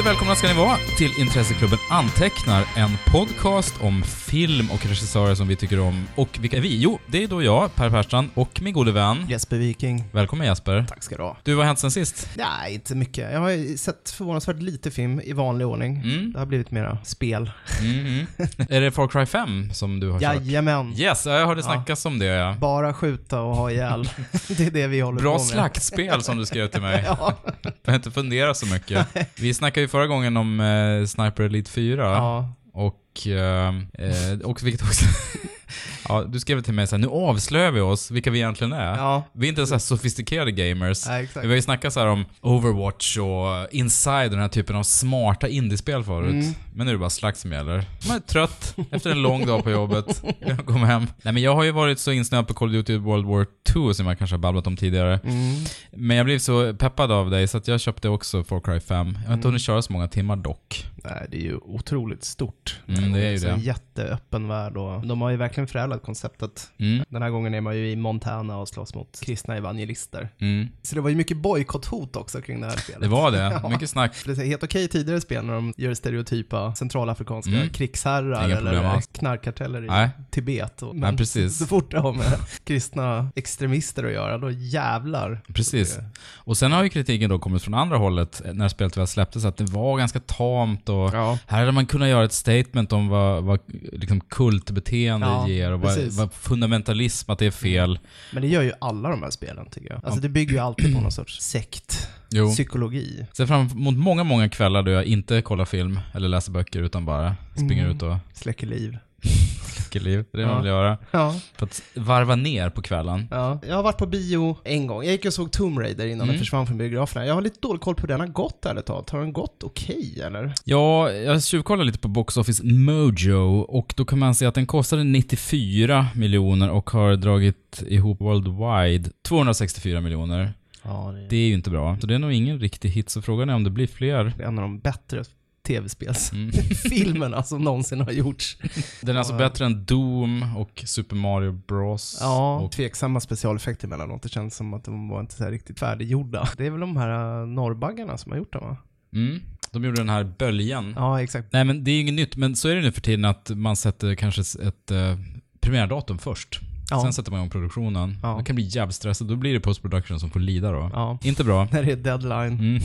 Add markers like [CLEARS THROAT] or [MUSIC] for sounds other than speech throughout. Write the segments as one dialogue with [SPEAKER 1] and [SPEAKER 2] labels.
[SPEAKER 1] och välkomna ska ni vara till Intresseklubben Antecknar, en podcast om film och regissörer som vi tycker om. Och vilka är vi? Jo, det är då jag, Per Persson, och min gode vän.
[SPEAKER 2] Jesper Viking.
[SPEAKER 1] Välkommen Jesper.
[SPEAKER 2] Tack ska du ha.
[SPEAKER 1] Du, vad har hänt sen sist?
[SPEAKER 2] Nej, inte mycket. Jag har ju sett förvånansvärt lite film i vanlig ordning.
[SPEAKER 1] Mm.
[SPEAKER 2] Det har blivit mera spel.
[SPEAKER 1] Mm, mm. är det Far Cry 5 som du har kört?
[SPEAKER 2] Jajamän.
[SPEAKER 1] Yes, jag hörde snackas om det ja.
[SPEAKER 2] Bara skjuta och
[SPEAKER 1] [LAUGHS]
[SPEAKER 2] ha ihjäl. det är det vi håller på
[SPEAKER 1] Bra
[SPEAKER 2] med.
[SPEAKER 1] slaktspel som du skrev till mig.
[SPEAKER 2] [LAUGHS] Ja.
[SPEAKER 1] Jag inte fundera så mycket. Vi snackade ju förra gången om eh, Sniper Elite 4.
[SPEAKER 2] ja.
[SPEAKER 1] Och, eh, eh, och vilket också... [LAUGHS] ja, du skrev till mig så här, nu avslöjar vi oss vilka vi egentligen är.
[SPEAKER 2] Ja.
[SPEAKER 1] Vi är inte så här sofistikerade gamers.
[SPEAKER 2] Nej,
[SPEAKER 1] vi
[SPEAKER 2] exakt.
[SPEAKER 1] har ju snackat så här om Overwatch och Inside och den här typen av smarta indiespel förut.
[SPEAKER 2] Mm.
[SPEAKER 1] Men nu är det bara slags som gäller. Man är trött efter en lång dag på jobbet. [LAUGHS] Jag kom hem. Nej men jag har ju varit så insnöad på Call of Duty World War 2 som jag kanske har babblat om tidigare.
[SPEAKER 2] Mm.
[SPEAKER 1] Men jag blev så peppad av dig så att jag köpte också Far Cry 5. Jag
[SPEAKER 2] Mm.
[SPEAKER 1] har inte hunnit köra så många timmar dock.
[SPEAKER 2] Nej, det är ju otroligt stort.
[SPEAKER 1] Mm, det är ju
[SPEAKER 2] Så En
[SPEAKER 1] det.
[SPEAKER 2] jätteöppen värld och de har ju verkligen förädlat konceptet.
[SPEAKER 1] Mm.
[SPEAKER 2] Den här gången är man ju i Montana och slåss mot kristna evangelister.
[SPEAKER 1] Mm.
[SPEAKER 2] Så det var ju mycket bojkotthot också kring det här spelet.
[SPEAKER 1] Det var det.
[SPEAKER 2] [LAUGHS] Ja.
[SPEAKER 1] Mycket snack.
[SPEAKER 2] Det är helt okej tidigare spel när de gör stereotypa centralafrikanska
[SPEAKER 1] Mm.
[SPEAKER 2] krigsherrar
[SPEAKER 1] Inga problem
[SPEAKER 2] eller
[SPEAKER 1] alls.
[SPEAKER 2] knarkkarteller i
[SPEAKER 1] Nej.
[SPEAKER 2] Tibet. Och,
[SPEAKER 1] Nej, precis.
[SPEAKER 2] så fort det har med kristna extremister att göra, då jävlar.
[SPEAKER 1] Precis.
[SPEAKER 2] Det-
[SPEAKER 1] Och sen har ju kritiken då kommit från andra hållet eh, när spelet väl släpptes att det var ganska tamt och
[SPEAKER 2] Ja.
[SPEAKER 1] här hade man kunnat göra ett statement om vad, vad liksom kultbeteende
[SPEAKER 2] Ja,
[SPEAKER 1] ger och vad,
[SPEAKER 2] precis.
[SPEAKER 1] vad fundamentalism, att det är fel.
[SPEAKER 2] Men det gör ju alla de här spelen tycker jag. Alltså det bygger ju alltid på någon sorts sekt,
[SPEAKER 1] Jo.
[SPEAKER 2] psykologi.
[SPEAKER 1] Sen fram emot många, många kvällar då jag inte kollar film eller läser böcker utan bara springer ut och
[SPEAKER 2] Släcker liv.
[SPEAKER 1] leker liv. Det är det man
[SPEAKER 2] Mm. Ja.
[SPEAKER 1] vill göra.
[SPEAKER 2] Ja,
[SPEAKER 1] För att varva ner på kvällen.
[SPEAKER 2] ja. Jag har varit på bio en gång. Jag gick och såg Tomb Raider innan
[SPEAKER 1] Mm.
[SPEAKER 2] den försvann från biograferna. Jag har lite dålig koll på hur den har gått ärligt talat. Har den gått okej eller?
[SPEAKER 1] Ja, jag tjuvkollade lite på Box Office Mojo och då kan man se att den kostade 94 miljoner och har dragit ihop worldwide 264 miljoner.
[SPEAKER 2] Ja, det
[SPEAKER 1] Det är ju inte bra. Så det är nog ingen riktig hit, så frågan är om det blir fler.
[SPEAKER 2] en av de bättre
[SPEAKER 1] Mm.
[SPEAKER 2] [LAUGHS] tv-spelsfilmerna som någonsin har gjorts.
[SPEAKER 1] Den är alltså bättre än Doom och Super Mario Bros.
[SPEAKER 2] Ja,
[SPEAKER 1] Och,
[SPEAKER 2] tveksamma specialeffekter emellanåt. Det känns som att de var inte så här riktigt färdiggjorda. Det är väl de här eh, norrbaggarna som har gjort dem va?
[SPEAKER 1] mm, de gjorde den här böljan.
[SPEAKER 2] Ja, exakt.
[SPEAKER 1] Nej, men det är ju inget nytt, men så är det nu för tiden att man sätter kanske ett eh, premiärdatum först.
[SPEAKER 2] Ja.
[SPEAKER 1] Sen sätter man igång produktionen.
[SPEAKER 2] Ja.
[SPEAKER 1] Man kan bli jävligt stressad. Då blir det post production som får lida då.
[SPEAKER 2] Ja.
[SPEAKER 1] Inte bra.
[SPEAKER 2] När det är deadline,
[SPEAKER 1] Mm.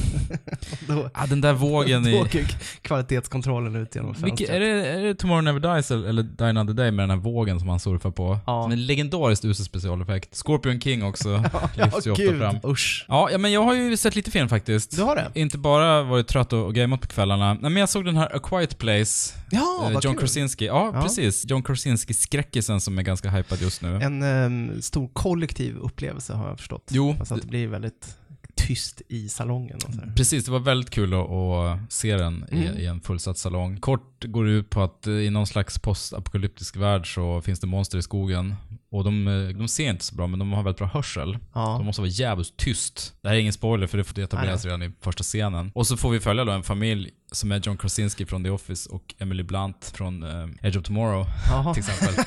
[SPEAKER 2] då,
[SPEAKER 1] Ja, Ah, den där vågen
[SPEAKER 2] då
[SPEAKER 1] i...
[SPEAKER 2] åker k- kvalitetskontrollen ut genom fönstret.
[SPEAKER 1] Vilke, är, det, är det Tomorrow Never Dies eller, eller Die Another Day med den här vågen som han surfar på?
[SPEAKER 2] Ja.
[SPEAKER 1] Som en legendariskt usel specialeffekt. Scorpion King också lyfts ju
[SPEAKER 2] Ja,
[SPEAKER 1] ofta
[SPEAKER 2] gud.
[SPEAKER 1] fram.
[SPEAKER 2] Usch.
[SPEAKER 1] Ja, ja, men jag har ju sett lite film faktiskt.
[SPEAKER 2] Du har det?
[SPEAKER 1] Inte bara varit trött och, och gameat på kvällarna. Nej, men jag såg den här A Quiet Place.
[SPEAKER 2] Ja,
[SPEAKER 1] eh,
[SPEAKER 2] vad
[SPEAKER 1] John
[SPEAKER 2] kul.
[SPEAKER 1] Krasinski. Ja,
[SPEAKER 2] Ja.
[SPEAKER 1] precis. John Krasinski-skräckisen som är ganska hypad just nu.
[SPEAKER 2] En ehm, stor kollektiv upplevelse har jag förstått.
[SPEAKER 1] Jo,
[SPEAKER 2] Alltså att det blir väldigt tyst i salongen. Och så här.
[SPEAKER 1] Precis, det var väldigt kul att, att se den i,
[SPEAKER 2] Mm.
[SPEAKER 1] i en fullsatt salong. Kort går det ut på att eh, i någon slags postapokalyptisk värld så finns det monster i skogen. Och de, eh, de ser inte så bra, men de har väldigt bra hörsel.
[SPEAKER 2] Ja.
[SPEAKER 1] De måste vara jävligt tyst. Det här är ingen spoiler, för det får det etableras redan i första scenen. Och så får vi följa då en familj som är John Krasinski från The Office och Emily Blunt från eh, Edge of Tomorrow,
[SPEAKER 2] Jaha.
[SPEAKER 1] till
[SPEAKER 2] [LAUGHS]
[SPEAKER 1] exempel.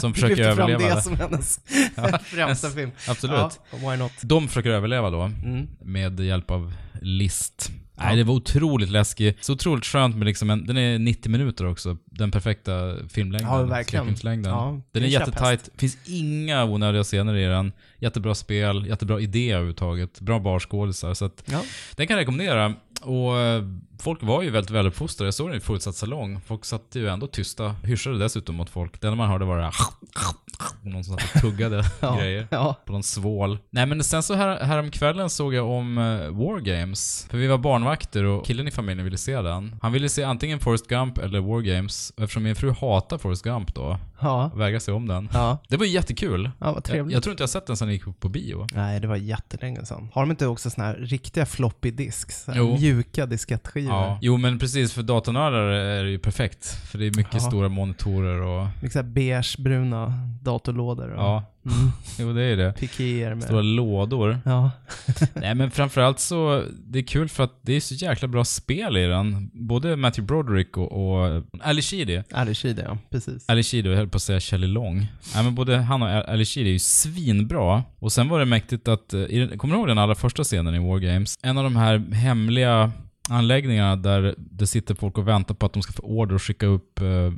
[SPEAKER 1] Som
[SPEAKER 2] Du
[SPEAKER 1] försöker
[SPEAKER 2] lyfter fram
[SPEAKER 1] överleva.
[SPEAKER 2] det
[SPEAKER 1] det. [LAUGHS]
[SPEAKER 2] som hennes [LAUGHS] främsta film.
[SPEAKER 1] Absolut.
[SPEAKER 2] Ja, why not?
[SPEAKER 1] De försöker överleva då
[SPEAKER 2] Mm.
[SPEAKER 1] med hjälp av list. Nej, det var otroligt läskigt. Så otroligt skönt med liksom en, den är 90 minuter också. Den perfekta filmlängden.
[SPEAKER 2] Ja, verkligen.
[SPEAKER 1] skräckfilmslängden.
[SPEAKER 2] Ja, det
[SPEAKER 1] den
[SPEAKER 2] är
[SPEAKER 1] är
[SPEAKER 2] en
[SPEAKER 1] jättetajt. finns inga onödiga scener i den. Jättebra spel, jättebra idé överhuvudtaget. Bra barskådisar. Så att
[SPEAKER 2] Ja.
[SPEAKER 1] den kan jag rekommendera. Och eh, folk var ju väldigt väluppfostrade. Jag såg den i fullsatt salong. Folk satt ju ändå tysta. Hyschade dessutom mot folk. Det enda man hörde var det här [LAUGHS] någon som satt och tuggade grejer
[SPEAKER 2] [LAUGHS] Ja.
[SPEAKER 1] på någon svål. Nej men sen så här, häromkvällen såg jag om eh, War Games. För vi var barnvakter och killen i familjen ville se den. Han ville se antingen Forrest Gump eller War Games. Och Eftersom min fru hatar Forrest Gump då,
[SPEAKER 2] Ja.
[SPEAKER 1] vägrade se om den.
[SPEAKER 2] Ja.
[SPEAKER 1] Det var ju jättekul.
[SPEAKER 2] ja, vad
[SPEAKER 1] Jag,
[SPEAKER 2] trevligt.
[SPEAKER 1] jag tror inte jag har sett den sen jag gick på bio.
[SPEAKER 2] Nej, det var jättelänge sedan. Har de inte också såna här riktiga floppy disks? Så här
[SPEAKER 1] Jo.
[SPEAKER 2] Mjuka diskettskivor?
[SPEAKER 1] Ja. Jo men precis, för datornördar är det ju perfekt. För det är mycket
[SPEAKER 2] Ja.
[SPEAKER 1] stora monitorer och...
[SPEAKER 2] Mycket Liksom så här beige-bruna datorlådor och Mm.
[SPEAKER 1] Ja. Jo det är det.
[SPEAKER 2] pikéer med...
[SPEAKER 1] Stora lådor.
[SPEAKER 2] Ja.
[SPEAKER 1] Nej men framförallt så, det är kul för att det är så jäkla bra spel i den. Både Matthew Broderick och, och Ali Sheedy.
[SPEAKER 2] Ärlig ja. Precis.
[SPEAKER 1] Ali Sheedy, jag höll på att säga Shelley Long. Nej men både han och Ali Sheedy är ju svinbra. Och sen var det mäktigt att, eh, i den- kommer du ihåg den allra första scenen i War Games? En av de här hemliga anläggningarna där det sitter folk och väntar på att de ska få order och skicka upp eh,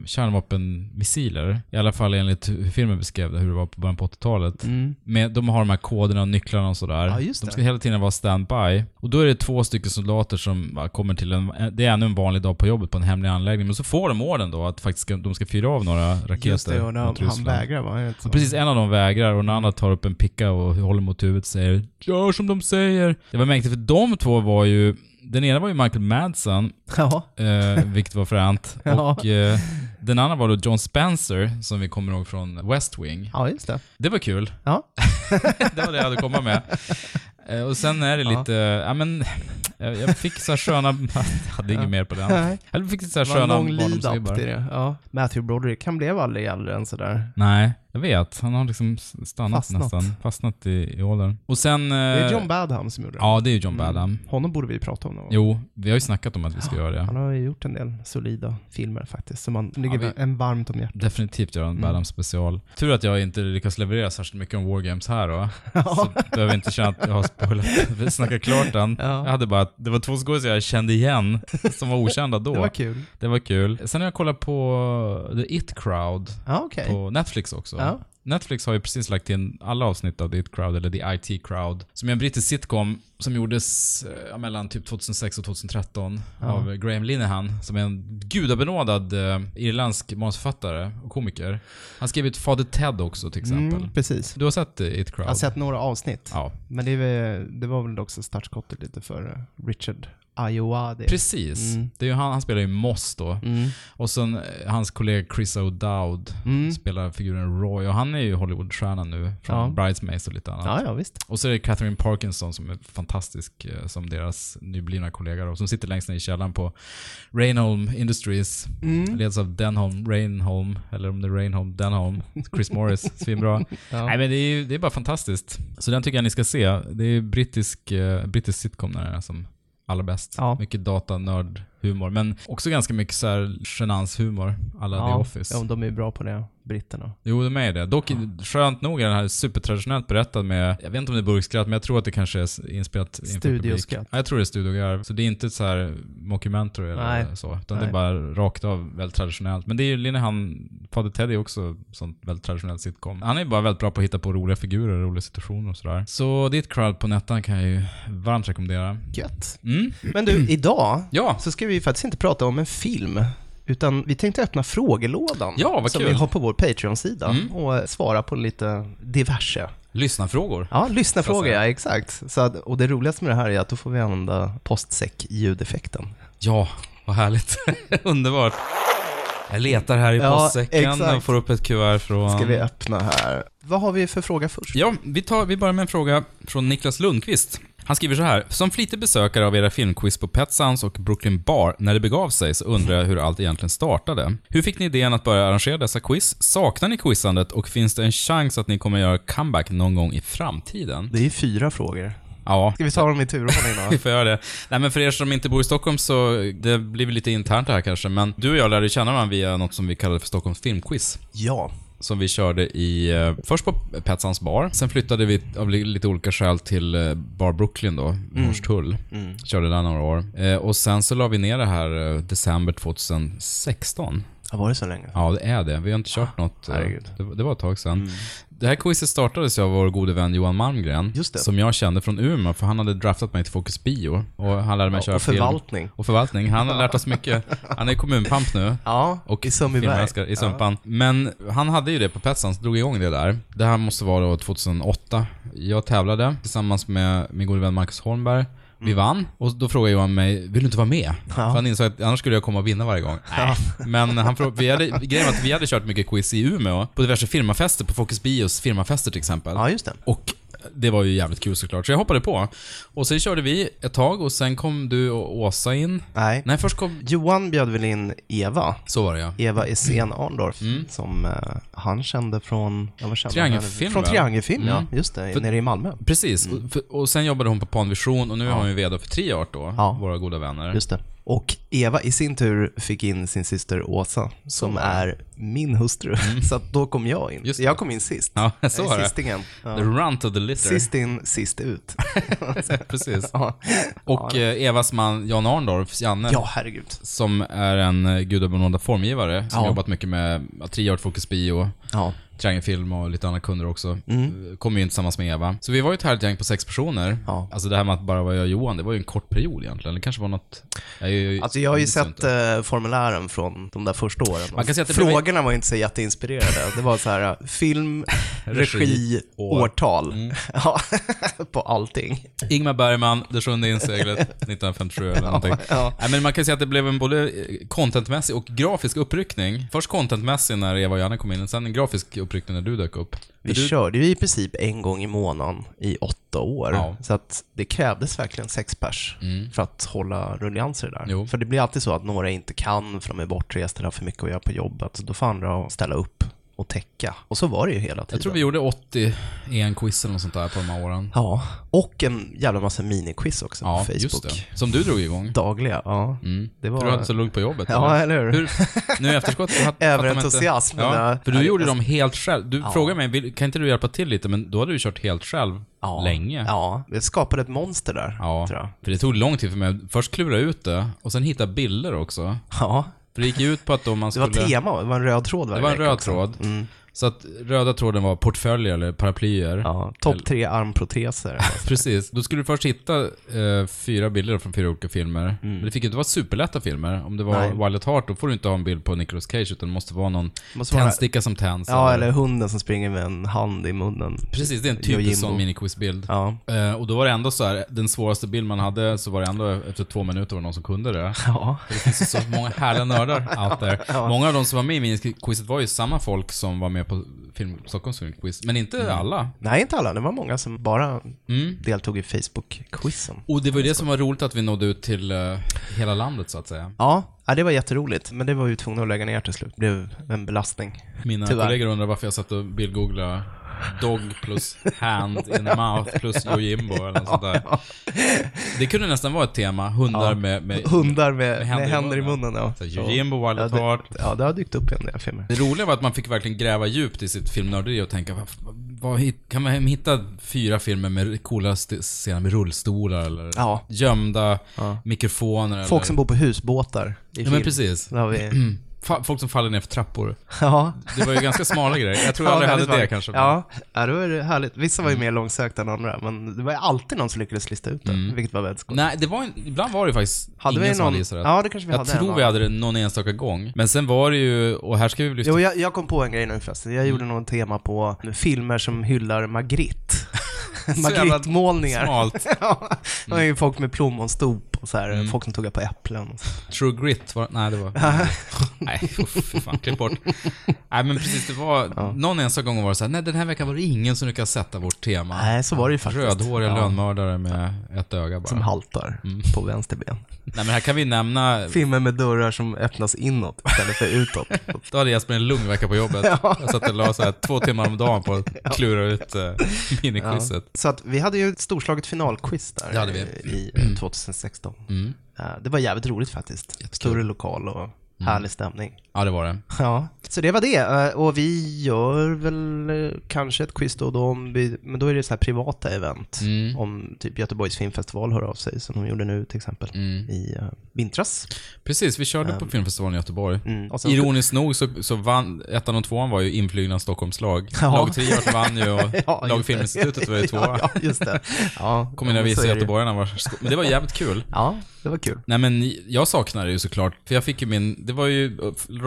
[SPEAKER 1] kärnvapenmissiler. I alla fall enligt hur filmen beskrev det, hur det var på början på 80-talet.
[SPEAKER 2] Mm.
[SPEAKER 1] Med, de har de här koderna och nycklarna och sådär.
[SPEAKER 2] Ja, just
[SPEAKER 1] de
[SPEAKER 2] det.
[SPEAKER 1] ska hela tiden vara standby. Och då är det två stycken soldater som bara kommer till en... Det är ännu en vanlig dag på jobbet på en hemlig anläggning. Men så får de orden då att faktiskt ska, de ska fyra av några raketer
[SPEAKER 2] Just det, och de,
[SPEAKER 1] mot
[SPEAKER 2] han
[SPEAKER 1] Ryssland.
[SPEAKER 2] vägrar va? Är det inte så?
[SPEAKER 1] Och precis, en av dem vägrar och den andra tar upp en picka och håller mot huvudet och säger “Gör som de säger”. Det var mäktigt för de två var ju... Den ena var ju Michael Madsen,
[SPEAKER 2] Ja. [LAUGHS]
[SPEAKER 1] eh, vilket var fränt.
[SPEAKER 2] Ja.
[SPEAKER 1] Och eh, den andra var då John Spencer, som vi kommer ihåg från West Wing.
[SPEAKER 2] ja, just det.
[SPEAKER 1] Det var kul.
[SPEAKER 2] Ja.
[SPEAKER 1] det var det jag hade att komma med. Eh, och sen är det
[SPEAKER 2] Ja.
[SPEAKER 1] lite... Ja, men... Jag jag fick så här sköna... [LAUGHS] Jag hade inget
[SPEAKER 2] Ja.
[SPEAKER 1] mer på den.
[SPEAKER 2] Nej.
[SPEAKER 1] Jag fick så här
[SPEAKER 2] Det var en
[SPEAKER 1] sköna
[SPEAKER 2] lång lead-up
[SPEAKER 1] barndomsvibbar.
[SPEAKER 2] till det. Ja. Matthew Broderick, han blev aldrig äldre än sådär.
[SPEAKER 1] Nej, jag vet. Han har liksom stannat
[SPEAKER 2] Fastnat.
[SPEAKER 1] nästan. Fastnat i, i åldern. Och sen... eh,
[SPEAKER 2] Det är John Badham som gjorde det.
[SPEAKER 1] Ja, det är ju John
[SPEAKER 2] Mm.
[SPEAKER 1] Badham.
[SPEAKER 2] Honom borde vi prata om någon gång.
[SPEAKER 1] Jo, vi har ju snackat om att vi ska göra det.
[SPEAKER 2] Han har ju gjort en del solida filmer faktiskt, som man ligger
[SPEAKER 1] vi-
[SPEAKER 2] en varmt om hjärtat.
[SPEAKER 1] Definitivt göra en
[SPEAKER 2] Mm.
[SPEAKER 1] Badham special. Tur att jag inte lyckas leverera särskilt mycket om Wargames här då. Så behöver jag inte känna att jag har spoilat, [LAUGHS] vi snackar klart den.
[SPEAKER 2] Ja.
[SPEAKER 1] Jag hade bara, att det var två skådespelare jag kände igen, som var okända då.
[SPEAKER 2] Det var kul.
[SPEAKER 1] kul. Sen har jag kollat på The It Crowd
[SPEAKER 2] Ja, okej.
[SPEAKER 1] på Netflix också.
[SPEAKER 2] Eh, Ja.
[SPEAKER 1] Netflix har ju precis lagt in alla avsnitt av The It Crowd, eller The IT Crowd, som är en brittisk sitcom som gjordes eh, mellan typ 2006 och 2013 av Graham Linehan, som är en gudabenådad eh, irländsk manusförfattare och komiker. Han skrev ut Fader Ted också till exempel.
[SPEAKER 2] Mm, precis.
[SPEAKER 1] Du har sett eh, It Crowd?
[SPEAKER 2] Jag har sett några avsnitt.
[SPEAKER 1] Ja,
[SPEAKER 2] Men det, är väl- det var väl också startskottet lite för eh, Richard Ayoade.
[SPEAKER 1] precis.
[SPEAKER 2] Mm.
[SPEAKER 1] Det är ju han, han spelar ju Moss då.
[SPEAKER 2] Mm.
[SPEAKER 1] Och sen eh, hans kollega Chris O'Dowd
[SPEAKER 2] Mm.
[SPEAKER 1] spelar figuren Roy och han är ju Hollywoodstjärna nu från
[SPEAKER 2] Ja.
[SPEAKER 1] Bridesmaids och lite annat.
[SPEAKER 2] Ja, ja visst.
[SPEAKER 1] Och så är det Catherine Parkinson som är fantastisk eh, som deras nyblivna kollega då, som sitter längst ner i källaren på Rainholm Industries.
[SPEAKER 2] Mm.
[SPEAKER 1] Leds av Denholm, Rainholm, eller om det är Rainholm, Denholm, Chris
[SPEAKER 2] [LAUGHS]
[SPEAKER 1] Morris, svinbra.
[SPEAKER 2] Ja.
[SPEAKER 1] Nej men det är, ju- det är bara fantastiskt. Så den tycker jag ni ska se. Det är ju brittisk, eh, brittisk sitcom den är som allra bäst.
[SPEAKER 2] Ja.
[SPEAKER 1] Mycket data, nörd, humor. Men också ganska mycket så här genanshumor, alla The Office.
[SPEAKER 2] Ja, de är ju bra på det, britterna.
[SPEAKER 1] Jo, de är det. Dock, skönt nog är den här supertraditionellt berättad med, jag vet inte om det är burkskratt, men jag tror att det kanske är s- inspelat inför publik.
[SPEAKER 2] Studioskratt.
[SPEAKER 1] Ja, jag tror det är studiogarv. Så det är inte så här mockumentary eller
[SPEAKER 2] Nej.
[SPEAKER 1] så, utan det
[SPEAKER 2] Nej.
[SPEAKER 1] är bara rakt av väldigt traditionellt. Men det är ju Linehan, Fader Teddy är också sånt väldigt traditionellt sitcom. Han är ju bara väldigt bra på att hitta på roliga figurer, roliga situationer och sådär. Så ditt crowd på Nettan kan jag ju varmt rekommendera.
[SPEAKER 2] Gött.
[SPEAKER 1] Mm.
[SPEAKER 2] Men du, idag
[SPEAKER 1] Ja,
[SPEAKER 2] så ska vi faktiskt inte prata om en film, utan vi tänkte öppna frågelådan
[SPEAKER 1] Ja, vad
[SPEAKER 2] som
[SPEAKER 1] kul.
[SPEAKER 2] vi har på vår Patreon-sida
[SPEAKER 1] Mm.
[SPEAKER 2] och svara på lite diverse.
[SPEAKER 1] lyssna frågor.
[SPEAKER 2] Ja, lyssna
[SPEAKER 1] Så att
[SPEAKER 2] fråga,
[SPEAKER 1] säga.
[SPEAKER 2] ja exakt. Så att, och det roligaste med det här är att då får vi använda postsäck-ljudeffekten.
[SPEAKER 1] Ja, vad härligt. [LAUGHS] Underbart. Jag letar här i
[SPEAKER 2] Ja,
[SPEAKER 1] postsäcken
[SPEAKER 2] exakt.
[SPEAKER 1] och får upp ett kuvert från...
[SPEAKER 2] Ska vi öppna här. Vad har vi för fråga först?
[SPEAKER 1] Ja, vi, tar, vi börjar med en fråga från Niklas Lundqvist. Han skriver så här. Som flitig besökare av era filmquiz på Pet Sounds och Brooklyn Bar när det begav sig så undrar jag hur allt egentligen startade. Hur fick ni idén att börja arrangera dessa quiz? Saknar ni quizandet och finns det en chans att ni kommer göra comeback någon gång i framtiden?
[SPEAKER 2] Det är ju fyra frågor.
[SPEAKER 1] Ja,
[SPEAKER 2] Ska vi ta dem i turordning
[SPEAKER 1] [LAUGHS] vi
[SPEAKER 2] då?
[SPEAKER 1] får göra det. Nej, men för er som inte bor i Stockholm så det blir väl lite internt det här kanske, men du och jag lärde känna varandra via något som vi kallade för Stockholms filmquiz.
[SPEAKER 2] ja.
[SPEAKER 1] Som vi körde i, eh, först på Petsans bar, sen flyttade vi av li- lite olika skäl till eh, Bar Brooklyn då, i Hornstull. Körde där några år. Eh, och sen så la vi ner det här eh, december 2016.
[SPEAKER 2] Har varit så länge?
[SPEAKER 1] Ja, det är det. Vi har inte kört något. eh,
[SPEAKER 2] Ah, herregud. Mm.
[SPEAKER 1] Det, det var ett tag sedan. Det här quizet startades ju av vår gode vän Johan Malmgren.
[SPEAKER 2] Just det.
[SPEAKER 1] Som jag kände från Umeå, för han hade draftat mig till Fokus Bio. Och han lärde mig köra
[SPEAKER 2] och förvaltning.
[SPEAKER 1] film. Och förvaltning. Han har lärt oss mycket. Han är kommunpamp nu.
[SPEAKER 2] Ja,
[SPEAKER 1] Och
[SPEAKER 2] i Sundbyberg.
[SPEAKER 1] filmälskare i Sumpan. Men han hade ju det på Petsans, drog igång det där. Det här måste vara då 2008. Jag tävlade tillsammans med min gode vän Marcus Holmberg. Vi vann och då frågade Johan mig, vill du inte vara med? För han insåg att annars skulle jag komma och vinna varje gång. Nej. Men han frågade, vi hade, grejen var att vi hade kört mycket quiz i Umeå, på diverse firmafester, på Fokus Bios firmafester till exempel.
[SPEAKER 2] Ja, just det.
[SPEAKER 1] Och det var ju jävligt kul såklart, så jag hoppade på. Och sen körde vi ett tag och sen kom du och Åsa in.
[SPEAKER 2] Nej.
[SPEAKER 1] Nej, först kom...
[SPEAKER 2] Johan bjöd väl in Eva?
[SPEAKER 1] Så var det ja.
[SPEAKER 2] Eva Essén
[SPEAKER 1] Mm.
[SPEAKER 2] Arndorf, som eh, han kände från... Ja, vad kände han henne?
[SPEAKER 1] Triangelfilm,
[SPEAKER 2] Från
[SPEAKER 1] va? Mm.
[SPEAKER 2] Triangelfilm, ja. Just det, nere i Malmö. Mm.
[SPEAKER 1] Precis, och, för, och sen jobbade hon på Panvision och nu är hon ju VD för Triart då,
[SPEAKER 2] Ja.
[SPEAKER 1] våra goda vänner.
[SPEAKER 2] Just det. Och Eva i sin tur fick in sin syster Åsa, som är min hustru. [LAUGHS] Så att då kom jag in.
[SPEAKER 1] Mm. Just det.
[SPEAKER 2] jag kom in sist.
[SPEAKER 1] Ja, jag
[SPEAKER 2] jag
[SPEAKER 1] såg
[SPEAKER 2] är
[SPEAKER 1] det.
[SPEAKER 2] sistingen.
[SPEAKER 1] The
[SPEAKER 2] Ja.
[SPEAKER 1] runt of the litter.
[SPEAKER 2] Sist in, sist ut.
[SPEAKER 1] [LAUGHS]
[SPEAKER 2] [LAUGHS]
[SPEAKER 1] Precis.
[SPEAKER 2] ja.
[SPEAKER 1] Och eh, Evas man Jan Arndorf, Janne,
[SPEAKER 2] ja, herregud.
[SPEAKER 1] som är en eh, gudabenådad formgivare som
[SPEAKER 2] Ja.
[SPEAKER 1] jobbat mycket med ja, Triart, Fokus Bio,
[SPEAKER 2] Ja.
[SPEAKER 1] Triangelfilm och lite andra kunder också. Eh, Kom ju in tillsammans med Eva. Så vi var ju ett härligt gäng på sex personer.
[SPEAKER 2] Mm. Ja.
[SPEAKER 1] Alltså det här med att bara vara jag och Johan, det var ju en kort period egentligen. Det kanske var något... Jag är ju,
[SPEAKER 2] Alltså jag har ju
[SPEAKER 1] minns
[SPEAKER 2] sett
[SPEAKER 1] inte.
[SPEAKER 2] eh, formulären från de där första åren.
[SPEAKER 1] Man kan säga att det blev-
[SPEAKER 2] Frågorna var inte så jätteinspirerade. Det var så här, eh, film,
[SPEAKER 1] [LAUGHS] Regi,
[SPEAKER 2] regi,
[SPEAKER 1] år. Mm.
[SPEAKER 2] årtal. [LAUGHS] Ja, på allting.
[SPEAKER 1] Ingmar Bergman, Det sjunde inseglet, [LAUGHS] 1957 eller någonting.
[SPEAKER 2] ja.
[SPEAKER 1] Nej, men man kan säga att det blev en både eh, contentmässig och grafisk uppryckning. Först contentmässig när Eva och Janne kom in, och sen en grafisk uppryckning när du dök upp.
[SPEAKER 2] Vi körde ju i princip en gång i månaden i åtta år.
[SPEAKER 1] Ja. Mm.
[SPEAKER 2] Så att det krävdes verkligen sex pers för att hålla rullianser där.
[SPEAKER 1] Jo.
[SPEAKER 2] För det blir alltid så att några inte kan för de är bortresta, har för mycket att göra på jobbet. Så då får andra ställa upp och täcka. Och så var det ju hela tiden.
[SPEAKER 1] Jag tror vi gjorde 80 EN-quiz eller något sånt där på de här åren.
[SPEAKER 2] Ja, och en jävla massa miniquiz också
[SPEAKER 1] Ja,
[SPEAKER 2] på Facebook.
[SPEAKER 1] just det. Som du drog igång.
[SPEAKER 2] Dagliga, ja. Det var...
[SPEAKER 1] Du hade så lugnt på jobbet.
[SPEAKER 2] Ja,
[SPEAKER 1] eller?
[SPEAKER 2] eller hur?
[SPEAKER 1] Hur, nu i efterskott
[SPEAKER 2] [LAUGHS]
[SPEAKER 1] så hat-
[SPEAKER 2] Överentusiasm,
[SPEAKER 1] fattar man inte-
[SPEAKER 2] men,
[SPEAKER 1] Ja,
[SPEAKER 2] äh,
[SPEAKER 1] för du
[SPEAKER 2] nej,
[SPEAKER 1] gjorde
[SPEAKER 2] jag-
[SPEAKER 1] dem helt själv. Du frågade mig, vill- kan inte du hjälpa till lite? Men då hade du kört helt själv
[SPEAKER 2] Ja.
[SPEAKER 1] länge.
[SPEAKER 2] Ja, det skapade ett monster där,
[SPEAKER 1] Ja,
[SPEAKER 2] tror jag.
[SPEAKER 1] för det tog lång tid för mig att först klura ut det och sen hitta bilder också.
[SPEAKER 2] Ja,
[SPEAKER 1] För det gick ju ut på att om man
[SPEAKER 2] det
[SPEAKER 1] skulle...
[SPEAKER 2] var tema, det var en röd tråd varje
[SPEAKER 1] Det var en
[SPEAKER 2] vecka
[SPEAKER 1] röd
[SPEAKER 2] också.
[SPEAKER 1] tråd. Så att röda tråden var portföljer eller paraplyer.
[SPEAKER 2] Ja, topp tre armproteser.
[SPEAKER 1] Precis. Då skulle du först hitta eh, fyra bilder från fyra olika filmer. Men det fick ju inte vara superlätta filmer. Om det var
[SPEAKER 2] Mm. Nej.
[SPEAKER 1] Violet Heart, då får du inte ha en bild på Nicolas Cage, utan det måste vara någon
[SPEAKER 2] Måste vara-
[SPEAKER 1] tändsticka som tänds.
[SPEAKER 2] ja, eller hunden som springer med en hand i munnen.
[SPEAKER 1] Precis, det är en
[SPEAKER 2] Yojimbo.
[SPEAKER 1] typisk sån miniquizbild.
[SPEAKER 2] Ja.
[SPEAKER 1] Eh, och då var det ändå så här, den svåraste bild man hade, så var det ändå efter två minuter var det någon som kunde det.
[SPEAKER 2] Ja.
[SPEAKER 1] För Det finns ju så många härliga
[SPEAKER 2] [LAUGHS]
[SPEAKER 1] nördar out there. Många av de som var med i miniquizet var ju samma folk som var med på film, Stockholms filmquiz, men inte
[SPEAKER 2] Mm.
[SPEAKER 1] alla.
[SPEAKER 2] Nej, inte alla. Det var många som bara
[SPEAKER 1] Mm.
[SPEAKER 2] deltog i Facebook-quizen.
[SPEAKER 1] Och det var ju det som var roligt att vi nådde ut till eh, hela landet så att säga.
[SPEAKER 2] Ja, ja, det var jätteroligt. Men det var vi tvungna att lägga ner till slut. Det blev en belastning.
[SPEAKER 1] Mina
[SPEAKER 2] Tyvärr.
[SPEAKER 1] kollegor undrar varför jag satt och bildgooglade dog plus hand in mouth plus Yojimbo eller något sånt där. Det kunde nästan vara ett tema, hundar med, med
[SPEAKER 2] Hundar med,
[SPEAKER 1] Med
[SPEAKER 2] med,
[SPEAKER 1] händer
[SPEAKER 2] händer,
[SPEAKER 1] i
[SPEAKER 2] i
[SPEAKER 1] munnen.
[SPEAKER 2] munnen. ja.
[SPEAKER 1] så här, Yojimbo, Violet
[SPEAKER 2] ja,
[SPEAKER 1] Heart.
[SPEAKER 2] det, ja, det har dykt upp i en del filmer.
[SPEAKER 1] Det roliga var att man fick verkligen gräva djupt i sitt filmnörderi och tänka, vad, vad, hit- kan man hitta fyra filmer med coola st- scener med rullstolar eller
[SPEAKER 2] Ja.
[SPEAKER 1] gömda mikrofoner
[SPEAKER 2] Folk
[SPEAKER 1] eller,
[SPEAKER 2] som bor på husbåtar i
[SPEAKER 1] Ja
[SPEAKER 2] film.
[SPEAKER 1] men precis. Mm.
[SPEAKER 2] Där har vi...
[SPEAKER 1] Fa- folk som faller ner för trappor.
[SPEAKER 2] [CLEARS THROAT] Ja.
[SPEAKER 1] Det var ju ganska smala grejer. Jag tror
[SPEAKER 2] Ja,
[SPEAKER 1] jag aldrig
[SPEAKER 2] väldigt
[SPEAKER 1] hade det
[SPEAKER 2] vackert.
[SPEAKER 1] kanske. Mm.
[SPEAKER 2] Ja, ja, det var ju härligt. Vissa var ju mer långsökta än andra, men det var ju alltid någon som lyckades lista ut det,
[SPEAKER 1] Mm.
[SPEAKER 2] vilket var väldigt skoj.
[SPEAKER 1] Nej, det var, en- ibland var det ju faktiskt
[SPEAKER 2] Hade vi
[SPEAKER 1] ingen som
[SPEAKER 2] någon-
[SPEAKER 1] hade gissat rätt.
[SPEAKER 2] Ja, det kanske vi
[SPEAKER 1] Jag
[SPEAKER 2] hade
[SPEAKER 1] tror
[SPEAKER 2] en,
[SPEAKER 1] vi
[SPEAKER 2] va?
[SPEAKER 1] hade det någon enstaka gång. Men sen var det ju, och här ska vi lyfta...
[SPEAKER 2] Jo, jag, jag kom på en grej nu förresten.
[SPEAKER 1] Mm.
[SPEAKER 2] Jag gjorde något tema på filmer som
[SPEAKER 1] [LAUGHS]
[SPEAKER 2] hyllar Magritte. [LAUGHS]
[SPEAKER 1] Så jävla
[SPEAKER 2] Magritte-målningar.
[SPEAKER 1] Smalt.
[SPEAKER 2] [LAUGHS]
[SPEAKER 1] Mm.
[SPEAKER 2] Ja, det var ju folk med plommonstop och så här, folk som tuggar på äpplen. och så.
[SPEAKER 1] True Grit var Nej, det
[SPEAKER 2] [LAUGHS]
[SPEAKER 1] var... nej, uff, fy fan, klipp bort. Nej, men precis, det var... Någon enstaka gång var det så här, nej den här veckan var det ingen som lyckades sätta vårt tema.
[SPEAKER 2] Nej, så var det ju faktiskt.
[SPEAKER 1] Rödhåriga lönnmördare med ett öga bara.
[SPEAKER 2] Som haltar
[SPEAKER 1] Mm.
[SPEAKER 2] på vänster ben.
[SPEAKER 1] Nej, men här kan vi nämna...
[SPEAKER 2] Filmer med dörrar som öppnas inåt istället
[SPEAKER 1] [LAUGHS]
[SPEAKER 2] för utåt.
[SPEAKER 1] Då hade Jesper en lugn vecka på
[SPEAKER 2] [LAUGHS]
[SPEAKER 1] jobbet. Jag satt och la så här, två timmar om dagen på att klura ut uh, miniquizet.
[SPEAKER 2] Så att vi hade ju ett storslaget finalquiz där
[SPEAKER 1] Det hade vi. Mm.
[SPEAKER 2] i eh, 2016. Eh, Det var jävligt roligt faktiskt. Större lokal
[SPEAKER 1] Mm.
[SPEAKER 2] och härlig stämning.
[SPEAKER 1] Ja, det var det.
[SPEAKER 2] Ja, så det var det. Eh, Och vi gör väl eh, kanske ett quiz då och då, om vi, men då är det så här privata event. Om typ Göteborgs filmfestival hör av sig, som de gjorde nu till exempel i eh, vintras. Mm.
[SPEAKER 1] Precis, vi körde
[SPEAKER 2] Ehm.
[SPEAKER 1] på filmfestivalen i Göteborg.
[SPEAKER 2] Och sen-
[SPEAKER 1] Ironiskt nog så, så vann, ettan och tvåan var ju inflygna Stockholmslag.
[SPEAKER 2] [LAUGHS] Ja.
[SPEAKER 1] Lag Triart vann ju och
[SPEAKER 2] [LAUGHS] [LAUGHS] Ja,
[SPEAKER 1] Lag
[SPEAKER 2] just det.
[SPEAKER 1] Filminstitutet var ju tvåa.
[SPEAKER 2] [LAUGHS] Ja, ja, just det. Ja,
[SPEAKER 1] Kommer ni
[SPEAKER 2] ja,
[SPEAKER 1] att
[SPEAKER 2] så
[SPEAKER 1] visa
[SPEAKER 2] är det ju.
[SPEAKER 1] göteborgarna var sko- Men det var jävligt kul.
[SPEAKER 2] Ja, det var kul.
[SPEAKER 1] Nej men jag saknar det ju såklart, för jag fick ju min, det var ju,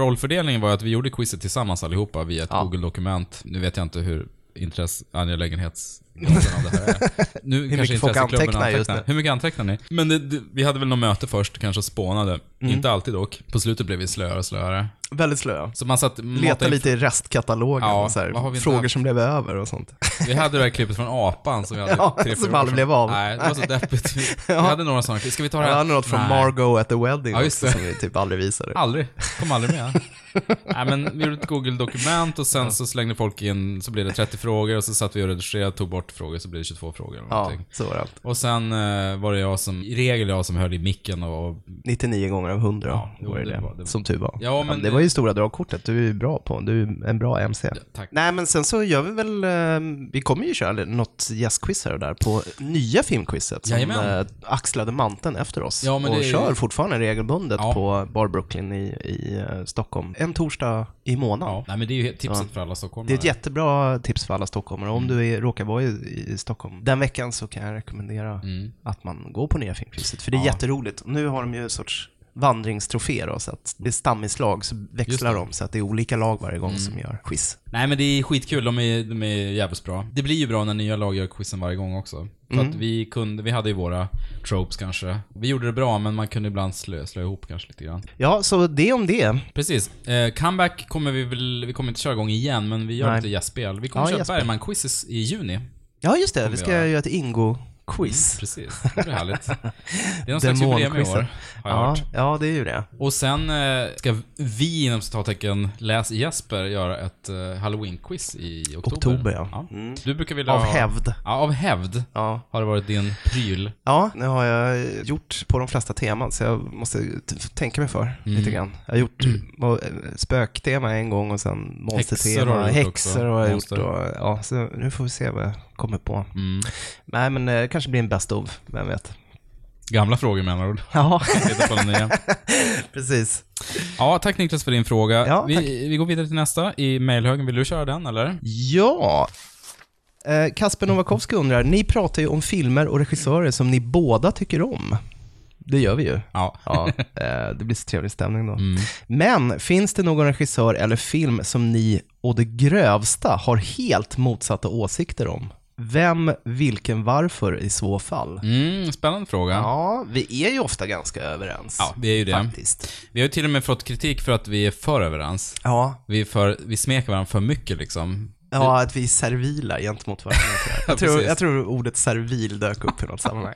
[SPEAKER 1] rollfördelningen var ju att vi gjorde quizet tillsammans allihopa via ett Google-dokument. Nu vet jag inte hur intress, angelägenhetsgraden av det
[SPEAKER 2] [LAUGHS]
[SPEAKER 1] här är. Nu hur
[SPEAKER 2] mycket folk antecknar just nu?
[SPEAKER 1] Hur mycket antecknar ni? Men det, det, vi hade väl något möte först, kanske och spånade.
[SPEAKER 2] Mm.
[SPEAKER 1] Inte alltid dock. På slutet blev vi slöare och slöare.
[SPEAKER 2] Väldigt slöa.
[SPEAKER 1] Så man satt matade
[SPEAKER 2] Leta
[SPEAKER 1] in-
[SPEAKER 2] lite i restkatalogen,
[SPEAKER 1] Ja,
[SPEAKER 2] och så
[SPEAKER 1] vad har vi
[SPEAKER 2] här,
[SPEAKER 1] inte
[SPEAKER 2] frågor
[SPEAKER 1] haft?
[SPEAKER 2] som blev över och sånt.
[SPEAKER 1] Vi hade det här klippet från apan som vi hade
[SPEAKER 2] [LAUGHS] Ja,
[SPEAKER 1] tre,
[SPEAKER 2] som
[SPEAKER 1] fyra år
[SPEAKER 2] aldrig
[SPEAKER 1] sedan.
[SPEAKER 2] blev av.
[SPEAKER 1] Nej, det var så
[SPEAKER 2] [LAUGHS]
[SPEAKER 1] deppigt. Vi, vi hade några sådana klipp. Ska vi ta det
[SPEAKER 2] Jag
[SPEAKER 1] här?
[SPEAKER 2] hade något från
[SPEAKER 1] Nej.
[SPEAKER 2] Margot at the Wedding
[SPEAKER 1] Ja, just
[SPEAKER 2] också,
[SPEAKER 1] det.
[SPEAKER 2] som vi typ aldrig visade.
[SPEAKER 1] Aldrig. Kom aldrig med. [LAUGHS] Nej, men vi gjorde ett Google-dokument och sen så slängde folk in, så blev det 30 frågor och så satt vi och redigerade, tog bort frågor så blir det 22 frågor. eller
[SPEAKER 2] Ja,
[SPEAKER 1] någonting.
[SPEAKER 2] så var det allt.
[SPEAKER 1] Och sen eh, var det jag som, i regel jag som höll i micken och, och
[SPEAKER 2] 99 gånger av 100
[SPEAKER 1] Ja, jo,
[SPEAKER 2] var det,
[SPEAKER 1] det
[SPEAKER 2] det,
[SPEAKER 1] var- det var-
[SPEAKER 2] som tur var.
[SPEAKER 1] Ja, men
[SPEAKER 2] det
[SPEAKER 1] det-
[SPEAKER 2] var ju stora dragkortet, du är ju bra på, du är en bra MC.
[SPEAKER 1] tack.
[SPEAKER 2] Nej men sen så gör vi väl, eh, vi kommer ju köra något gästquiz här och där på nya filmquizet som
[SPEAKER 1] Jajamän.
[SPEAKER 2] eh, axlade manteln efter oss
[SPEAKER 1] Ja, men
[SPEAKER 2] och
[SPEAKER 1] det är ju-
[SPEAKER 2] kör fortfarande regelbundet
[SPEAKER 1] Ja.
[SPEAKER 2] på Bar Brooklyn i, i eh, Stockholm en torsdag i månaden.
[SPEAKER 1] Ja, nej men det är ju tipset för alla stockholmare.
[SPEAKER 2] Det är ett jättebra tips för alla stockholmare. Om
[SPEAKER 1] Mm.
[SPEAKER 2] du är, råkar vara i, i Stockholm den veckan så kan jag rekommendera
[SPEAKER 1] Mm.
[SPEAKER 2] att man går på Nya Filmpriset. För det är jätteroligt. Nu har de ju en sorts vandringstrofé då, så att det är staminslag så växlar de så att det är olika lag varje gång som
[SPEAKER 1] Mm.
[SPEAKER 2] gör quiz.
[SPEAKER 1] Nej men det är skitkul, de är, de är jävligt bra. Det blir ju bra när nya lag gör quizen varje gång också. För att vi kunde, vi hade ju våra tropes kanske. Vi gjorde det bra men man kunde ibland slö, slö ihop kanske lite grann.
[SPEAKER 2] Ja, så det om det.
[SPEAKER 1] Precis. Eh, comeback kommer vi väl, vi kommer inte köra igång igen men vi gör
[SPEAKER 2] Nej.
[SPEAKER 1] lite gästspel. Vi kommer
[SPEAKER 2] Ja,
[SPEAKER 1] köra
[SPEAKER 2] gästspel.
[SPEAKER 1] Bergman-quiz i, i juni.
[SPEAKER 2] Ja, just det. Vi ska
[SPEAKER 1] göra.
[SPEAKER 2] göra ett Ingo-quiz.
[SPEAKER 1] Precis, det blir härligt. Det är någon slags jubileum i år,
[SPEAKER 2] Demonquizen.
[SPEAKER 1] Mm. har jag
[SPEAKER 2] Ja,
[SPEAKER 1] hört.
[SPEAKER 2] ja, det är ju det.
[SPEAKER 1] Och sen eh, ska vi inom citattecken, läs Jesper, göra ett eh, halloween-quiz i oktober.
[SPEAKER 2] Oktober, ja.
[SPEAKER 1] Du brukar vilja
[SPEAKER 2] Av
[SPEAKER 1] ha-
[SPEAKER 2] hävd.
[SPEAKER 1] Ja, av hävd
[SPEAKER 2] Ja.
[SPEAKER 1] har det varit din pryl.
[SPEAKER 2] Ja, nu har jag gjort på de flesta teman så jag måste t- tänka mig för
[SPEAKER 1] Mm.
[SPEAKER 2] lite grann. Jag har gjort vad- eh, spöktema en gång och sen
[SPEAKER 1] Häxor har
[SPEAKER 2] monstertema,
[SPEAKER 1] du gjort
[SPEAKER 2] häxor har jag gjort.
[SPEAKER 1] också.
[SPEAKER 2] Och, ja, så nu får vi se vad jag kommer på.
[SPEAKER 1] Mm.
[SPEAKER 2] Nej, men eh, det kanske blir en best of, vem vet.
[SPEAKER 1] Gamla frågor med andra ord.
[SPEAKER 2] Ja,
[SPEAKER 1] Titta på den nya.
[SPEAKER 2] [LAUGHS] precis.
[SPEAKER 1] Ja, tack Niklas för din fråga.
[SPEAKER 2] Ja, tack.
[SPEAKER 1] vi, vi går vidare till nästa i mailhögen. Vill du köra den eller?
[SPEAKER 2] Ja. Eh, Kasper Novakovsky undrar, ni pratar ju om filmer och regissörer som ni båda tycker om. Det gör vi ju.
[SPEAKER 1] Ja. Mm.
[SPEAKER 2] Ja, eh, det blir så trevlig stämning då. Men finns det någon regissör eller film som ni å det grövsta har helt motsatta åsikter om? Vem, vilken, varför i så fall?
[SPEAKER 1] Mm, spännande fråga.
[SPEAKER 2] Ja, vi är ju ofta ganska överens.
[SPEAKER 1] Ja, vi är ju det.
[SPEAKER 2] Faktiskt.
[SPEAKER 1] Vi har ju till och med fått kritik för att vi är för överens.
[SPEAKER 2] Ja,
[SPEAKER 1] Vi, är för, vi smeker varandra för mycket liksom.
[SPEAKER 2] ja att vi är servila gentemot varandra. tror jag. Jag tror,
[SPEAKER 1] [LAUGHS] Precis.
[SPEAKER 2] jag tror ordet servil dök upp i
[SPEAKER 1] [LAUGHS]
[SPEAKER 2] något sammanhang.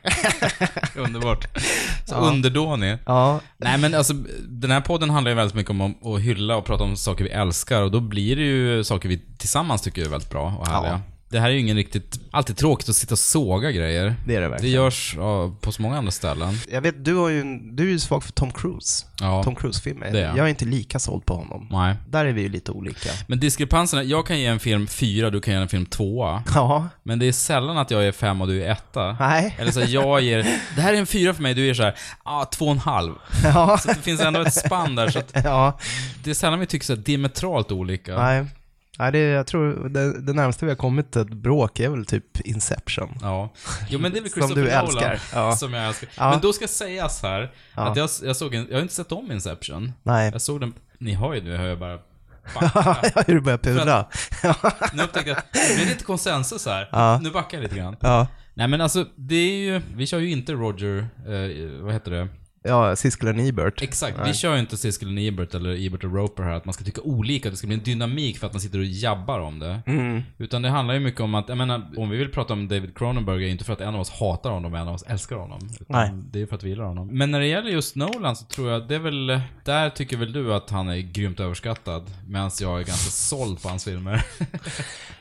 [SPEAKER 1] Underbart.
[SPEAKER 2] [LAUGHS]
[SPEAKER 1] Så underdånig.
[SPEAKER 2] Ja,
[SPEAKER 1] Nej men alltså, den här podden handlar ju väldigt mycket om att- att hylla och prata om saker vi älskar och då blir det ju saker vi tillsammans tycker är väldigt bra och härliga.
[SPEAKER 2] Ja.
[SPEAKER 1] Det här är ju ingen riktigt, alltid tråkigt att sitta och såga grejer.
[SPEAKER 2] det är det
[SPEAKER 1] Det
[SPEAKER 2] verkligen.
[SPEAKER 1] görs ja, på så många andra ställen.
[SPEAKER 2] Jag vet, du, har ju, en- du är ju svag för Tom Cruise.
[SPEAKER 1] Ja.
[SPEAKER 2] Tom Cruise-filmer.
[SPEAKER 1] Det är jag.
[SPEAKER 2] Jag är inte lika såld på honom.
[SPEAKER 1] Nej.
[SPEAKER 2] Där är vi ju
[SPEAKER 1] [LAUGHS]
[SPEAKER 2] lite olika.
[SPEAKER 1] Men diskrepanserna, jag kan ge en film fyra, du kan ge en film tvåa.
[SPEAKER 2] Ja,
[SPEAKER 1] Men det är sällan att jag är fem och du är etta.
[SPEAKER 2] nej.
[SPEAKER 1] Eller så här, jag ger, det här är en fyra för mig, du ger så här, ah, två och en halv.
[SPEAKER 2] Ja.
[SPEAKER 1] Så att det finns ändå ett spann där, så att
[SPEAKER 2] [LAUGHS] Ja,
[SPEAKER 1] det är sällan vi tycker så här diametralt olika.
[SPEAKER 2] nej. nej det, jag tror det, det närmaste vi har kommit till ett bråk är väl typ Inception.
[SPEAKER 1] Ja. Jo men det är väl
[SPEAKER 2] Som
[SPEAKER 1] Christopher
[SPEAKER 2] du
[SPEAKER 1] Nolan,
[SPEAKER 2] älskar. Ja.
[SPEAKER 1] Som jag älskar.
[SPEAKER 2] Ja.
[SPEAKER 1] Men då ska sägas här,
[SPEAKER 2] Ja.
[SPEAKER 1] att jag, jag såg en, jag har inte sett om Inception.
[SPEAKER 2] Nej,
[SPEAKER 1] Jag såg den, ni har ju nu, hör jag bara.
[SPEAKER 2] [LAUGHS] hur du börjar pudra.
[SPEAKER 1] Nu upptäckte jag att det blir lite konsensus här.
[SPEAKER 2] Ja.
[SPEAKER 1] Nu backar jag lite grann.
[SPEAKER 2] Ja,
[SPEAKER 1] Nej men alltså, det är ju, vi kör ju inte Roger, eh, vad heter det?
[SPEAKER 2] ja Siskel och Ebert.
[SPEAKER 1] Exakt, vi kör ju inte Siskel och Ebert eller Ebert och Roper här, att man ska tycka olika, det ska bli en dynamik för att man sitter och jabbar om det.
[SPEAKER 2] Mm.
[SPEAKER 1] Utan det handlar ju mycket om att, jag menar, om vi vill prata om David Cronenberg är ju inte för att en av oss hatar honom och en av oss älskar honom. Utan
[SPEAKER 2] Nej.
[SPEAKER 1] Det är för att vi gillar honom. Men när det gäller just Nolan så tror jag, det är väl, där tycker väl du att han är grymt överskattad, medan jag är ganska såld på hans filmer. [LAUGHS]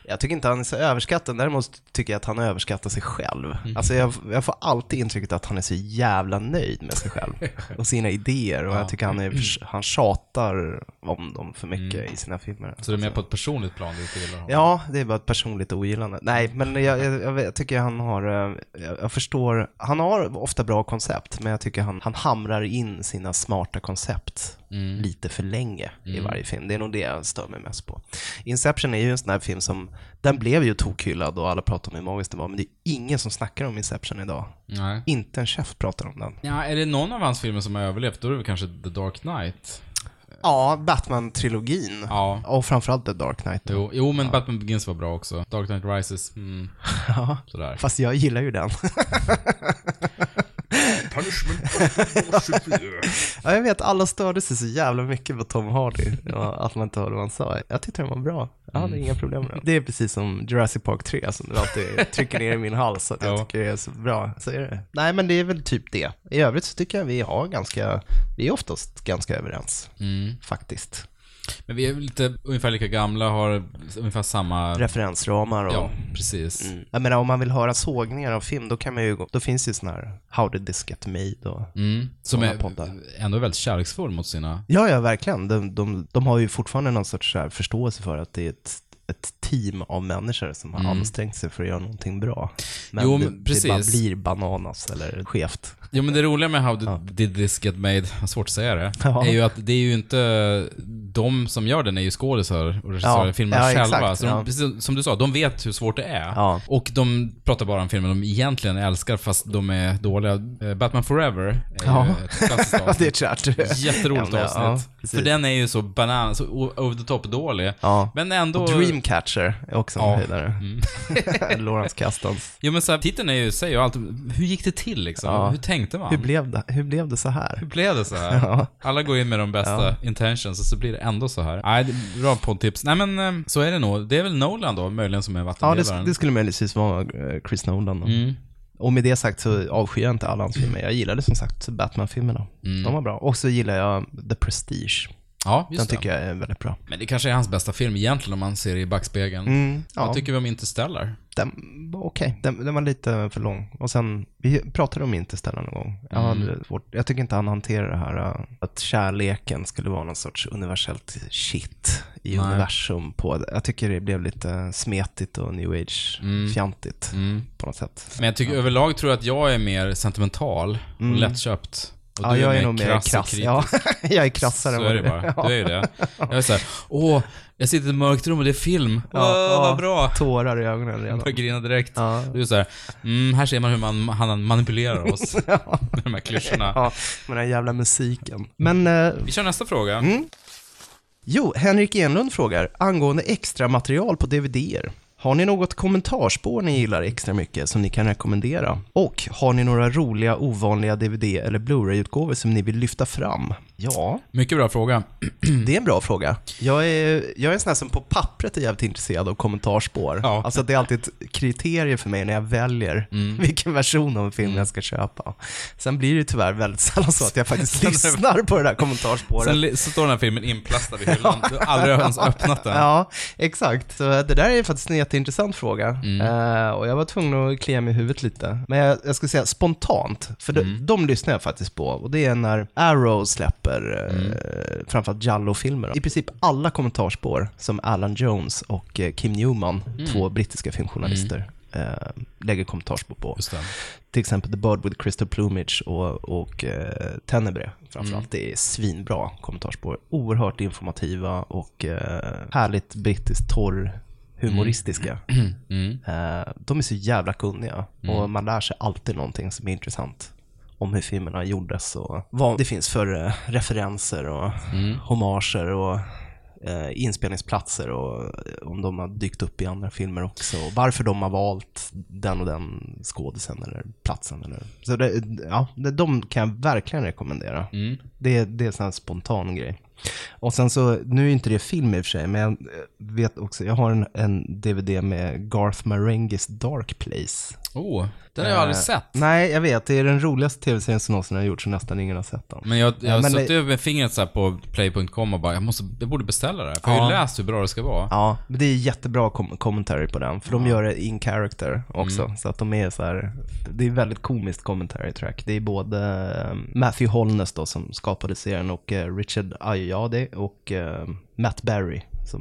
[SPEAKER 2] Jag tycker inte han är så överskattad, däremot tycker jag att han överskattar sig själv. Alltså jag, jag får alltid intrycket att han är så jävla nöjd med sig själv och sina idéer och jag tycker han, är, han tjatar om dem för mycket i sina filmer.
[SPEAKER 1] så det är mer på ett personligt plan du inte gillar honom.
[SPEAKER 2] Ja, det är bara ett personligt ogillande. Nej, men jag, jag, jag, vet- jag tycker han har, eh, jag, jag förstår, han har ofta bra koncept, men jag tycker han, han hamrar in sina smarta koncept lite för länge i varje film. Det är nog det jag stör mig mest på. Inception är ju en sån här film som, den blev ju tokhyllad och alla pratade om hur magiskt den var, men det är ingen som snackar om Inception idag.
[SPEAKER 1] Nej.
[SPEAKER 2] Inte en chef pratar om den.
[SPEAKER 1] Ja, är det någon av hans filmer som har överlevt, då är det väl kanske The Dark Knight.
[SPEAKER 2] Ja, Batman-trilogin.
[SPEAKER 1] Ja.
[SPEAKER 2] Och framförallt The Dark Knight.
[SPEAKER 1] Jo, jo men Batman Begins var bra också. Dark Knight Rises,
[SPEAKER 2] [LAUGHS]
[SPEAKER 1] mm. Sådär.
[SPEAKER 2] Fast jag gillar
[SPEAKER 1] [LAUGHS]
[SPEAKER 2] ju den. ja, jag vet, alla störde sig så jävla mycket på Tom Hardy. Ja, att man inte hörde vad han sa. Jag tyckte den var bra. Jag hade
[SPEAKER 1] Mm.
[SPEAKER 2] inga problem med den. Det är precis som Jurassic Park 3 som du alltid trycker ner i min hals. Att jag
[SPEAKER 1] Ja.
[SPEAKER 2] tycker det är så bra. Så är det. Nej, men det är väl typ det.
[SPEAKER 1] Mm.
[SPEAKER 2] I övrigt så tycker jag vi har ganska, vi är oftast ganska överens. Faktiskt.
[SPEAKER 1] Men vi är väl lite ungefär lika gamla, har ungefär samma...
[SPEAKER 2] Referensramar och...
[SPEAKER 1] Ja, precis.
[SPEAKER 2] Mm. Jag menar om man vill höra sågningar av film, då kan man ju gå, då finns det såna här How did this get made och...
[SPEAKER 1] Mm. Som
[SPEAKER 2] Såna
[SPEAKER 1] är
[SPEAKER 2] poddar.
[SPEAKER 1] ändå väldigt kärleksfull mot sina...
[SPEAKER 2] Ja, ja, verkligen. De, de, de har ju fortfarande någon sorts så här förståelse för att det är ett, ett team av människor som har ansträngt sig för att göra någonting bra. Men,
[SPEAKER 1] Mm. Jo,
[SPEAKER 2] det,
[SPEAKER 1] men
[SPEAKER 2] det bara
[SPEAKER 1] precis.
[SPEAKER 2] blir bananas eller skevt.
[SPEAKER 1] Jo men det roliga med How did, did this get made, jag har svårt att säga det,
[SPEAKER 2] Ja.
[SPEAKER 1] är ju att det är ju inte... De som gör den är ju skådisar och regissörer,
[SPEAKER 2] Ja.
[SPEAKER 1] filmerna
[SPEAKER 2] Ja,
[SPEAKER 1] själva.
[SPEAKER 2] exakt,
[SPEAKER 1] så de,
[SPEAKER 2] ja.
[SPEAKER 1] precis som du sa, de vet hur svårt det är.
[SPEAKER 2] Ja.
[SPEAKER 1] Och de pratar bara om filmer de egentligen älskar fast de är dåliga. Eh, Batman Forever är
[SPEAKER 2] Ja.
[SPEAKER 1] ju ett klassiskt
[SPEAKER 2] [LAUGHS] Ja, det är
[SPEAKER 1] avsnitt.
[SPEAKER 2] ett kärt.
[SPEAKER 1] [LAUGHS] Jätteroligt
[SPEAKER 2] Ja, ja,
[SPEAKER 1] avsnitt.
[SPEAKER 2] precis.
[SPEAKER 1] För den är ju så banan, så o- over the top dålig.
[SPEAKER 2] Ja.
[SPEAKER 1] Men ändå...
[SPEAKER 2] Och Dreamcatcher är också en
[SPEAKER 1] Ja. Mm. [LAUGHS]
[SPEAKER 2] höjdare. [LAUGHS] Lawrence Castons.
[SPEAKER 1] Jo men så här, titeln är ju, säger ju allt. Hur gick det till liksom?
[SPEAKER 2] Ja.
[SPEAKER 1] Hur tänkte man?
[SPEAKER 2] Hur blev det, hur blev det så här?
[SPEAKER 1] Hur blev det så här?
[SPEAKER 2] [LAUGHS] Ja.
[SPEAKER 1] Alla går in med de bästa intentions och så blir det ändå så här. Nej, det är bra poddtips. Nej men eh, så är det nog. Det är väl Nolan då, möjligen som är
[SPEAKER 2] Ja,
[SPEAKER 1] vattendelaren.
[SPEAKER 2] det, det skulle möjligtvis vara eh, Chris Nolan. då.
[SPEAKER 1] Mm.
[SPEAKER 2] Och med det sagt så avskyr jag inte alla hans filmer. Jag gillade som sagt Batman-filmerna.
[SPEAKER 1] Mm.
[SPEAKER 2] De var bra. Och så gillar jag The Prestige.
[SPEAKER 1] Ja,
[SPEAKER 2] Den
[SPEAKER 1] just det.
[SPEAKER 2] tycker jag är väldigt bra.
[SPEAKER 1] Men det kanske är hans bästa film egentligen om man ser det i backspegeln.
[SPEAKER 2] Mm. ja.
[SPEAKER 1] Vad tycker vi om Interstellar?
[SPEAKER 2] Den var okej. Den, den var lite för lång. Och sen, vi pratade om Interstellar någon gång. Jag,
[SPEAKER 1] Mm.
[SPEAKER 2] hade svårt. jag tycker inte han hanterar det här äh, att kärleken skulle vara någon sorts universellt shit i
[SPEAKER 1] Nej.
[SPEAKER 2] universum. På. Jag tycker det blev lite smetigt och new age-fjantigt
[SPEAKER 1] Mm.
[SPEAKER 2] på något sätt.
[SPEAKER 1] Men jag tycker överlag tror jag att jag är mer sentimental och lättköpt. Och
[SPEAKER 2] Mm. Ja,
[SPEAKER 1] du
[SPEAKER 2] jag
[SPEAKER 1] mer
[SPEAKER 2] är nog mer
[SPEAKER 1] krass och
[SPEAKER 2] krass.
[SPEAKER 1] kritisk.
[SPEAKER 2] Ja, [LAUGHS] jag är krassare.
[SPEAKER 1] Så
[SPEAKER 2] än
[SPEAKER 1] är det
[SPEAKER 2] vad du [LAUGHS]
[SPEAKER 1] bara. Du är ju det. Jag är såhär, åh, jag sitter i ett mörkt rum och det är film. Åh,
[SPEAKER 2] Ja, ja.
[SPEAKER 1] vad bra.
[SPEAKER 2] Tårar i ögonen redan.
[SPEAKER 1] Jag grinar direkt.
[SPEAKER 2] Ja.
[SPEAKER 1] Du är såhär, mm, här ser man hur man, han manipulerar
[SPEAKER 2] [LAUGHS]
[SPEAKER 1] oss med de här klyschorna.
[SPEAKER 2] Ja, med den jävla musiken. Men eh,
[SPEAKER 1] Vi kör nästa fråga.
[SPEAKER 2] Jo, Henrik Enlund frågar angående extra material på DVDer. Har ni något kommentarspår ni gillar extra mycket som ni kan rekommendera? Och har ni några roliga ovanliga DVD eller Blu-ray-utgåvor som ni vill lyfta fram? Ja,
[SPEAKER 1] Mycket bra fråga.
[SPEAKER 2] det är en bra fråga. Jag är, jag är en sån här som på pappret är jävligt intresserad av kommentarspår.
[SPEAKER 1] Ja.
[SPEAKER 2] Alltså det är alltid ett kriterium för mig när jag väljer [LAUGHS] vilken version av en film jag ska köpa. Sen blir det tyvärr väldigt [LAUGHS] sällan så att jag faktiskt lyssnar på det där kommentarspåret.
[SPEAKER 1] Sen li- så står den här filmen
[SPEAKER 2] [LAUGHS]
[SPEAKER 1] inplastad i hyllan. Du har aldrig ens öppnat den.
[SPEAKER 2] Ja, exakt. Så det där är faktiskt en jätteintressant fråga. Eh, och jag var tvungen att klia mig i huvudet lite. Men jag, jag skulle säga spontant, för de, de lyssnar jag faktiskt på. Och det är när Arrow släpper eh, framförallt Jallo-filmer. I princip alla kommentarspår som Alan Jones och eh, Kim Newman, två brittiska filmjournalister, eh, lägger kommentarspår på
[SPEAKER 1] Just det.
[SPEAKER 2] till exempel The Bird with Crystal Plumage och, och eh, Tenebre framförallt. Det är svinbra kommentarsspår. Oerhört informativa och eh, härligt brittiskt torr humoristiska.
[SPEAKER 1] Mm.
[SPEAKER 2] Eh, de är så jävla kunniga och man lär sig alltid någonting som är intressant om hur filmerna gjordes och vad det finns för eh, referenser och homager och eh, inspelningsplatser och eh, om de har dykt upp i andra filmer också och varför de har valt den och den skådisen eller platsen. Eller. Så det, ja, det, de kan jag verkligen rekommendera. Det, det är en sån här spontan grej. Och sen så, nu är inte det film i och för sig, men jag eh, vet också, jag har en, en DVD med Garth Marengis Dark Place.
[SPEAKER 1] Oh, den har jag
[SPEAKER 2] Eh.
[SPEAKER 1] aldrig sett.
[SPEAKER 2] Nej, jag vet. Det är den roligaste tv-serien som någonsin har gjorts, så nästan ingen har sett den.
[SPEAKER 1] Men jag, jag har
[SPEAKER 2] men-
[SPEAKER 1] suttit med fingret så här på play.com och bara, jag, måste, jag borde beställa det här. För jag har ju läst hur bra det ska vara.
[SPEAKER 2] Ja, men det är jättebra kom- commentary på den, för de gör det in character också. Så att de är så här, det är väldigt komiskt commentary track. Det är både eh, Matthew Holness då som skapade serien och eh, Richard Ayoade och eh, Matt Berry som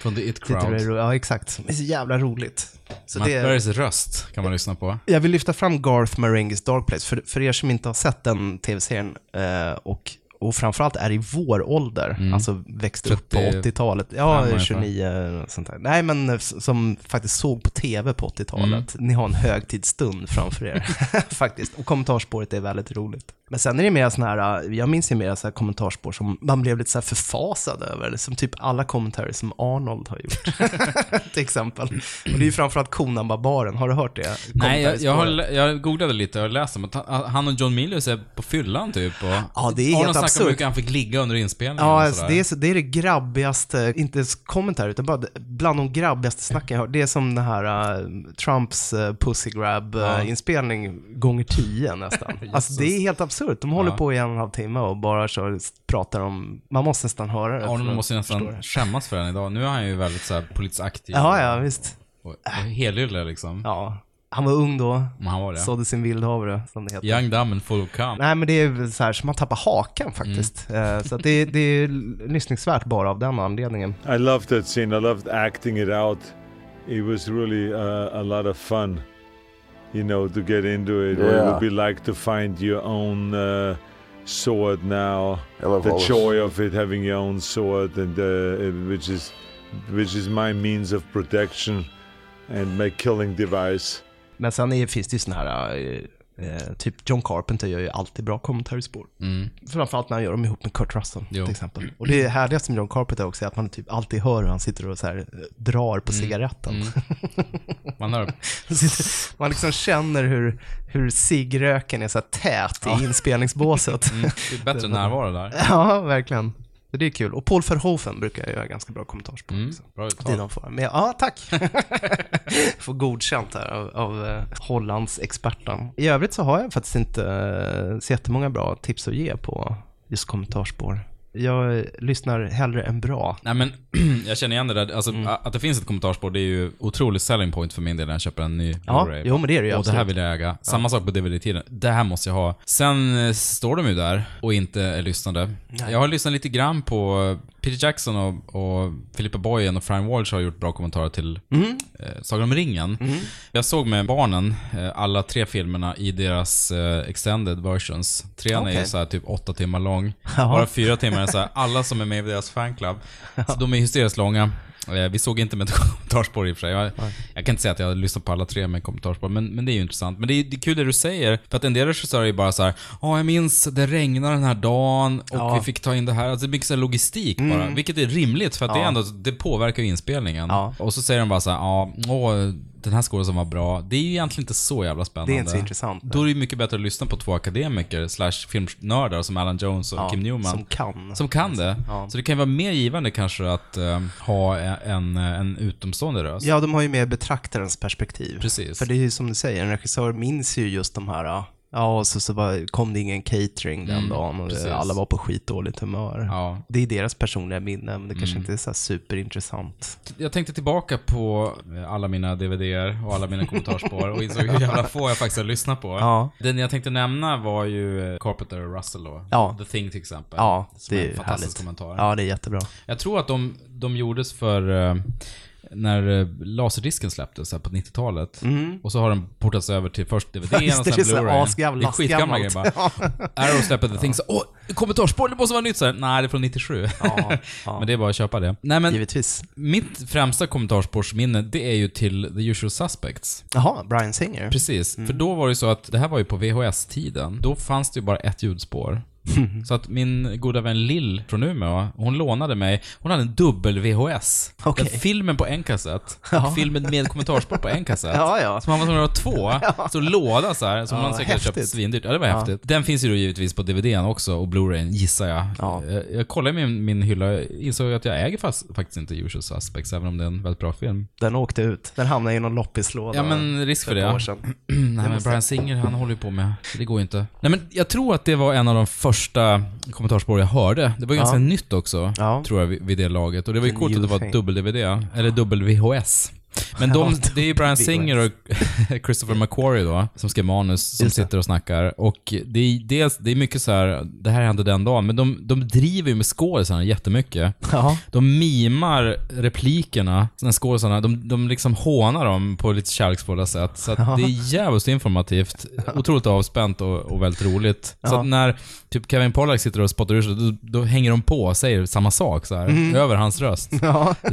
[SPEAKER 1] Från The It
[SPEAKER 2] sitter
[SPEAKER 1] Crowd.
[SPEAKER 2] i- Ja, exakt. Som är så jävla roligt. Så
[SPEAKER 1] Matt
[SPEAKER 2] det-
[SPEAKER 1] Berrys röst kan man lyssna på.
[SPEAKER 2] Jag vill lyfta fram Garth Marengis Dark Place. För, för er som inte har sett den tv-serien eh, och, och framförallt är i vår ålder,
[SPEAKER 1] Mm.
[SPEAKER 2] alltså växte upp på
[SPEAKER 1] 30,
[SPEAKER 2] 80-talet. Ja,
[SPEAKER 1] ungefär.
[SPEAKER 2] 29 och sånt där. Nej, men eh, s- som faktiskt såg på tv på 80-talet.
[SPEAKER 1] Mm.
[SPEAKER 2] Ni har en högtidsstund framför er
[SPEAKER 1] [LAUGHS]
[SPEAKER 2] [LAUGHS] faktiskt. Och kommentarsspåret är väldigt roligt. Men sen är det mer sådana här, eh, jag minns ju mer så här kommentarspår som man blev lite så här förfasad över. eller Som typ alla kommentarer som Arnold har gjort. [LAUGHS] till exempel. Och det är ju framförallt Konan-barbaren, har du hört det?
[SPEAKER 1] Nej, jag, jag, har,
[SPEAKER 2] Kommentarsspåret.
[SPEAKER 1] lä- jag googlade lite och läste om att han- han och John Milius är på fyllan typ. Och
[SPEAKER 2] Ja, det är
[SPEAKER 1] Arnold snackar om
[SPEAKER 2] helt
[SPEAKER 1] hur
[SPEAKER 2] absurt.
[SPEAKER 1] mycket han fick ligga under inspelningen
[SPEAKER 2] Ja,
[SPEAKER 1] och
[SPEAKER 2] alltså,
[SPEAKER 1] sådär.
[SPEAKER 2] det, är, så- det är det grabbigaste, inte ens kommentar utan bara det- bland de grabbigaste snacken jag hört. Det är som den här
[SPEAKER 1] [LAUGHS]
[SPEAKER 2] äh, eh, Trumps uh, pussy grab eh, inspelning gånger tio nästan. alltså det är helt absurt. De håller
[SPEAKER 1] Ja.
[SPEAKER 2] på i en och en halv timme och bara kör, pratar om... Man måste nästan höra det.
[SPEAKER 1] Arnold
[SPEAKER 2] för att
[SPEAKER 1] måste
[SPEAKER 2] förstå det.
[SPEAKER 1] nästan skämmas för den idag. Nu är han ju väldigt så här politiskt aktiv.
[SPEAKER 2] Ja, ja, visst.
[SPEAKER 1] Och, och helylle liksom.
[SPEAKER 2] Ja. Han var ung då.
[SPEAKER 1] Men han var det.
[SPEAKER 2] Sådde sin vildhavre, som det heter.
[SPEAKER 1] Young, dumb and full of cum.
[SPEAKER 2] Nej, men det är väl så här som man tappar
[SPEAKER 1] Mm.
[SPEAKER 2] hakan faktiskt. Eh, Så att det,
[SPEAKER 1] [LAUGHS]
[SPEAKER 2] det är lyssningsvärt bara av den anledningen.
[SPEAKER 3] I loved that scene. I loved acting it out. It was really uh, a lot of fun, you know, to get into it. What it
[SPEAKER 4] Yeah.
[SPEAKER 3] would be like to find your own uh, sword now.
[SPEAKER 4] I love
[SPEAKER 3] The
[SPEAKER 4] all this.
[SPEAKER 3] joy of it, having your own sword, and uh, it- which is, which is my means of protection, and my killing device.
[SPEAKER 2] Men sen är, finns det ju såna här, eh, eh, typ John Carpenter gör ju alltid bra kommentarspår.
[SPEAKER 1] Mm.
[SPEAKER 2] Framförallt när han gör dem ihop med Kurt Russell
[SPEAKER 1] Jo.
[SPEAKER 2] till exempel. Och det härligaste med John Carpenter också är att man typ alltid hör hur han sitter och så här, eh, drar
[SPEAKER 1] Mm.
[SPEAKER 2] på cigaretten.
[SPEAKER 1] Man hör
[SPEAKER 2] Han [LAUGHS] sitter- man liksom känner hur, hur ciggröken är så här tät
[SPEAKER 1] [LAUGHS]
[SPEAKER 2] i inspelningsbåset.
[SPEAKER 1] det är bättre närvaro där.
[SPEAKER 2] [LAUGHS] ja, verkligen. Så Det är kul. Och Paul Verhoeven brukar jag göra ganska bra kommentarspår
[SPEAKER 1] Mm.
[SPEAKER 2] också.
[SPEAKER 1] Bra
[SPEAKER 2] Det är
[SPEAKER 1] uttal.
[SPEAKER 2] de får. Men jag- ja, tack. [LAUGHS] får godkänt här av, av eh, Hollands experten. I övrigt så har jag faktiskt inte eh, så jättemånga bra tips att ge på just kommentarspår. Jag eh, lyssnar hellre än bra.
[SPEAKER 1] Nej men, [CLEARS THROAT] jag känner igen det där. Alltså,
[SPEAKER 2] Mm.
[SPEAKER 1] a- Att det finns ett kommentarsspår, det är ju otrolig selling point för min del när jag köper en ny
[SPEAKER 2] Ja,
[SPEAKER 1] Blu-ray.
[SPEAKER 2] jo men det är det ju
[SPEAKER 1] Och det här
[SPEAKER 2] absolut.
[SPEAKER 1] vill jag äga. Samma sak på DVD-tiden. Det här måste jag ha. Sen eh, står de ju där och inte är lyssnade. Jag har lyssnat lite grann på eh, Peter Jackson och, och Philippa Boyen och Fran Walsh har gjort bra kommentarer till
[SPEAKER 2] Mhm.
[SPEAKER 1] eh, Sagan om ringen. Jag såg med barnen eh, alla tre filmerna i deras eh, extended versions. Trean är ju
[SPEAKER 2] Okej.
[SPEAKER 1] så här typ åtta timmar lång. Bara fyra timmar är så här, alla som är med i deras fanclub. Så de är hysteriskt långa. Eh, Vi såg inte med [LAUGHS] ett kommentarsspår i och för sig. Jag, jag kan inte säga att jag har lyssnat på alla tre med kommentarsspår, men, men det är ju intressant. Men det är, det är kul det du säger, för att en del regissörer är ju bara så här, ja jag minns det regnade den här dagen och vi fick ta in det här. Alltså det är mycket så här logistik bara, vilket är rimligt för att det, är ändå, det påverkar ju inspelningen.
[SPEAKER 2] Mm. Ja.
[SPEAKER 1] Och så säger de bara så här, ja, åh, den här skådespelaren var bra. Det är ju egentligen inte så jävla spännande.
[SPEAKER 2] Det är inte så intressant.
[SPEAKER 1] Då är det ju mycket bättre att lyssna på två akademiker slash filmnördar som Alan Jones och
[SPEAKER 2] Ja,
[SPEAKER 1] Kim Newman.
[SPEAKER 2] Som kan.
[SPEAKER 1] Som kan det.
[SPEAKER 2] Ja.
[SPEAKER 1] Så det kan ju vara mer givande kanske att eh, ha en, eh, en utomstående röst.
[SPEAKER 2] Ja, de har ju mer betraktarens perspektiv.
[SPEAKER 1] Precis.
[SPEAKER 2] För det är ju som du säger, en regissör minns ju just de här, ja, ja, och så, så var, kom det ingen catering den
[SPEAKER 1] Mm,
[SPEAKER 2] dagen och
[SPEAKER 1] precis.
[SPEAKER 2] det, alla var på skitdåligt humör.
[SPEAKER 1] Ja.
[SPEAKER 2] Det är deras personliga minne, men det
[SPEAKER 1] Mm.
[SPEAKER 2] kanske inte är så här superintressant.
[SPEAKER 1] Jag tänkte tillbaka på eh, alla mina DVDer och alla mina kommentarsspår och insåg hur jävla få jag faktiskt har lyssnat på.
[SPEAKER 2] Ja.
[SPEAKER 1] Den jag tänkte nämna var ju eh, Carpenter och Russell då.
[SPEAKER 2] Ja.
[SPEAKER 1] The Thing till exempel.
[SPEAKER 2] Ja,
[SPEAKER 1] Som
[SPEAKER 2] det
[SPEAKER 1] är
[SPEAKER 2] är
[SPEAKER 1] en
[SPEAKER 2] ju
[SPEAKER 1] fantastisk
[SPEAKER 2] härligt.
[SPEAKER 1] kommentar.
[SPEAKER 2] Ja, det är jättebra.
[SPEAKER 1] Jag tror att de, de gjordes för eh, när eh, laserdisken släpptes här på 90-talet. Och så har den portats över till först DVD och
[SPEAKER 2] Just Mm. det,
[SPEAKER 1] sen
[SPEAKER 2] det är så
[SPEAKER 1] Blu-ray.
[SPEAKER 2] asgamla-
[SPEAKER 1] det är skitgamla grejer
[SPEAKER 2] asgammalt.
[SPEAKER 1] bara.
[SPEAKER 2] [LAUGHS]
[SPEAKER 1] Arrow släpper The Thing så åh, kommentarspår, det måste vara nytt så här, Nej, det är från 97. [LAUGHS] men det är bara att köpa det. Nej men,
[SPEAKER 2] Givetvis.
[SPEAKER 1] mitt främsta kommentarspårsminne, det är ju till The Usual Suspects.
[SPEAKER 2] Jaha, Brian Singer.
[SPEAKER 1] Precis, för
[SPEAKER 2] Mm.
[SPEAKER 1] då var det ju så att det här var ju på VHS-tiden. Då fanns det ju bara ett
[SPEAKER 2] [LAUGHS]
[SPEAKER 1] ljudspår. Så att min goda vän Lill från Umeå, hon lånade mig, hon hade en dubbel-VHS.
[SPEAKER 2] Okej.
[SPEAKER 1] Filmen på en kassett, och filmen med kommentarspår på en kassett.
[SPEAKER 2] Ja, ja.
[SPEAKER 1] Så man var tvungen att ha två, så låda så här, som man säkert har köpt
[SPEAKER 2] häftigt.
[SPEAKER 1] svindyrt. Ja, det var häftigt. Den finns ju då givetvis på DVDn också, och Blu-rayn gissar jag.
[SPEAKER 2] Ja.
[SPEAKER 1] Eh, Jag kollade i min, min hylla, insåg att jag äger fast, faktiskt inte Usual Suspects, även om det är en väldigt bra film.
[SPEAKER 2] Den åkte ut. Den hamnade i någon loppislåda.
[SPEAKER 1] Ja, men risk för
[SPEAKER 2] ett
[SPEAKER 1] det.
[SPEAKER 2] År sedan.
[SPEAKER 1] Mm, Nej men Brian Singer, han håller ju på med... Det går ju inte. Nej men jag tror att det var en av de första kommentarsspår jag hörde. Det var ju ganska nytt också,
[SPEAKER 2] Ja.
[SPEAKER 1] tror jag, vid vid det laget. Och det var ju
[SPEAKER 2] The
[SPEAKER 1] coolt att det
[SPEAKER 2] new
[SPEAKER 1] var
[SPEAKER 2] thing.
[SPEAKER 1] dubbel-DVD, eller dubbel-VHS. Men de,
[SPEAKER 2] [LAUGHS] Ja,
[SPEAKER 1] det är ju Brian Singer och [LAUGHS] Christopher McQuarrie då, som skrev manus, som
[SPEAKER 2] Just det.
[SPEAKER 1] sitter och snackar. Och det är, dels, det är mycket så här, det här hände den dagen, men de, de driver ju med skådisarna jättemycket.
[SPEAKER 2] [LAUGHS] Ja.
[SPEAKER 1] De mimar replikerna, när skådisarna, de, de liksom hånar dem på lite kärleksfulla sätt. Så att
[SPEAKER 2] [LAUGHS]
[SPEAKER 1] det är jävligt informativt, otroligt avspänt och, och väldigt roligt. Så att när typ Kevin Pollack sitter och spottar ur sig, då, då hänger de på och säger samma sak så här,
[SPEAKER 2] Mm.
[SPEAKER 1] över hans röst. Det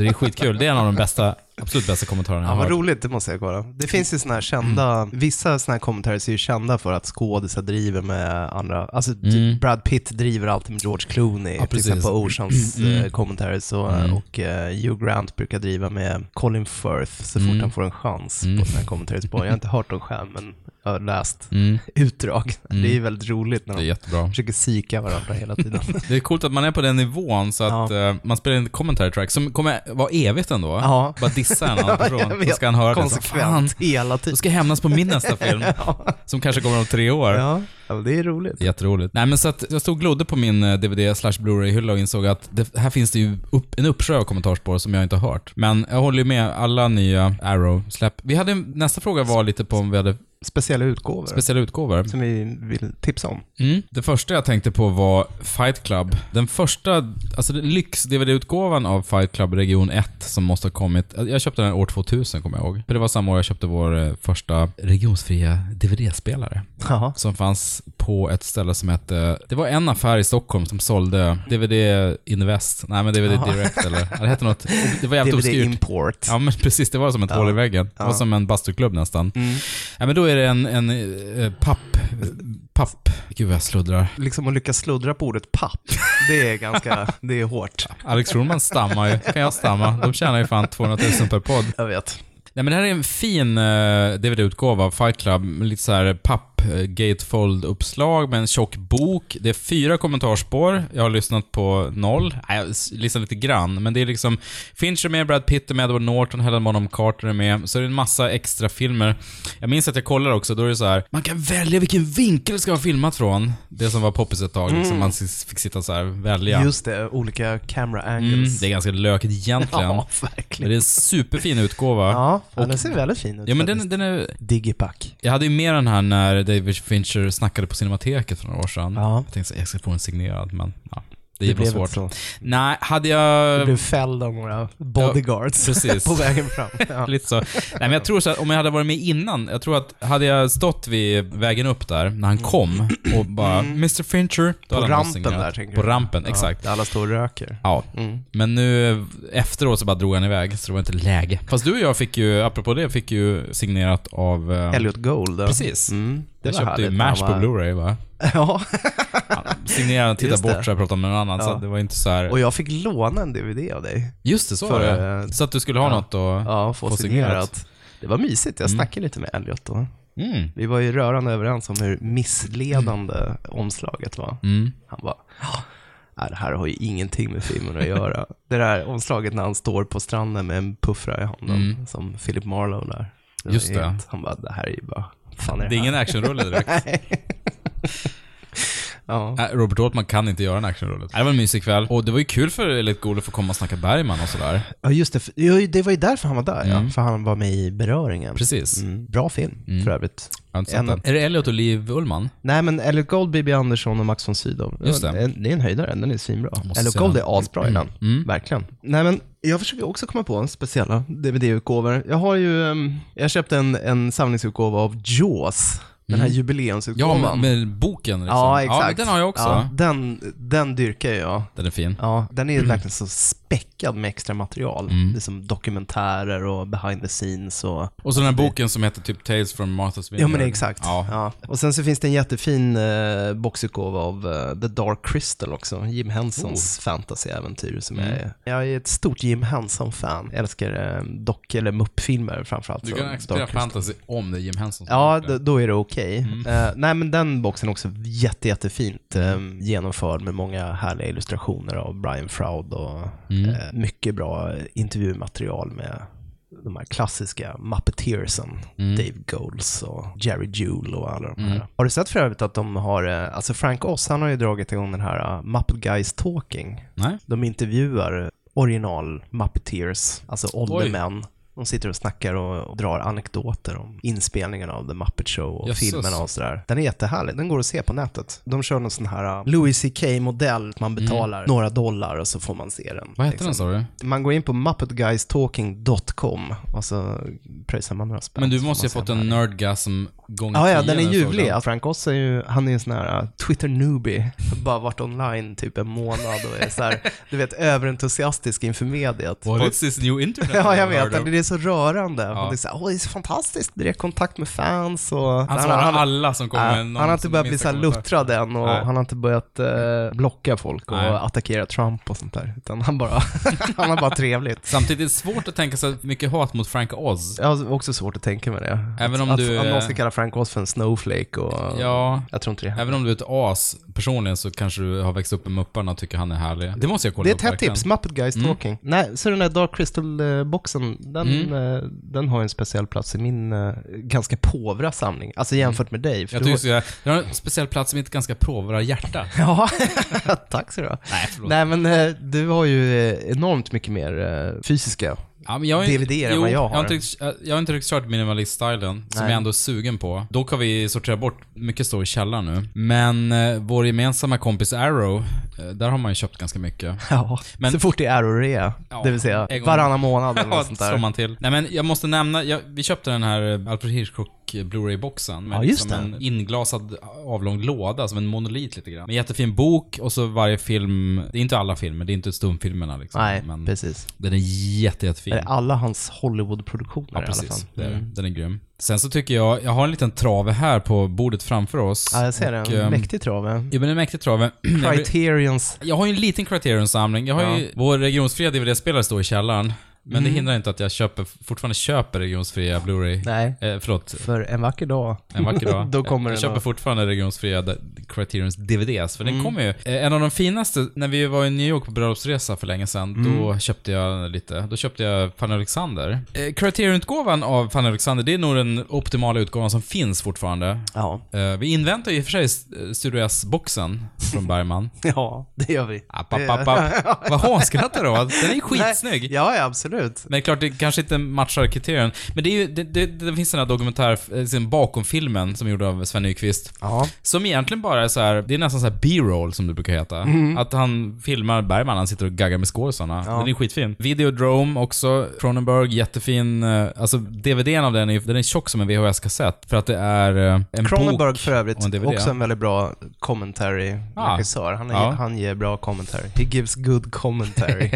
[SPEAKER 1] är skitkul. Det är en av de bästa, absolut bästa kommentarerna jag
[SPEAKER 2] Ja,
[SPEAKER 1] har
[SPEAKER 2] vad Mm.
[SPEAKER 1] hört.
[SPEAKER 2] roligt, det måste jag kolla. Det finns ju såna här kända, vissa såna här kommentarer är ju kända för att skådisar driver med andra, alltså typ Brad Pitt driver alltid med George Clooney, till
[SPEAKER 1] precis.
[SPEAKER 2] exempel på Oceans mm. commentaries och, och eh, Hugh Grant brukar driva med Colin Firth så fort han får en chans på sina commentaries. Jag har inte hört dem själv, men jag har läst utdrag. Mm. Det är ju väldigt roligt när
[SPEAKER 1] Mm, Det är
[SPEAKER 2] de
[SPEAKER 1] jättebra.
[SPEAKER 2] försöker psyka varandra [LAUGHS] hela tiden.
[SPEAKER 1] Det är coolt att man är på den nivån så att eh, man spelar in commentary track som kommer vara evigt ändå.
[SPEAKER 2] Ja.
[SPEAKER 1] Bara dissa en annan person.
[SPEAKER 2] [LAUGHS] Jag
[SPEAKER 1] Då
[SPEAKER 2] vet,
[SPEAKER 1] ska han höra det. Så, Fan,
[SPEAKER 2] konsekvent hela
[SPEAKER 1] Då
[SPEAKER 2] tiden.
[SPEAKER 1] ska jag hämnas på min nästa film. Som kanske kommer om tre år.
[SPEAKER 2] Ja. Ja, det är roligt.
[SPEAKER 1] Jätteroligt. Nej men så att jag stod och glodde på min eh, DVD slash Blu-ray-hylla och insåg att det, här finns det ju upp, en uppsjö av kommentarsspår som jag inte har hört. Men jag håller ju med alla nya Arrow-släpp. Vi hade, en- nästa fråga var lite på om vi hade
[SPEAKER 2] Speciella utgåvor
[SPEAKER 1] speciella utgåvor.
[SPEAKER 2] som vi vill tipsa om.
[SPEAKER 1] Mm. Det första jag tänkte på var Fight Club. Den första, alltså den lyx-DVD-utgåvan av Fight Club Region 1 som måste ha kommit. eh, Jag köpte den år 2000 kommer jag ihåg. För det var samma år jag köpte vår eh, första regionsfria DVD-spelare.
[SPEAKER 2] Jaha.
[SPEAKER 1] Som fanns på ett ställe som hette... Det var en affär i Stockholm som sålde DVD Invest. Nej men DVD Direct eller... Ja, Det hette något... Det var jävligt
[SPEAKER 2] DVD
[SPEAKER 1] obskyrt.
[SPEAKER 2] import.
[SPEAKER 1] Ja men precis, det var som ett hål i väggen. Det var som en bastuklubb nästan. Ja men då är det en, en eh, papp... Papp... Gud vad jag sluddrar.
[SPEAKER 2] Liksom att lyckas sluddra på ordet papp, det är ganska,
[SPEAKER 1] [LAUGHS]
[SPEAKER 2] det är hårt.
[SPEAKER 1] Alex Schulman stammar ju. Kan jag stamma? De tjänar ju fan 200 000 per podd.
[SPEAKER 2] Jag vet.
[SPEAKER 1] Nej men det här är en fin eh, DVD-utgåva av Fight Club. med Lite så här papp eh, gatefold-uppslag med en tjock bok. Det är fyra kommentarsspår. Jag har lyssnat på noll. Nej, jag s- lyssnade lite grann. Men det är liksom Fincher är med, Brad Pitt är med, Edward Norton, Helen Bonham Carter är med. Så är det en massa extra filmer. Jag minns att jag kollar också, då är det så här. Man kan välja vilken vinkel det ska vara filmat från. Det som var poppis ett tag, liksom man s- fick sitta så här välja.
[SPEAKER 2] Mm. Just det, olika camera
[SPEAKER 1] Mm,
[SPEAKER 2] angles.
[SPEAKER 1] det är ganska löket egentligen.
[SPEAKER 2] [LAUGHS] Ja,
[SPEAKER 1] Men
[SPEAKER 2] verkligen.
[SPEAKER 1] det är en superfin utgåva.
[SPEAKER 2] Ja, fan, den ser väldigt fin ut.
[SPEAKER 1] Ja men
[SPEAKER 2] faktiskt.
[SPEAKER 1] den, den är...
[SPEAKER 2] Digipack.
[SPEAKER 1] Jag hade ju med den här när David Fincher snackade på Cinemateket för några år sedan.
[SPEAKER 2] Ja.
[SPEAKER 1] Jag tänkte så, här, jag ska få en signerad, men ja, Mm. det,
[SPEAKER 2] Det
[SPEAKER 1] det var
[SPEAKER 2] blev
[SPEAKER 1] svårt.
[SPEAKER 2] inte så.
[SPEAKER 1] Nej, hade
[SPEAKER 2] Du
[SPEAKER 1] jag...
[SPEAKER 2] blev fälld av några bodyguards
[SPEAKER 1] precis.
[SPEAKER 2] [LAUGHS] på vägen fram.
[SPEAKER 1] [LAUGHS]
[SPEAKER 2] Ja.
[SPEAKER 1] Lite så. Nej, men jag tror så att om jag hade varit med innan, jag tror att hade jag stått vid vägen upp där när han kom och bara Mr Fincher. Då
[SPEAKER 2] Mm.
[SPEAKER 1] hade
[SPEAKER 2] På
[SPEAKER 1] han nog
[SPEAKER 2] rampen
[SPEAKER 1] signerat.
[SPEAKER 2] där, tänker
[SPEAKER 1] På
[SPEAKER 2] du?
[SPEAKER 1] rampen, exakt.
[SPEAKER 2] Där alla står och röker.
[SPEAKER 1] Ja.
[SPEAKER 2] Mm.
[SPEAKER 1] Men nu efteråt så bara drog han iväg, så det var inte läge. Fast du och jag fick ju, apropå det, fick ju signerat av... eh,
[SPEAKER 2] Elliot Gold. ja.
[SPEAKER 1] Precis.
[SPEAKER 2] Mm,
[SPEAKER 1] Jag
[SPEAKER 2] var
[SPEAKER 1] köpte ju
[SPEAKER 2] härligt.
[SPEAKER 1] MASH
[SPEAKER 2] Han
[SPEAKER 1] på
[SPEAKER 2] var-
[SPEAKER 1] Blu-ray va?
[SPEAKER 2] [LAUGHS] Ja,
[SPEAKER 1] Signerade den, tittade
[SPEAKER 2] Just det.
[SPEAKER 1] bort så jag pratade om någon annan. Så
[SPEAKER 2] Ja.
[SPEAKER 1] att det var inte så här.
[SPEAKER 2] och jag fick låna en DVD av dig.
[SPEAKER 1] Just det, så var
[SPEAKER 2] för,
[SPEAKER 1] det.
[SPEAKER 2] eh,
[SPEAKER 1] Så att du skulle ha något att...
[SPEAKER 2] Ja, få
[SPEAKER 1] Få signerat.
[SPEAKER 2] signerat. Det var mysigt. Jag snackade lite med Elliot då.
[SPEAKER 1] Mm.
[SPEAKER 2] Vi var ju rörande överens om hur missledande omslaget var.
[SPEAKER 1] Mm.
[SPEAKER 2] Han bara, "Ja, nej, det här har ju ingenting med filmen att
[SPEAKER 1] [LAUGHS]
[SPEAKER 2] göra. det där omslaget när han står på stranden med en puffra i handen, som Philip Marlowe där. var
[SPEAKER 1] Mm. Just det.
[SPEAKER 2] helt- Han bara, det här är ju bara, "Vad fan är
[SPEAKER 1] Det
[SPEAKER 2] det
[SPEAKER 1] är
[SPEAKER 2] här?
[SPEAKER 1] ingen actionrulle
[SPEAKER 2] [LAUGHS]
[SPEAKER 1] direkt.
[SPEAKER 2] Ja.
[SPEAKER 1] Nej, Robert Altman kan inte göra en actionrulle. Nej, Det var en mysig kväll. Och det var ju kul för Elliot Gould att få komma och snacka Bergman och sådär.
[SPEAKER 2] ja, just det. För- ja, Det var ju därför han var där, ja. För han var med i beröringen.
[SPEAKER 1] Mm. Precis.
[SPEAKER 2] Mm. Bra film, för övrigt.
[SPEAKER 1] Jag har inte sett
[SPEAKER 2] En-
[SPEAKER 1] den. Är det Elliot och Liv Ullman?
[SPEAKER 2] Nej, men Elliot Gold, B.B. Andersson och Max von Sydow.
[SPEAKER 1] Just det.
[SPEAKER 2] är- det är en höjdare, den är svinbra.
[SPEAKER 1] måste Mm.
[SPEAKER 2] Elliot
[SPEAKER 1] se
[SPEAKER 2] Gold
[SPEAKER 1] den.
[SPEAKER 2] är asbra i den, verkligen. Nej, men jag försöker också komma på en speciella DVD-utgåvor. Jag har ju, ehm, jag köpte en, en samlingsutgåva av Jaws, den här
[SPEAKER 1] Mm. Ja,
[SPEAKER 2] jubileumsutgåvan.
[SPEAKER 1] med, med boken liksom.
[SPEAKER 2] ja, exakt.
[SPEAKER 1] Ja, den har jag också.
[SPEAKER 2] Ja, den, den dyrkar jag.
[SPEAKER 1] Den är fin.
[SPEAKER 2] Ja, den är
[SPEAKER 1] Mm.
[SPEAKER 2] ju verkligen så späckad med extra material. Det är som dokumentärer och behind the scenes och
[SPEAKER 1] Och så den här boken som heter typ Tales from Martha's Vineyard.
[SPEAKER 2] Ja men exakt.
[SPEAKER 1] Ja.
[SPEAKER 2] Ja. Och sen så finns det en jättefin eh, boxutgåva av eh, The Dark Crystal också, Jim
[SPEAKER 1] Oh.
[SPEAKER 2] Hensons fantasyäventyr som
[SPEAKER 1] Mm.
[SPEAKER 2] jag är. Jag är ett stort Jim Henson-fan. Jag älskar eh, dock eller muppfilmer framförallt.
[SPEAKER 1] Du
[SPEAKER 2] från
[SPEAKER 1] kan
[SPEAKER 2] Dark
[SPEAKER 1] acceptera
[SPEAKER 2] Crystal.
[SPEAKER 1] fantasy om det är Jim Henson som
[SPEAKER 2] Ja,
[SPEAKER 1] gjort det.
[SPEAKER 2] d- då är det okej. Eh, nej, men den boxen är också jätte, jättefint eh, genomförd med många härliga illustrationer av Brian Froud och eh, mycket bra intervjumaterial med de här klassiska Muppeteersen, Dave Goals och Jerry Jewell och alla de här. Har du sett för övrigt att de har, eh, alltså Frank Oz, han har ju dragit igång den här eh, Muppet Guys Talking.
[SPEAKER 1] Nej?
[SPEAKER 2] De intervjuar original Muppeteers, alltså åldermän. De sitter och snackar och, och drar anekdoter om inspelningen av The Muppet Show och
[SPEAKER 1] Jösses.
[SPEAKER 2] filmerna och sådär. Den är jättehärlig. Den går att se på nätet. De kör någon sån här uh, Louis CK-modell. Man betalar några dollar och så får man se den.
[SPEAKER 1] Mm. Vad heter
[SPEAKER 2] liksom.
[SPEAKER 1] den sa du?
[SPEAKER 2] Man går in på muppetguystalking.com och så alltså pröjsar man några spänn.
[SPEAKER 1] Men du
[SPEAKER 2] så
[SPEAKER 1] måste ju
[SPEAKER 2] får
[SPEAKER 1] ha
[SPEAKER 2] man
[SPEAKER 1] fått
[SPEAKER 2] se
[SPEAKER 1] en
[SPEAKER 2] den här.
[SPEAKER 1] nerdgasm gånger
[SPEAKER 2] Ja, ja,
[SPEAKER 1] tio
[SPEAKER 2] den är
[SPEAKER 1] när du såg
[SPEAKER 2] ljuvlig.
[SPEAKER 1] den.
[SPEAKER 2] Ja, Frank Oss är ju, han är ju en sån här uh, Twitter-newbie. [LAUGHS] Bara varit online typ en månad och är så här, du vet, överentusiastisk inför
[SPEAKER 1] What
[SPEAKER 2] mediet. Och-
[SPEAKER 1] is this new internet?
[SPEAKER 2] [LAUGHS] Ja, jag
[SPEAKER 1] I've heard
[SPEAKER 2] vet.
[SPEAKER 1] of?
[SPEAKER 2] Det är så rörande.
[SPEAKER 1] Ja.
[SPEAKER 2] Och det, är så här, Åh, det är så fantastiskt. Direktkontakt med fans och...
[SPEAKER 1] Han svarar alla som
[SPEAKER 2] Ja,
[SPEAKER 1] kommer med någon
[SPEAKER 2] han har inte
[SPEAKER 1] som
[SPEAKER 2] börjat bli
[SPEAKER 1] minsta
[SPEAKER 2] så här
[SPEAKER 1] kommentar.
[SPEAKER 2] luttrad än och
[SPEAKER 1] Nej.
[SPEAKER 2] han har inte börjat eh, blocka folk och
[SPEAKER 1] Nej.
[SPEAKER 2] attackera Trump och sånt där. Utan han bara, [LAUGHS] han har bara trevligt.
[SPEAKER 1] Samtidigt är det svårt att tänka sig mycket hat mot Frank Oz.
[SPEAKER 2] Jag har också svårt att tänka mig det.
[SPEAKER 1] Även om
[SPEAKER 2] att,
[SPEAKER 1] du,
[SPEAKER 2] Att någon
[SPEAKER 1] eh,
[SPEAKER 2] ska kalla Frank oss för en snowflake och...
[SPEAKER 1] Ja.
[SPEAKER 2] Jag tror inte det händer.
[SPEAKER 1] Även om du är ett as personligen så kanske du har växt upp med Mupparna och tycker han är härlig. Det måste jag kolla
[SPEAKER 2] Det är
[SPEAKER 1] upp
[SPEAKER 2] ett hett
[SPEAKER 1] verkligen. Mm.
[SPEAKER 2] tips, Muppet Guys Talking. Nej, så den där Dark Crystal-boxen, den,
[SPEAKER 1] Mm.
[SPEAKER 2] eh, den har ju en speciell plats i min eh, ganska påvra samling. Alltså jämfört med dig. för
[SPEAKER 1] Mm. Jag
[SPEAKER 2] du
[SPEAKER 1] tycker
[SPEAKER 2] har-
[SPEAKER 1] du... jag, jag har en speciell plats i mitt ganska provra hjärta.
[SPEAKER 2] [LAUGHS] Ja, tack så du ha.
[SPEAKER 1] Nej, förlåt.
[SPEAKER 2] Nej men eh, du har ju eh, enormt mycket mer eh, fysiska. [LAUGHS]
[SPEAKER 1] Ja, men jag har-
[SPEAKER 2] DVD-er än
[SPEAKER 1] jo,
[SPEAKER 2] vad jag har.
[SPEAKER 1] Jag har inte, riktigt- jag har inte riktigt kört minimalist-stilen, som
[SPEAKER 2] Nej.
[SPEAKER 1] jag ändå är sugen på. Dock har vi sorterat bort, mycket står i källaren nu. Men eh, vår gemensamma kompis Arrow, eh, där har man ju köpt ganska mycket.
[SPEAKER 2] Ja,
[SPEAKER 1] Men-
[SPEAKER 2] så fort det är rea,
[SPEAKER 1] Ja,
[SPEAKER 2] det vill säga
[SPEAKER 1] en gång.
[SPEAKER 2] varannan månad
[SPEAKER 1] [LAUGHS]
[SPEAKER 2] eller
[SPEAKER 1] Ja,
[SPEAKER 2] något sånt
[SPEAKER 1] slår
[SPEAKER 2] där.
[SPEAKER 1] man till. Nej men jag måste nämna, jag, vi köpte den här eh, Alfred Hitchcock eh, Blu-ray-boxen. Med
[SPEAKER 2] Ja, just
[SPEAKER 1] liksom
[SPEAKER 2] det.
[SPEAKER 1] en inglasad avlång låda, som en monolit lite grann. Med jättefin bok och så varje film, det är inte alla filmer, det är inte stumfilmerna liksom.
[SPEAKER 2] Nej,
[SPEAKER 1] men
[SPEAKER 2] precis.
[SPEAKER 1] den är jätte, jättefin.
[SPEAKER 2] Eller alla hans Hollywood-produktioner
[SPEAKER 1] Ja,
[SPEAKER 2] i alla fall. Mm.
[SPEAKER 1] precis. Det är, det. Mm. Den är grym. Sen så tycker jag, jag har en liten trave här på bordet framför oss.
[SPEAKER 2] Ja, jag ser
[SPEAKER 1] Och,
[SPEAKER 2] det.
[SPEAKER 1] ehm,
[SPEAKER 2] Mäktig trave.
[SPEAKER 1] Ja, men en mäktig trave. [CLEARS THROAT] Jag vill-
[SPEAKER 2] Criterions.
[SPEAKER 1] jag har ju en liten Criterion-samling. Jag har ju, vår regionsfria DVD-spelare står i källaren. Men
[SPEAKER 2] Mm.
[SPEAKER 1] det hindrar inte att jag köper, fortfarande köper regionsfria Blu-ray.
[SPEAKER 2] Nej,
[SPEAKER 1] Eh, förlåt,
[SPEAKER 2] för en vacker dag.
[SPEAKER 1] en vacker dag.
[SPEAKER 2] [LAUGHS] Då kommer
[SPEAKER 1] jag
[SPEAKER 2] den
[SPEAKER 1] köper
[SPEAKER 2] då. Mm.
[SPEAKER 1] fortfarande regionsfria d- Criterions DVDs, för den kommer ju. Eh, En av de finaste, när vi var i New York på bröllopsresa för länge sedan,
[SPEAKER 2] Mm.
[SPEAKER 1] då köpte jag lite. Då köpte jag Fanny Alexander. Eh, Criterion-utgåvan av Fanny Alexander, det är nog den optimala utgåvan som finns fortfarande.
[SPEAKER 2] Ja.
[SPEAKER 1] Eh, Vi inväntar ju i och för sig eh, Studio S-boxen från
[SPEAKER 2] [LAUGHS]
[SPEAKER 1] Bergman.
[SPEAKER 2] [LAUGHS] ja, det gör vi.
[SPEAKER 1] App, app, app, app.
[SPEAKER 2] [LAUGHS]
[SPEAKER 1] Vad hånskrattar du åt? Den är ju
[SPEAKER 2] Nej,
[SPEAKER 1] skitsnygg.
[SPEAKER 2] Ja, ja, absolut.
[SPEAKER 1] Men det är klart, det kanske inte matchar kriterien. Men det, är ju, det, det, det finns den här dokumentär, eh, liksom bakom filmen som är gjord av Sven Nykvist.
[SPEAKER 2] Ja.
[SPEAKER 1] Som egentligen bara är så här, det är nästan så här B-roll som det brukar heta.
[SPEAKER 2] Mhm.
[SPEAKER 1] Att han filmar Bergman, han sitter och gaggar med skådisarna. Den är skitfin. Videodrome också, Cronenberg, jättefin. eh, Alltså DVDn av den är, ju- den är tjock som en VHS-kassett. För att det är eh, en bok.
[SPEAKER 2] Cronenberg för
[SPEAKER 1] och en
[SPEAKER 2] övrigt,
[SPEAKER 1] DVD.
[SPEAKER 2] också en väldigt bra commentary-regissör. Han, är-
[SPEAKER 1] Ah. Ja.
[SPEAKER 2] han ger bra commentary. He gives
[SPEAKER 1] [LAUGHS]
[SPEAKER 2] good commentary.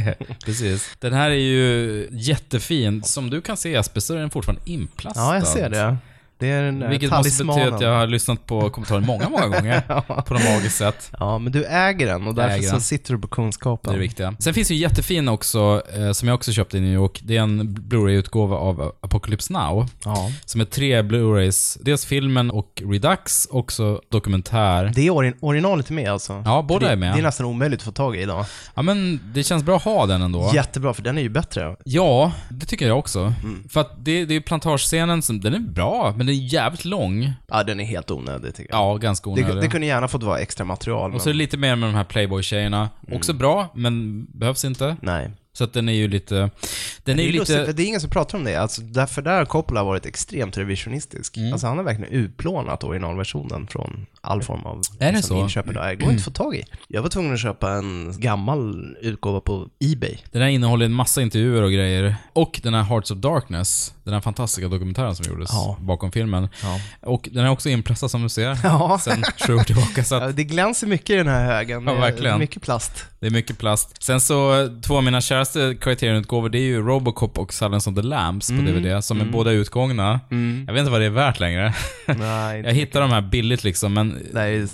[SPEAKER 1] Precis. Den här är ju jättefin. Som du kan se Jesper, så är den fortfarande inplastad.
[SPEAKER 2] ja, jag ser det. Det är den där
[SPEAKER 1] Vilket måste betyda att jag
[SPEAKER 2] talismanen.
[SPEAKER 1] har lyssnat på kommentarer många,
[SPEAKER 2] [LAUGHS]
[SPEAKER 1] många gånger. På något magiskt sätt.
[SPEAKER 2] Ja, men du äger den och därför
[SPEAKER 1] äger
[SPEAKER 2] så
[SPEAKER 1] den.
[SPEAKER 2] sitter du på
[SPEAKER 1] Det är det
[SPEAKER 2] kunskapen.
[SPEAKER 1] viktiga. Sen finns det ju jättefin också, eh, som jag också köpte i New York. Det är en Blu-ray-utgåva av Apocalypse Now.
[SPEAKER 2] Ja.
[SPEAKER 1] Som är tre Blu-rays. Dels filmen och Redux, också dokumentär.
[SPEAKER 2] Det är ori- originalet är med alltså?
[SPEAKER 1] Ja, båda är
[SPEAKER 2] Det är
[SPEAKER 1] med.
[SPEAKER 2] nästan omöjligt att få tag i idag.
[SPEAKER 1] Ja, men det känns bra att ha den ändå.
[SPEAKER 2] Jättebra, för den är ju bättre.
[SPEAKER 1] Ja, det tycker jag också.
[SPEAKER 2] Mm.
[SPEAKER 1] För att det, det är plantagescenen som, den är bra, men den är jävligt lång.
[SPEAKER 2] Ja, den är helt onödig tycker jag.
[SPEAKER 1] Ja, ganska onödig.
[SPEAKER 2] det, det kunde gärna fått vara extra material. Men...
[SPEAKER 1] Och så är det lite mer med de här Playboy-tjejerna.
[SPEAKER 2] Mm.
[SPEAKER 1] Också bra, men behövs inte.
[SPEAKER 2] Nej.
[SPEAKER 1] Så att den är ju lite... Den är
[SPEAKER 2] Det
[SPEAKER 1] ju
[SPEAKER 2] är, lustigt, för
[SPEAKER 1] lite...
[SPEAKER 2] det är ingen som pratar om det. Alltså, därför där har Coppola varit extremt revisionistisk.
[SPEAKER 1] Mm.
[SPEAKER 2] Alltså, han har verkligen utplånat originalversionen från all form av liksom
[SPEAKER 1] Är det så?
[SPEAKER 2] inköp idag. Det går inte att få tag i. Jag var tvungen att köpa en gammal utgåva på Ebay.
[SPEAKER 1] Den här innehåller en massa intervjuer och grejer. Och den här Hearts of Darkness, den här fantastiska dokumentären som gjordes
[SPEAKER 2] Ja.
[SPEAKER 1] bakom filmen.
[SPEAKER 2] Ja.
[SPEAKER 1] Och den är också inpressad som du ser,
[SPEAKER 2] Ja.
[SPEAKER 1] sen [LAUGHS] sju år tillbaka. Så att
[SPEAKER 2] [LAUGHS] Ja, Det glänser mycket i den här högen.
[SPEAKER 1] Ja,
[SPEAKER 2] Det är
[SPEAKER 1] verkligen.
[SPEAKER 2] Mycket plast.
[SPEAKER 1] det är mycket plast. Sen så, två av mina käraste Criterion-utgåvor, det är ju Robocop och Silence of the Lambs
[SPEAKER 2] Mm.
[SPEAKER 1] på DVD, som är båda utgångna. Jag vet inte vad det är värt
[SPEAKER 2] [LAUGHS]
[SPEAKER 1] längre.
[SPEAKER 2] Nej,
[SPEAKER 1] Jag hittar de här billigt liksom, men
[SPEAKER 2] det här är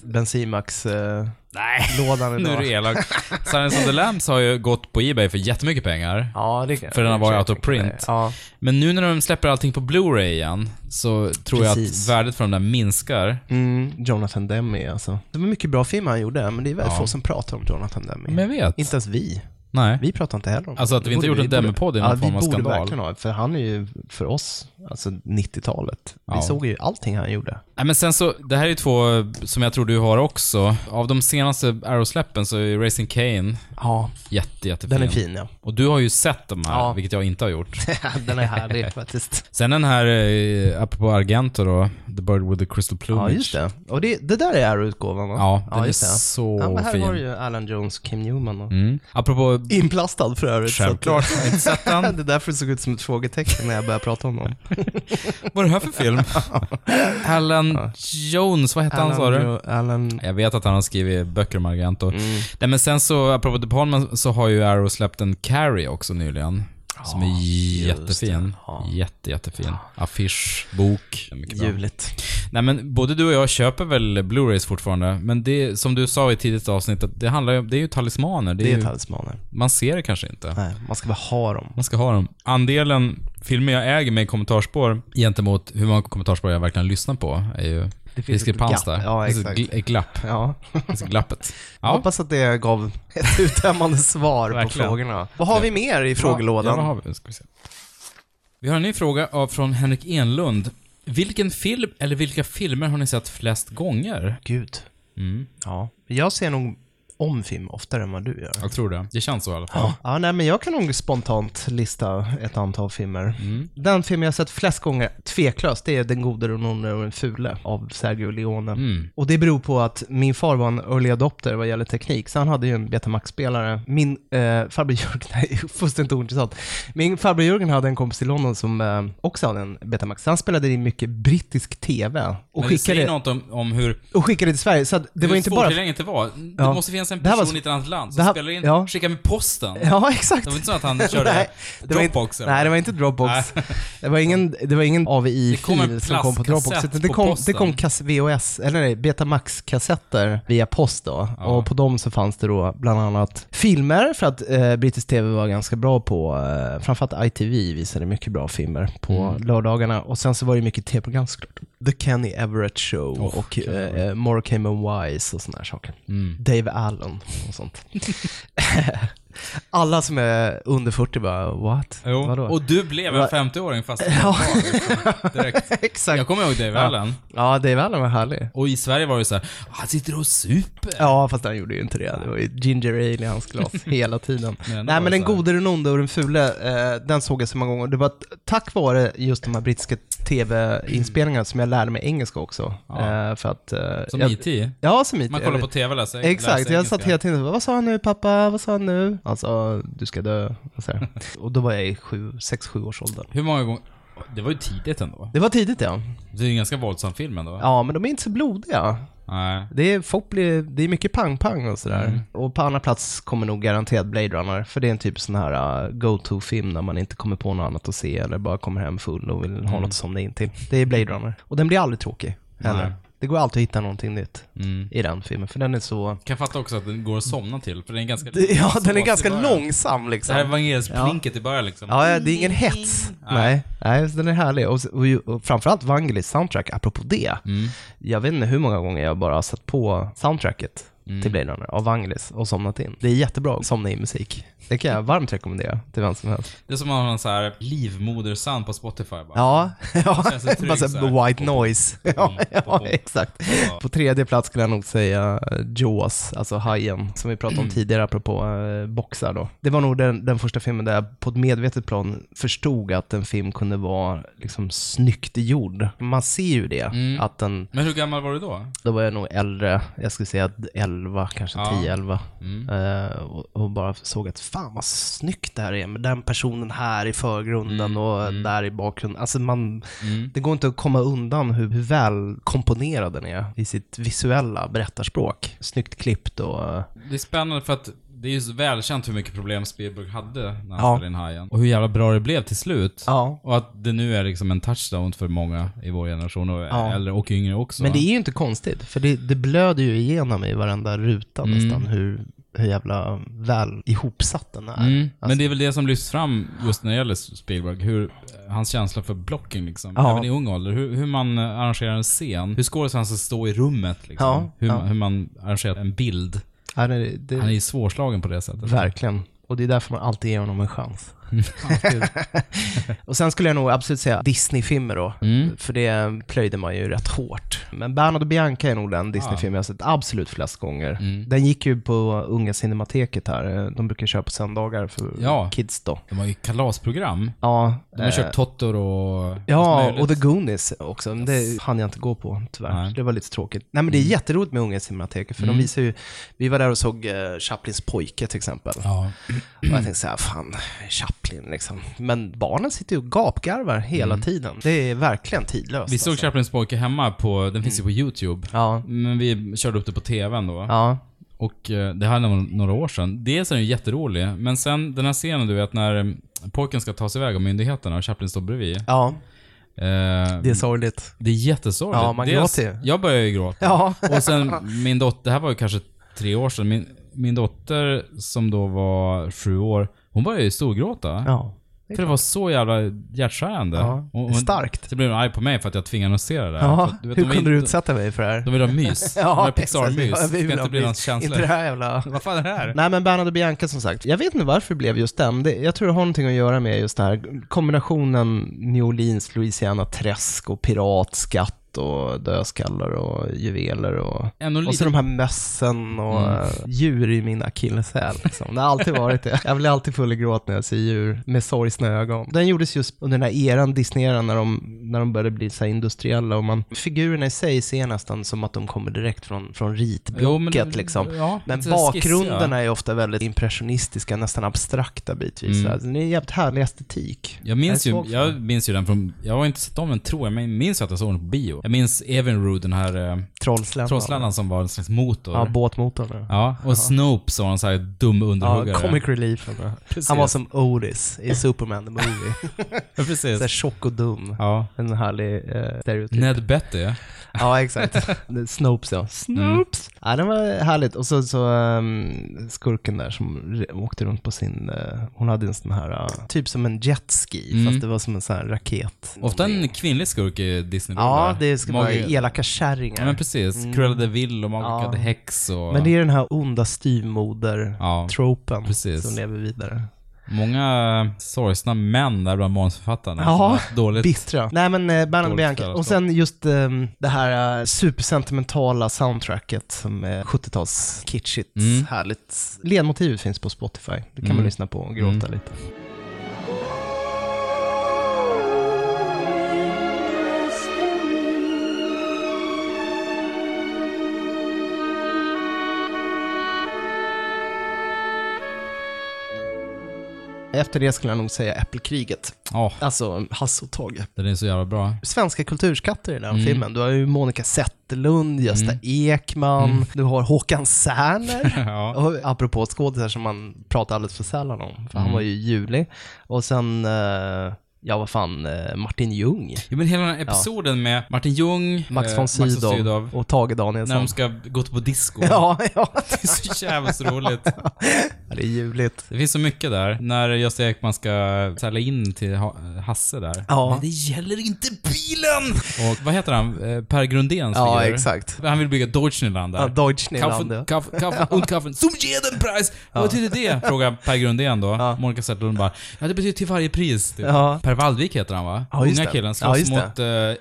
[SPEAKER 2] Bensimax-lådan
[SPEAKER 1] nej. [LAUGHS] Nu är
[SPEAKER 2] idag.
[SPEAKER 1] du
[SPEAKER 2] [LAUGHS]
[SPEAKER 1] elak. Silence of the Lambs har ju gått på Ebay för jättemycket pengar.
[SPEAKER 2] Ja, det kan
[SPEAKER 1] För den har varit
[SPEAKER 2] jag
[SPEAKER 1] out of
[SPEAKER 2] tänka mig.
[SPEAKER 1] print.
[SPEAKER 2] Ja.
[SPEAKER 1] Men nu när de släpper allting på Blu-ray igen, så tror
[SPEAKER 2] Precis.
[SPEAKER 1] jag att värdet för de där minskar.
[SPEAKER 2] Mm, Jonathan Demme alltså. Det var mycket bra film han gjorde, men det är väldigt få som pratar om Jonathan Demme.
[SPEAKER 1] Men jag vet.
[SPEAKER 2] Inte ens vi.
[SPEAKER 1] Nej.
[SPEAKER 2] Vi pratar inte heller om
[SPEAKER 1] Alltså att
[SPEAKER 2] det
[SPEAKER 1] vi inte
[SPEAKER 2] borde
[SPEAKER 1] gjort en Demme-podd
[SPEAKER 2] borde-
[SPEAKER 1] är någon
[SPEAKER 2] ja,
[SPEAKER 1] form av
[SPEAKER 2] Vi borde
[SPEAKER 1] skandal.
[SPEAKER 2] verkligen ha, för han är ju för oss, alltså 90-talet.
[SPEAKER 1] Ja.
[SPEAKER 2] Vi såg ju allting han gjorde.
[SPEAKER 1] Nej, men sen så, det här är ju två eh, som jag tror du har också. Av de senaste Arrow-släppen så är ju Racing Kane
[SPEAKER 2] Ja,
[SPEAKER 1] jätte, jättefin.
[SPEAKER 2] den är
[SPEAKER 1] [LAUGHS]
[SPEAKER 2] fin ja.
[SPEAKER 1] Och du har ju sett de här,
[SPEAKER 2] Ja.
[SPEAKER 1] vilket jag inte har
[SPEAKER 2] [LAUGHS]
[SPEAKER 1] gjort.
[SPEAKER 2] den är härlig faktiskt.
[SPEAKER 1] Sen den här, eh, apropå Argento då, The Bird with the Crystal Plumage.
[SPEAKER 2] [LAUGHS] Ja, just det. Och det, det där är Arrow-utgåvan va?
[SPEAKER 1] Ja, den är
[SPEAKER 2] just det.
[SPEAKER 1] så
[SPEAKER 2] ja, men här
[SPEAKER 1] fin.
[SPEAKER 2] var det ju Alan Jones, Kim Newman och...
[SPEAKER 1] Mm. Apropå...
[SPEAKER 2] [LAUGHS] Inplastad för övrigt. så att-
[SPEAKER 1] Självklart, jag har inte sett den.
[SPEAKER 2] [LAUGHS] Det är därför det såg ut som ett frågetecken när jag började prata om honom.
[SPEAKER 1] Vad är det här för
[SPEAKER 2] [LAUGHS]
[SPEAKER 1] film? Alan Jones, vad hette han sa du?
[SPEAKER 2] Alan, Alan
[SPEAKER 1] Jag vet att han har skrivit böcker om Argento.
[SPEAKER 2] Mm.
[SPEAKER 1] Nej men sen så, apropå De Palma, så har ju Arrow släppt en Carrie också nyligen. Som är jättefin.
[SPEAKER 2] det. Ja.
[SPEAKER 1] Jätte, jättefin. Affisch, bok. mycket bra.
[SPEAKER 2] Juligt.
[SPEAKER 1] Nej men både du och jag köper väl Blu-rays fortfarande, men det som du sa i tidigt avsnitt, att det handlar ju om, det är ju talismaner. Det är
[SPEAKER 2] Det är
[SPEAKER 1] ju,
[SPEAKER 2] talismaner.
[SPEAKER 1] man ser det kanske inte.
[SPEAKER 2] Nej, man ska bara ha dem.
[SPEAKER 1] Man ska ha dem. Andelen filmer jag äger med kommentarspår gentemot hur många kommentarspår jag verkligen lyssnar på är ju diskrepans
[SPEAKER 2] glapp.
[SPEAKER 1] där.
[SPEAKER 2] Ja,
[SPEAKER 1] Det finns ett
[SPEAKER 2] exakt.
[SPEAKER 1] gl- ett glapp.
[SPEAKER 2] Ja.
[SPEAKER 1] Det finns
[SPEAKER 2] [LAUGHS]
[SPEAKER 1] glappet.
[SPEAKER 2] Jag
[SPEAKER 1] Ja.
[SPEAKER 2] hoppas att det gav ett [LAUGHS] uttömmande svar på
[SPEAKER 1] Verkligen.
[SPEAKER 2] frågorna. Vad har vi mer i frågelådan?
[SPEAKER 1] Ja, vad har vi? Ska vi, se. vi har en ny fråga av, från Henrik Enlund. Vilken film, eller vilka filmer har ni sett flest gånger?
[SPEAKER 2] Gud.
[SPEAKER 1] Mm,
[SPEAKER 2] Ja. Jag ser nog om film oftare än vad du gör.
[SPEAKER 1] jag tror det. Det känns så i alla fall.
[SPEAKER 2] Ja. ja, nej men jag kan nog spontant lista ett antal filmer.
[SPEAKER 1] Mm.
[SPEAKER 2] Den film jag har sett flest gånger, tveklöst, det är Den gode, den onde och den fule av Sergio Leone.
[SPEAKER 1] Mm.
[SPEAKER 2] Och det beror på att min far var en early adopter vad gäller teknik, så han hade ju en Betamax-spelare. Min eh, [LAUGHS] farbror Jörgen, nej fullständigt ointressant. Min farbror Jörgen hade en kompis i London som eh, också hade en Betamax, så han spelade in mycket brittisk TV och
[SPEAKER 1] Men det säger
[SPEAKER 2] skickade,
[SPEAKER 1] något om, om hur,
[SPEAKER 2] och skickade till Sverige. Så att det var
[SPEAKER 1] hur
[SPEAKER 2] inte bara...
[SPEAKER 1] svårtillgängligt det var. Det
[SPEAKER 2] Ja.
[SPEAKER 1] måste finnas en
[SPEAKER 2] Det här
[SPEAKER 1] person
[SPEAKER 2] var
[SPEAKER 1] i ett annat land
[SPEAKER 2] det
[SPEAKER 1] som
[SPEAKER 2] här-
[SPEAKER 1] spelar in,
[SPEAKER 2] ja.
[SPEAKER 1] skickar med posten.
[SPEAKER 2] [LAUGHS] Ja, exakt.
[SPEAKER 1] Det var inte så att han körde
[SPEAKER 2] [LAUGHS] Nej, det var inte-
[SPEAKER 1] Dropbox eller
[SPEAKER 2] Nej, det var inte Dropbox. Det var ingen, det var ingen
[SPEAKER 1] Det kom en
[SPEAKER 2] AVI-fil som kom på
[SPEAKER 1] plastkassett
[SPEAKER 2] Dropbox. Utan
[SPEAKER 1] på
[SPEAKER 2] det, kom, det
[SPEAKER 1] posten.
[SPEAKER 2] kom kass- VHS, eller nej, Betamax-kassetter via post då.
[SPEAKER 1] Ja.
[SPEAKER 2] Och på dem så fanns det då bland annat filmer, för att eh, brittisk TV var ganska bra på, eh, framförallt ITV visade mycket bra filmer på
[SPEAKER 1] Mm.
[SPEAKER 2] lördagarna. Och sen så var det mycket tv-program såklart. The Kenny Everett Show
[SPEAKER 1] Oh,
[SPEAKER 2] och
[SPEAKER 1] Kenny
[SPEAKER 2] eh, eh, More Came and Wise och sådana här saker.
[SPEAKER 1] Mm.
[SPEAKER 2] Dave Allen
[SPEAKER 1] [LAUGHS]
[SPEAKER 2] och sånt. [LAUGHS] Alla som är under 40 bara, what?
[SPEAKER 1] Jo.
[SPEAKER 2] Vadå?
[SPEAKER 1] Och du blev en
[SPEAKER 2] Va-
[SPEAKER 1] 50-åring fast ja. direkt.
[SPEAKER 2] [LAUGHS] Exakt.
[SPEAKER 1] Jag kommer ihåg Dave Allen.
[SPEAKER 2] Ja, Dave Allen var härlig.
[SPEAKER 1] Och i Sverige var det så här, han sitter och super.
[SPEAKER 2] Ja, fast han gjorde ju inte det. Det var ju ginger ale i hans
[SPEAKER 1] [LAUGHS]
[SPEAKER 2] glas hela tiden.
[SPEAKER 1] Men ändå var
[SPEAKER 2] Nej, men
[SPEAKER 1] det
[SPEAKER 2] den
[SPEAKER 1] så här.
[SPEAKER 2] gode, den onde och den fule, eh, den såg jag så många gånger. Det var t- tack vare just de här brittiska tv-inspelningarna som jag lärde mig engelska också. Eh, för att, eh,
[SPEAKER 1] Som
[SPEAKER 2] jag,
[SPEAKER 1] IT.
[SPEAKER 2] Ja, som IT.
[SPEAKER 1] Man kollar på TV och läser
[SPEAKER 2] Exakt,
[SPEAKER 1] läser
[SPEAKER 2] jag satt
[SPEAKER 1] engelska.
[SPEAKER 2] hela tiden och bara, vad sa han nu pappa, vad sa han nu? Han sa, du ska dö. Och, så här.
[SPEAKER 1] [LAUGHS]
[SPEAKER 2] och då var jag i 6-7 års ålder.
[SPEAKER 1] Hur många gånger? Det var ju tidigt ändå.
[SPEAKER 2] Det var tidigt ja.
[SPEAKER 1] Det är ju en ganska våldsam film ändå.
[SPEAKER 2] Ja, men de är inte så blodiga.
[SPEAKER 1] Nej.
[SPEAKER 2] Det är, folk blir, det är mycket pang-pang och sådär.
[SPEAKER 1] Mm.
[SPEAKER 2] Och på andra plats kommer nog garanterat Blade Runner, för det är en typ sån här uh, go-to-film när man inte kommer på något annat att se eller bara kommer hem full och vill ha något som det in till. Det är Blade Runner. Och den blir aldrig tråkig heller.
[SPEAKER 1] Mm. Nej.
[SPEAKER 2] Det går alltid att hitta någonting nytt
[SPEAKER 1] Mm.
[SPEAKER 2] i den filmen, för den är så...
[SPEAKER 1] Kan fatta också att den går att somna till, för den är ganska
[SPEAKER 2] [LAUGHS] Ja,
[SPEAKER 1] sås
[SPEAKER 2] den är
[SPEAKER 1] i
[SPEAKER 2] ganska
[SPEAKER 1] början.
[SPEAKER 2] långsam
[SPEAKER 1] Det
[SPEAKER 2] liksom.
[SPEAKER 1] här evangelismplinket i början liksom.
[SPEAKER 2] Ja, ja, det är ingen hets. Nej, nej så den är härlig. Och, s- och, ju- och framförallt Vangelis soundtrack, apropå det. Jag vet inte hur många gånger jag bara har satt på soundtracket till Blade Runner av Vangelis och somnat in. Mm. Det är jättebra att somna in musik. Det kan jag varmt rekommendera till vem som helst.
[SPEAKER 1] Det är som att ha en sån här livmodersound på Spotify bara.
[SPEAKER 2] Ja, ja.
[SPEAKER 1] känns det tryggt
[SPEAKER 2] Bara
[SPEAKER 1] så
[SPEAKER 2] såhär
[SPEAKER 1] här. Mm,
[SPEAKER 2] white noise. Ja, ja, exakt. På tredje plats skulle jag nog säga eh, Jaws, alltså Hajen, som vi pratade om
[SPEAKER 1] Mm.
[SPEAKER 2] tidigare apropå eh, boxar då. Det var nog den, den första filmen där jag på ett medvetet plan förstod att en film kunde vara liksom snyggt gjord. Man ser ju det,
[SPEAKER 1] Mm.
[SPEAKER 2] att den,
[SPEAKER 1] Men hur gammal var du då?
[SPEAKER 2] då var jag nog äldre, jag skulle säga att 11, kanske
[SPEAKER 1] Ja. Mm.
[SPEAKER 2] 10-11. Eh, och, och bara såg att fan vad snyggt det här är med den personen här i förgrunden
[SPEAKER 1] Mm.
[SPEAKER 2] och där i bakgrunden. Alltså man, det går inte att komma undan hur, hur väl komponerad den är i sitt visuella berättarspråk. Snyggt klippt och...
[SPEAKER 1] Det är spännande för att det är ju så välkänt hur mycket problem Spielberg hade när han
[SPEAKER 2] Ja.
[SPEAKER 1] spelade in Hajen. Och hur jävla bra det blev till slut.
[SPEAKER 2] Ja.
[SPEAKER 1] Och att det nu är liksom en touchdown för många i vår generation och
[SPEAKER 2] Ja.
[SPEAKER 1] äldre och yngre också.
[SPEAKER 2] Men det är ju inte konstigt, för det, det blöder ju igenom i varenda ruta nästan hur, hur jävla väl ihopsatt den är.
[SPEAKER 1] Mm. Men det är väl det som lyfts fram just när det gäller Spielberg. Hur, eh, hans känsla för blocking liksom.
[SPEAKER 2] Ja.
[SPEAKER 1] Även i ung ålder. Hur, hur man eh, arrangerar en scen. Hur skådespelaren ska stå i rummet liksom.
[SPEAKER 2] Ja,
[SPEAKER 1] Hur,
[SPEAKER 2] ja.
[SPEAKER 1] Man, hur man arrangerar en bild.
[SPEAKER 2] Ja, det, det,
[SPEAKER 1] Han är ju svårslagen på det
[SPEAKER 2] [LAUGHS]
[SPEAKER 1] sättet.
[SPEAKER 2] Verkligen. Och det är därför man alltid ger honom en chans. och sen skulle jag nog absolut säga Disney-filmer då,
[SPEAKER 1] Mm.
[SPEAKER 2] för det plöjde man ju rätt hårt. Men Bernard och Bianca är nog den Disney-film jag har sett absolut flest gånger.
[SPEAKER 1] Mm.
[SPEAKER 2] Den gick ju på Unga Cinemateket här, de brukar köra på söndagar för
[SPEAKER 1] Ja.
[SPEAKER 2] kids då.
[SPEAKER 1] De har ju kalasprogram.
[SPEAKER 2] Ja,
[SPEAKER 1] De har
[SPEAKER 2] eh,
[SPEAKER 1] kört Totoro och... allt
[SPEAKER 2] Ja,
[SPEAKER 1] möjligt.
[SPEAKER 2] och The Goonies också. Men det hann jag inte gå på, tyvärr.
[SPEAKER 1] Nej. Mm.
[SPEAKER 2] Det var lite tråkigt. Nej, men det är jätteroligt med Unga Cinemateket, för de visar ju... Vi var där och såg eh, Chaplins pojke till exempel.
[SPEAKER 1] Ja.
[SPEAKER 2] Och jag tänkte så här, fan, Chaplin liksom. Men barnen sitter ju och gapgarvar hela tiden. Det är verkligen tidlöst.
[SPEAKER 1] Mm. Vi såg
[SPEAKER 2] alltså.
[SPEAKER 1] Chaplins pojke hemma på... Den finns ju på YouTube.
[SPEAKER 2] Mm. Ja,
[SPEAKER 1] Men vi körde upp det på TVn då.
[SPEAKER 2] ja,
[SPEAKER 1] Och eh, det här var några år sedan. Dels är den ju jätterolig, men sen den här scenen du vet när eh, pojken ska ta sig iväg av myndigheterna och Chaplin står bredvid.
[SPEAKER 2] ja.
[SPEAKER 1] Eh,
[SPEAKER 2] Det är sorgligt.
[SPEAKER 1] det är jättesorgligt.
[SPEAKER 2] Ja, man
[SPEAKER 1] Dels-
[SPEAKER 2] gråter ju.
[SPEAKER 1] Jag börjar ju gråta.
[SPEAKER 2] Ja.
[SPEAKER 1] Och sen min dotter, det här var ju kanske tre år sedan, min, min dotter som då var sju år, hon började ju storgråta.
[SPEAKER 2] Ja.
[SPEAKER 1] För det var så jävla hjärtskärande.
[SPEAKER 2] Ja,
[SPEAKER 1] Och hon-
[SPEAKER 2] starkt.
[SPEAKER 1] Så blev hon arg på mig för att jag tvingade henne att se det där. För
[SPEAKER 2] ja.
[SPEAKER 1] att, vet,
[SPEAKER 2] Hur
[SPEAKER 1] de
[SPEAKER 2] kunde du
[SPEAKER 1] vill-
[SPEAKER 2] utsätta mig för det här?
[SPEAKER 1] De vill ha
[SPEAKER 2] [LAUGHS]
[SPEAKER 1] mys. de vill ha Pixar-mys.
[SPEAKER 2] exakt. Ja, vi
[SPEAKER 1] det
[SPEAKER 2] vill
[SPEAKER 1] ska
[SPEAKER 2] ha
[SPEAKER 1] inte bli
[SPEAKER 2] mys.
[SPEAKER 1] någon känsla.
[SPEAKER 2] Inte det här jävla...
[SPEAKER 1] Vad fan är det här?
[SPEAKER 5] Nej men Bernhard
[SPEAKER 2] och Bianca
[SPEAKER 5] som sagt.
[SPEAKER 2] Jag vet inte varför det blev just den. Det, jag tror det har någonting att göra med just det här kombinationen New Orleans, Louisiana träsk och piratskatt och dödskallar och juveler och...
[SPEAKER 1] Ändå
[SPEAKER 2] Och så
[SPEAKER 1] lite, Mm.
[SPEAKER 2] de här mössen och eh, djur i min akilleshäl. Liksom. Det har alltid varit det. Jag blir alltid full i gråt när jag ser djur med sorgsna ögon. Den gjordes just under den här eran, Disney-eran, när de, när de började bli så här industriella. Och man, figurerna i sig ser nästan som att de kommer direkt från,
[SPEAKER 1] Jo,
[SPEAKER 2] från
[SPEAKER 1] men
[SPEAKER 2] ritblocket.
[SPEAKER 1] det-
[SPEAKER 2] liksom.
[SPEAKER 1] ja,
[SPEAKER 2] Men
[SPEAKER 1] lite
[SPEAKER 2] bakgrunderna är ofta väldigt impressionistiska, nästan abstrakta bitvis.
[SPEAKER 1] Mm.
[SPEAKER 2] Mm. Alltså, det är en jävligt härlig estetik.
[SPEAKER 1] Jag minns,
[SPEAKER 2] Jag är
[SPEAKER 1] ju,
[SPEAKER 2] svag för
[SPEAKER 1] jag minns ju den från, jag har inte sett om den tror jag, men jag minns ju att jag såg den på bio. Jag minns Evinrude, den här eh,
[SPEAKER 2] Trollsländan.
[SPEAKER 1] trollsländan som var en slags motor.
[SPEAKER 2] Ja, båtmotorn. Ja.
[SPEAKER 1] Ja, och Snope som var en sån här dum
[SPEAKER 2] Ja,
[SPEAKER 1] underhuggare.
[SPEAKER 2] comic relief.
[SPEAKER 1] [LAUGHS] Precis.
[SPEAKER 2] Han var som Otis i Superman the Movie.
[SPEAKER 1] Ja,
[SPEAKER 2] Såhär
[SPEAKER 1] precis.
[SPEAKER 2] tjock och dum.
[SPEAKER 1] Ja.
[SPEAKER 2] En härlig eh, stereotyp.
[SPEAKER 1] Ned Betty.
[SPEAKER 2] Ja, [LAUGHS] exakt. Snopes ja. Snopes! Ja, den var härligt. Och så, så ehm, skurken där som re- åkte runt på sin, eh, hon hade en sån här, eh, typ som en jetski,
[SPEAKER 1] Mm.
[SPEAKER 2] fast det var som en sån här raket.
[SPEAKER 1] Ofta en kvinnlig skurk i disney
[SPEAKER 2] Ja, det ska vara
[SPEAKER 1] Magi-
[SPEAKER 2] elaka
[SPEAKER 1] Ja,
[SPEAKER 2] kärringar.
[SPEAKER 1] men
[SPEAKER 2] men,
[SPEAKER 1] precis. Cruella de Vil och Magica
[SPEAKER 2] Ja.
[SPEAKER 1] the Hex och...
[SPEAKER 2] det är den här onda styvmoder
[SPEAKER 1] Ja,
[SPEAKER 2] tropen
[SPEAKER 1] precis.
[SPEAKER 2] som lever vidare.
[SPEAKER 1] många sorgsna män där bland manusförfattarna.
[SPEAKER 2] Ja.
[SPEAKER 1] som har haft Dåligt.
[SPEAKER 2] Bittra. Nej men eh, Bernhard
[SPEAKER 1] Dåligt
[SPEAKER 2] och Bianca.
[SPEAKER 1] föräldraskap.
[SPEAKER 2] Och sen just ehm, det här eh, supersentimentala soundtracket som är 70-tals kitschigt,
[SPEAKER 1] Mm.
[SPEAKER 2] härligt. Ledmotivet finns på Spotify. Det kan
[SPEAKER 1] Mm.
[SPEAKER 2] man lyssna på och gråta
[SPEAKER 1] Mm.
[SPEAKER 2] lite. Efter det skulle jag nog säga Äppelkriget.
[SPEAKER 1] Ja,
[SPEAKER 2] Alltså Hasse och Tage.
[SPEAKER 1] den är så jävla bra.
[SPEAKER 2] svenska kulturskatter i den här
[SPEAKER 1] Mm.
[SPEAKER 2] filmen. Du har ju Monica Zetterlund, Gösta
[SPEAKER 1] Mm.
[SPEAKER 2] Ekman, du har Håkan Särner.
[SPEAKER 1] [LAUGHS] ja.
[SPEAKER 2] Och apropå skådisar som man pratar alldeles för sällan om, för han
[SPEAKER 1] Mm.
[SPEAKER 2] var ju ljuvlig. Och sen, eh, ja vad fan, eh, Martin Ljung,
[SPEAKER 1] ja, men hela den här episoden med Martin Ljung,
[SPEAKER 2] Max
[SPEAKER 1] eh,
[SPEAKER 2] von Sydow
[SPEAKER 1] Sydow,
[SPEAKER 2] och Tage
[SPEAKER 1] när de
[SPEAKER 2] Danielsson.
[SPEAKER 1] ska gå på disco.
[SPEAKER 2] [LAUGHS] Ja, ja,
[SPEAKER 1] [LAUGHS] Det är så jävla så roligt.
[SPEAKER 2] det är ljuvligt.
[SPEAKER 1] Det finns så mycket där. När Gösta Ekman ska sälja in till ha- Hasse där.
[SPEAKER 2] Ja.
[SPEAKER 1] Men det gäller inte
[SPEAKER 2] [LAUGHS]
[SPEAKER 1] bilen! Och vad heter han? Eh, Per Grundéns
[SPEAKER 2] Ja,
[SPEAKER 1] figur.
[SPEAKER 2] exakt.
[SPEAKER 1] Han vill bygga Deutschland där.
[SPEAKER 2] Ja, Deutschland.
[SPEAKER 1] Kaffen, kaffen,
[SPEAKER 2] [LAUGHS]
[SPEAKER 1] kaffen und kaffen zum jeden Preis. Vad betyder det? Frågar Per Grundén
[SPEAKER 2] [LAUGHS]
[SPEAKER 1] då. Monica Zetterlund bara, ja det betyder till varje pris. Typ.
[SPEAKER 2] Ja.
[SPEAKER 1] Per Wallvik heter han va?
[SPEAKER 2] Ja, just
[SPEAKER 1] Unga
[SPEAKER 2] det.
[SPEAKER 1] killen
[SPEAKER 2] Ja,
[SPEAKER 1] slåss
[SPEAKER 2] just det.
[SPEAKER 1] mot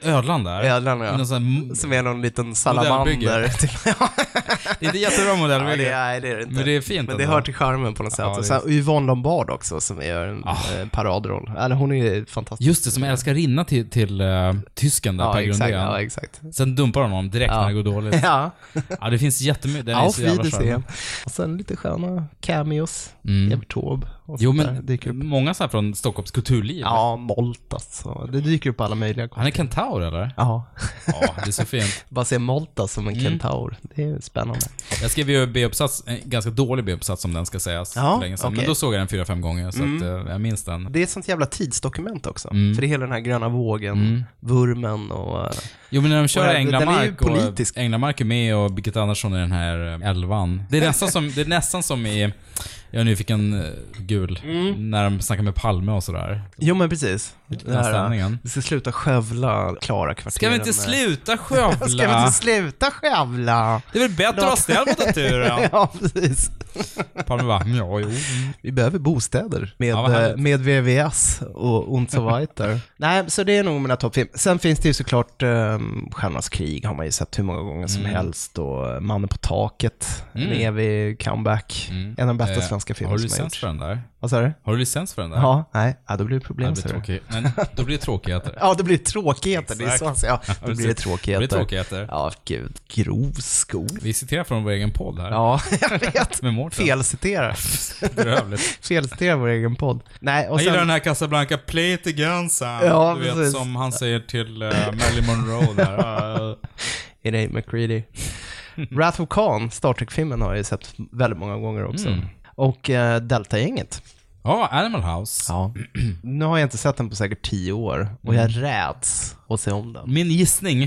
[SPEAKER 1] eh, Ödlan där.
[SPEAKER 2] Ödlan, ja.
[SPEAKER 1] I någon
[SPEAKER 2] [LAUGHS]
[SPEAKER 1] sån här,
[SPEAKER 2] Som är någon liten
[SPEAKER 1] [LAUGHS] Modellbygge.
[SPEAKER 2] salamander.
[SPEAKER 1] det är inte jättebra
[SPEAKER 2] Ja,
[SPEAKER 1] modellbygge.
[SPEAKER 2] det, nej, det är det inte.
[SPEAKER 1] Men det är fint
[SPEAKER 2] Men det
[SPEAKER 1] ändå.
[SPEAKER 2] hör till charmen på något sätt.
[SPEAKER 1] Ja,
[SPEAKER 2] och
[SPEAKER 1] det
[SPEAKER 2] sen
[SPEAKER 1] är- Ah.
[SPEAKER 2] Yvonne Lombard också som gör en eh, paradroll. Eller hon är ju fantastisk.
[SPEAKER 1] Just det, som älskarinna till, till uh, tysken där,
[SPEAKER 2] ja,
[SPEAKER 1] Per
[SPEAKER 2] exakt,
[SPEAKER 1] Grundén.
[SPEAKER 2] ja, exakt. [LAUGHS]
[SPEAKER 1] Sen dumpar de honom direkt när det går dåligt.
[SPEAKER 2] Ja,
[SPEAKER 1] Ja, det finns jättemycket. Den är
[SPEAKER 2] Auf
[SPEAKER 1] så jävla charmig.
[SPEAKER 2] Wiedersehen. Och sen lite sköna cameos.
[SPEAKER 1] Mm.
[SPEAKER 2] Evert Taube och
[SPEAKER 1] Jo,
[SPEAKER 2] sånt där
[SPEAKER 1] men
[SPEAKER 2] dyker upp.
[SPEAKER 1] många så här från Stockholms kulturliv.
[SPEAKER 2] Ja, Molt alltså. Det dyker upp alla möjliga
[SPEAKER 1] Han är kentaur, eller?
[SPEAKER 2] Ja, [LAUGHS]
[SPEAKER 1] Ja, det är så fint.
[SPEAKER 2] bara se Molta som
[SPEAKER 1] Mm.
[SPEAKER 2] en kentaur. Det är spännande.
[SPEAKER 1] Jag skrev ju B-uppsats, en ganska dålig B-uppsats om den ska sägas,
[SPEAKER 2] Ja,
[SPEAKER 1] för länge sedan. Men
[SPEAKER 2] okej. Mm.
[SPEAKER 1] då såg jag den fyra, fem gånger, så att, eh, jag minns den.
[SPEAKER 2] Det är ett sånt jävla tidsdokument också.
[SPEAKER 1] Mm.
[SPEAKER 2] För det är hela den här gröna vågen, vurmen och... eh,
[SPEAKER 1] Jo, men när de
[SPEAKER 2] Och
[SPEAKER 1] kör
[SPEAKER 2] den- den är ju
[SPEAKER 1] Änglamark
[SPEAKER 2] politisk.
[SPEAKER 1] och Änglamark är med och Birgitta Andersson i den här eh, elvan. Det är nästan som, det är nästan som i, jag är nyfiken, eh, gul,
[SPEAKER 2] Mm.
[SPEAKER 1] när de snackar med Palme och sådär.
[SPEAKER 2] Jo men precis. Det här,
[SPEAKER 1] stämningen.
[SPEAKER 2] Vi ska sluta skövla Klara-kvarteren. eh,
[SPEAKER 1] Ska vi inte
[SPEAKER 2] med- [LAUGHS]
[SPEAKER 1] sluta
[SPEAKER 2] Ska vi
[SPEAKER 1] skövla?
[SPEAKER 2] inte sluta skövla?
[SPEAKER 1] Det är väl bättre att vara snäll mot naturen?
[SPEAKER 2] [LAUGHS] Ja, precis.
[SPEAKER 1] Palme bara, "Mm, ja, jo. mm."
[SPEAKER 2] Vi behöver bostäder med,
[SPEAKER 1] Ja, vad härligt.
[SPEAKER 2] eh, med VVS och und so weiter. [LAUGHS] Nej, så det är nog mina toppfilm. Sen finns det ju såklart um, Stjärnornas krig har man ju sett hur många gånger som helst och Mannen på taket, en evig comeback. En av de bästa
[SPEAKER 1] Eh,
[SPEAKER 2] svenska filmer
[SPEAKER 1] Har du
[SPEAKER 2] som Mm. har
[SPEAKER 1] licens
[SPEAKER 2] gjorts.
[SPEAKER 1] för den där?
[SPEAKER 2] Vad sa du?
[SPEAKER 1] Har du licens för den där?
[SPEAKER 2] Ja, nej, ja, då blir det
[SPEAKER 1] Ja,
[SPEAKER 2] problem.
[SPEAKER 1] Det blir
[SPEAKER 2] ser du.
[SPEAKER 1] tråkigt. Men då blir det
[SPEAKER 2] [LAUGHS]
[SPEAKER 1] tråkigheter.
[SPEAKER 2] Ja, det blir tråkigheter. Det är så
[SPEAKER 1] Exakt.
[SPEAKER 2] han säger. Ja, då blir det
[SPEAKER 1] precis.
[SPEAKER 2] tråkigheter.
[SPEAKER 1] Det blir tråkigheter.
[SPEAKER 2] Ja, gud. Grov skog.
[SPEAKER 1] Vi citerar från vår egen podd här.
[SPEAKER 2] Ja, [LAUGHS] jag vet.
[SPEAKER 1] Med Mårten.
[SPEAKER 2] Felciterar.
[SPEAKER 1] Bedrövligt.
[SPEAKER 2] Felciterar vår egen podd. Nej, [LAUGHS] och
[SPEAKER 1] Jag gillar
[SPEAKER 2] sen...
[SPEAKER 1] den här Casablanca, play it again Sam.
[SPEAKER 2] Ja,
[SPEAKER 1] du vet
[SPEAKER 2] precis.
[SPEAKER 1] som han säger till eh, Marilyn Monroe
[SPEAKER 2] [LAUGHS]
[SPEAKER 1] där. Eh,
[SPEAKER 2] It ain't
[SPEAKER 1] [LAUGHS]
[SPEAKER 2] McCready. Wrath
[SPEAKER 1] Mm.
[SPEAKER 2] of Khan, Star Trek-filmen, har jag ju sett väldigt många gånger också. Och eh, Delta-gänget.
[SPEAKER 1] Ja, Animal House.
[SPEAKER 2] Ja. [CLEARS THROAT] Nu har jag inte sett den på säkert tio år och
[SPEAKER 1] Mm.
[SPEAKER 2] jag räds att se om den.
[SPEAKER 1] Min
[SPEAKER 2] [LAUGHS]
[SPEAKER 1] gissning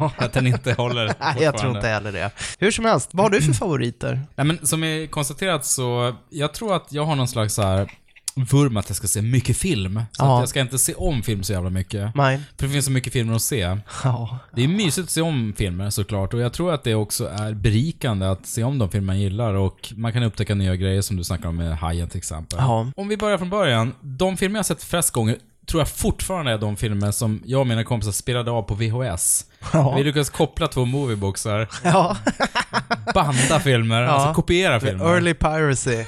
[SPEAKER 1] är att den inte håller
[SPEAKER 2] Nej, jag tror
[SPEAKER 1] fortfarande.
[SPEAKER 2] inte heller det. Hur som helst, vad har
[SPEAKER 1] [CLEARS THROAT]
[SPEAKER 2] du för favoriter?
[SPEAKER 1] Nej men som är konstaterat så, jag tror att jag har någon slags så här vurm att jag ska se mycket film. Så
[SPEAKER 2] Ja.
[SPEAKER 1] att jag ska inte se om film så jävla mycket.
[SPEAKER 2] Mine.
[SPEAKER 1] För det finns så mycket filmer att se.
[SPEAKER 2] Ja.
[SPEAKER 1] Det är mysigt att se om filmer såklart och jag tror att det också är berikande att se om de filmer man gillar och man kan upptäcka nya grejer som du snackar om med Hajen till exempel.
[SPEAKER 2] Ja.
[SPEAKER 1] Om vi börjar från början. De filmer jag har sett flest gånger tror jag fortfarande är de filmer som jag och mina kompisar spelade av på VHS.
[SPEAKER 2] Ja.
[SPEAKER 1] Vi lyckades koppla två movieboxar,
[SPEAKER 2] ja.
[SPEAKER 1] banda filmer, alltså kopiera filmer.
[SPEAKER 2] Early piracy.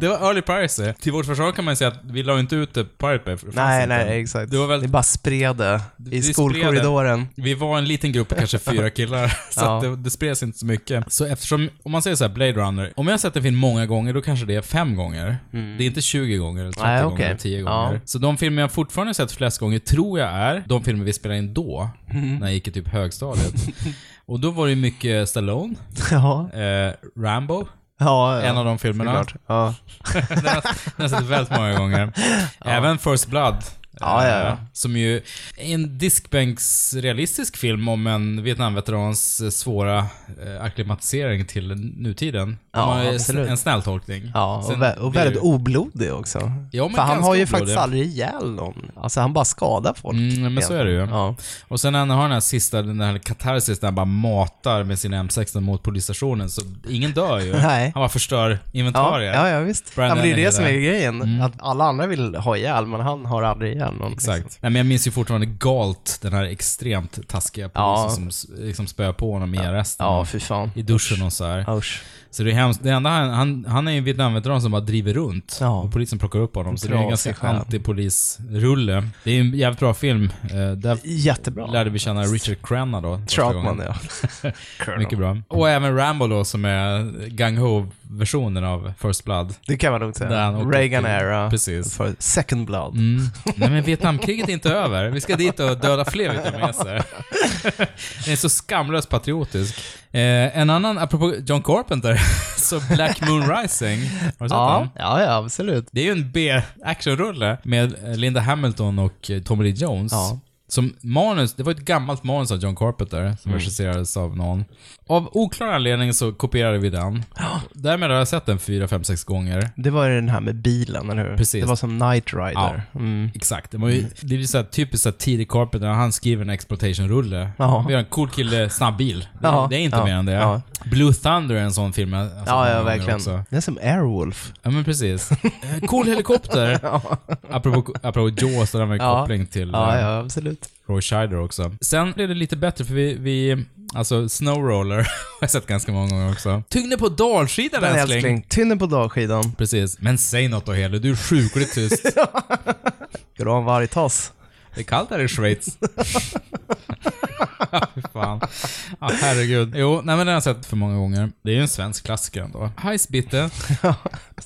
[SPEAKER 1] Det var early piracy. Till vårt försvar kan man ju säga att vi la ju inte ut det på Pirate Bay. för det fanns
[SPEAKER 2] Nej,
[SPEAKER 1] inte.
[SPEAKER 2] nej, exakt.
[SPEAKER 1] Det var
[SPEAKER 2] Ni
[SPEAKER 1] väl,
[SPEAKER 2] bara spred det i
[SPEAKER 1] Vi spred
[SPEAKER 2] skolkorridoren. [LAUGHS]
[SPEAKER 1] vi var en liten grupp, kanske fyra [LAUGHS] killar, så
[SPEAKER 2] Ja.
[SPEAKER 1] att det, det spreds inte så mycket. Så eftersom, om man säger så här, Blade Runner, om jag har sett en film många gånger, då kanske det är fem gånger. Det är inte 20 gånger, eller 30
[SPEAKER 2] Nej,
[SPEAKER 1] gånger,
[SPEAKER 2] okej.
[SPEAKER 1] eller 10
[SPEAKER 2] Ja.
[SPEAKER 1] gånger. Så de filmer jag fortfarande har sett flest gånger tror jag är de filmer vi spelade in då, när jag gick i typ [LAUGHS] högstadiet. Och då var det ju mycket Stallone,
[SPEAKER 2] Ja.
[SPEAKER 1] eh, Rambo,
[SPEAKER 2] Ja, ja.
[SPEAKER 1] en av de filmerna.
[SPEAKER 2] såklart. Ja.
[SPEAKER 1] [LAUGHS] Den har den har jag sett väldigt många gånger. Även First Blood.
[SPEAKER 2] Ja, ja, ja.
[SPEAKER 1] eh, Som ju är en diskbänksrealistisk film om en Vietnamveterans eh, svåra eh, akklimatisering till nutiden.
[SPEAKER 2] Ja,
[SPEAKER 1] Om man är
[SPEAKER 2] absolut.
[SPEAKER 1] En snäll tolkning.
[SPEAKER 2] Ja,
[SPEAKER 1] Sen
[SPEAKER 2] och, vä- och
[SPEAKER 1] blir det
[SPEAKER 2] väldigt
[SPEAKER 1] ju-
[SPEAKER 2] oblodig också.
[SPEAKER 1] Ja, men
[SPEAKER 2] För han
[SPEAKER 1] ganska
[SPEAKER 2] har ju
[SPEAKER 1] oblodig.
[SPEAKER 2] faktiskt aldrig ihjäl någon. Alltså han bara skadar folk.
[SPEAKER 1] Mm, men så är det ju.
[SPEAKER 2] Ja.
[SPEAKER 1] Och sen när han har den här sista, den här katarsis där han bara matar med sin M16 mot polisstationen, så ingen dör ju.
[SPEAKER 2] [LAUGHS] Nej.
[SPEAKER 1] Han bara förstör
[SPEAKER 2] Ja,
[SPEAKER 1] inventarier.
[SPEAKER 2] ja, ja, visst.
[SPEAKER 1] Brandon Mm.
[SPEAKER 2] Ja, men det är
[SPEAKER 1] Henry
[SPEAKER 2] det som är
[SPEAKER 1] där.
[SPEAKER 2] grejen. Att alla andra vill ha ihjäl, men han har aldrig ihjäl någon. liksom.
[SPEAKER 1] Exakt. Nej, men jag minns ju fortfarande Galt, den här extremt taskiga
[SPEAKER 2] Ja.
[SPEAKER 1] polisen som liksom spöar på honom i arresten.
[SPEAKER 2] Ja, fy fan.
[SPEAKER 1] I duschen och så här.
[SPEAKER 2] Usch.
[SPEAKER 1] Så det är hemskt. Det enda han, han, han är ju en Vietnamveteran som bara driver runt.
[SPEAKER 2] Ja.
[SPEAKER 1] Och polisen plockar upp honom. Så det är en
[SPEAKER 2] Trasig
[SPEAKER 1] ganska
[SPEAKER 2] själ.
[SPEAKER 1] antipolisrulle. Det är ju en jävligt bra film. Eh, där
[SPEAKER 2] Jättebra.
[SPEAKER 1] lärde vi känna Richard Crenna då. första
[SPEAKER 2] Troutman,
[SPEAKER 1] gången.
[SPEAKER 2] ja.
[SPEAKER 1] [LAUGHS] Mycket bra. Och även Rambo då som är Gang Ho-versionen av First Blood.
[SPEAKER 2] Det kan man lugnt
[SPEAKER 1] Där han
[SPEAKER 2] säga.
[SPEAKER 1] åker
[SPEAKER 2] Reagan
[SPEAKER 1] till-
[SPEAKER 2] era.
[SPEAKER 1] Precis.
[SPEAKER 2] För second blood.
[SPEAKER 1] Mm. Nej men Vietnamkriget är inte över. Vi ska dit och döda fler vietnameser. Den är så skamlöst patriotisk. Eh, en annan, apropå John Carpenter, [LAUGHS] så Black Moon Rising. Har du sett den?
[SPEAKER 2] Ja, ja, ja, absolut.
[SPEAKER 1] Det är ju en B-actionrulle med eh, Linda Hamilton och eh, Tommy Lee Jones.
[SPEAKER 2] Ja.
[SPEAKER 1] Som manus, det var ett gammalt manus av John Carpenter som
[SPEAKER 2] Mm.
[SPEAKER 1] regisserades av någon. Av oklar anledning så kopierade vi den. Därmed har jag sett den fyra, fem, sex gånger.
[SPEAKER 2] Det var ju den här med bilen, eller hur?
[SPEAKER 1] Precis.
[SPEAKER 2] Det var som Knight Rider. Mm.
[SPEAKER 1] Exakt. Det, var ju, det är ju så här typiskt så här tidig Carpenter, han skriver en exploitation-rulle.
[SPEAKER 2] Ja.
[SPEAKER 1] Vi har en cool kille, snabb bil. Det,
[SPEAKER 2] Ja.
[SPEAKER 1] det är inte
[SPEAKER 2] Ja.
[SPEAKER 1] mer än det.
[SPEAKER 2] Ja.
[SPEAKER 1] Blue Thunder är en sån film alltså, jag har sett
[SPEAKER 2] Ja,
[SPEAKER 1] många
[SPEAKER 2] ja,
[SPEAKER 1] gånger
[SPEAKER 2] verkligen.
[SPEAKER 1] också.
[SPEAKER 2] Det är som Airwolf.
[SPEAKER 1] Ja men precis. Eh, Cool
[SPEAKER 2] [LAUGHS]
[SPEAKER 1] helikopter. apropå, apropå Jaws, där med
[SPEAKER 2] Ja.
[SPEAKER 1] koppling till
[SPEAKER 2] Ja,
[SPEAKER 1] eh,
[SPEAKER 2] ja, absolut.
[SPEAKER 1] Roy Scheider också. Sen blev det lite bättre för vi, vi alltså Snowroller [LAUGHS] har jag sett ganska många gånger också. Tyngde på dalskidan
[SPEAKER 2] Den
[SPEAKER 1] älskling.
[SPEAKER 2] älskling. Tynnen på dagskidan.
[SPEAKER 1] Precis. Men säg något då Heli, du är sjukligt tyst.
[SPEAKER 2] Ska du ha en vargtass?
[SPEAKER 1] Det är kallt här i
[SPEAKER 2] [LAUGHS]
[SPEAKER 1] Schweiz. Fy Fan. Ja, herregud. Jo, nej men den har jag sett för många gånger. Det är ju en svensk klassiker ändå. Heisbitte.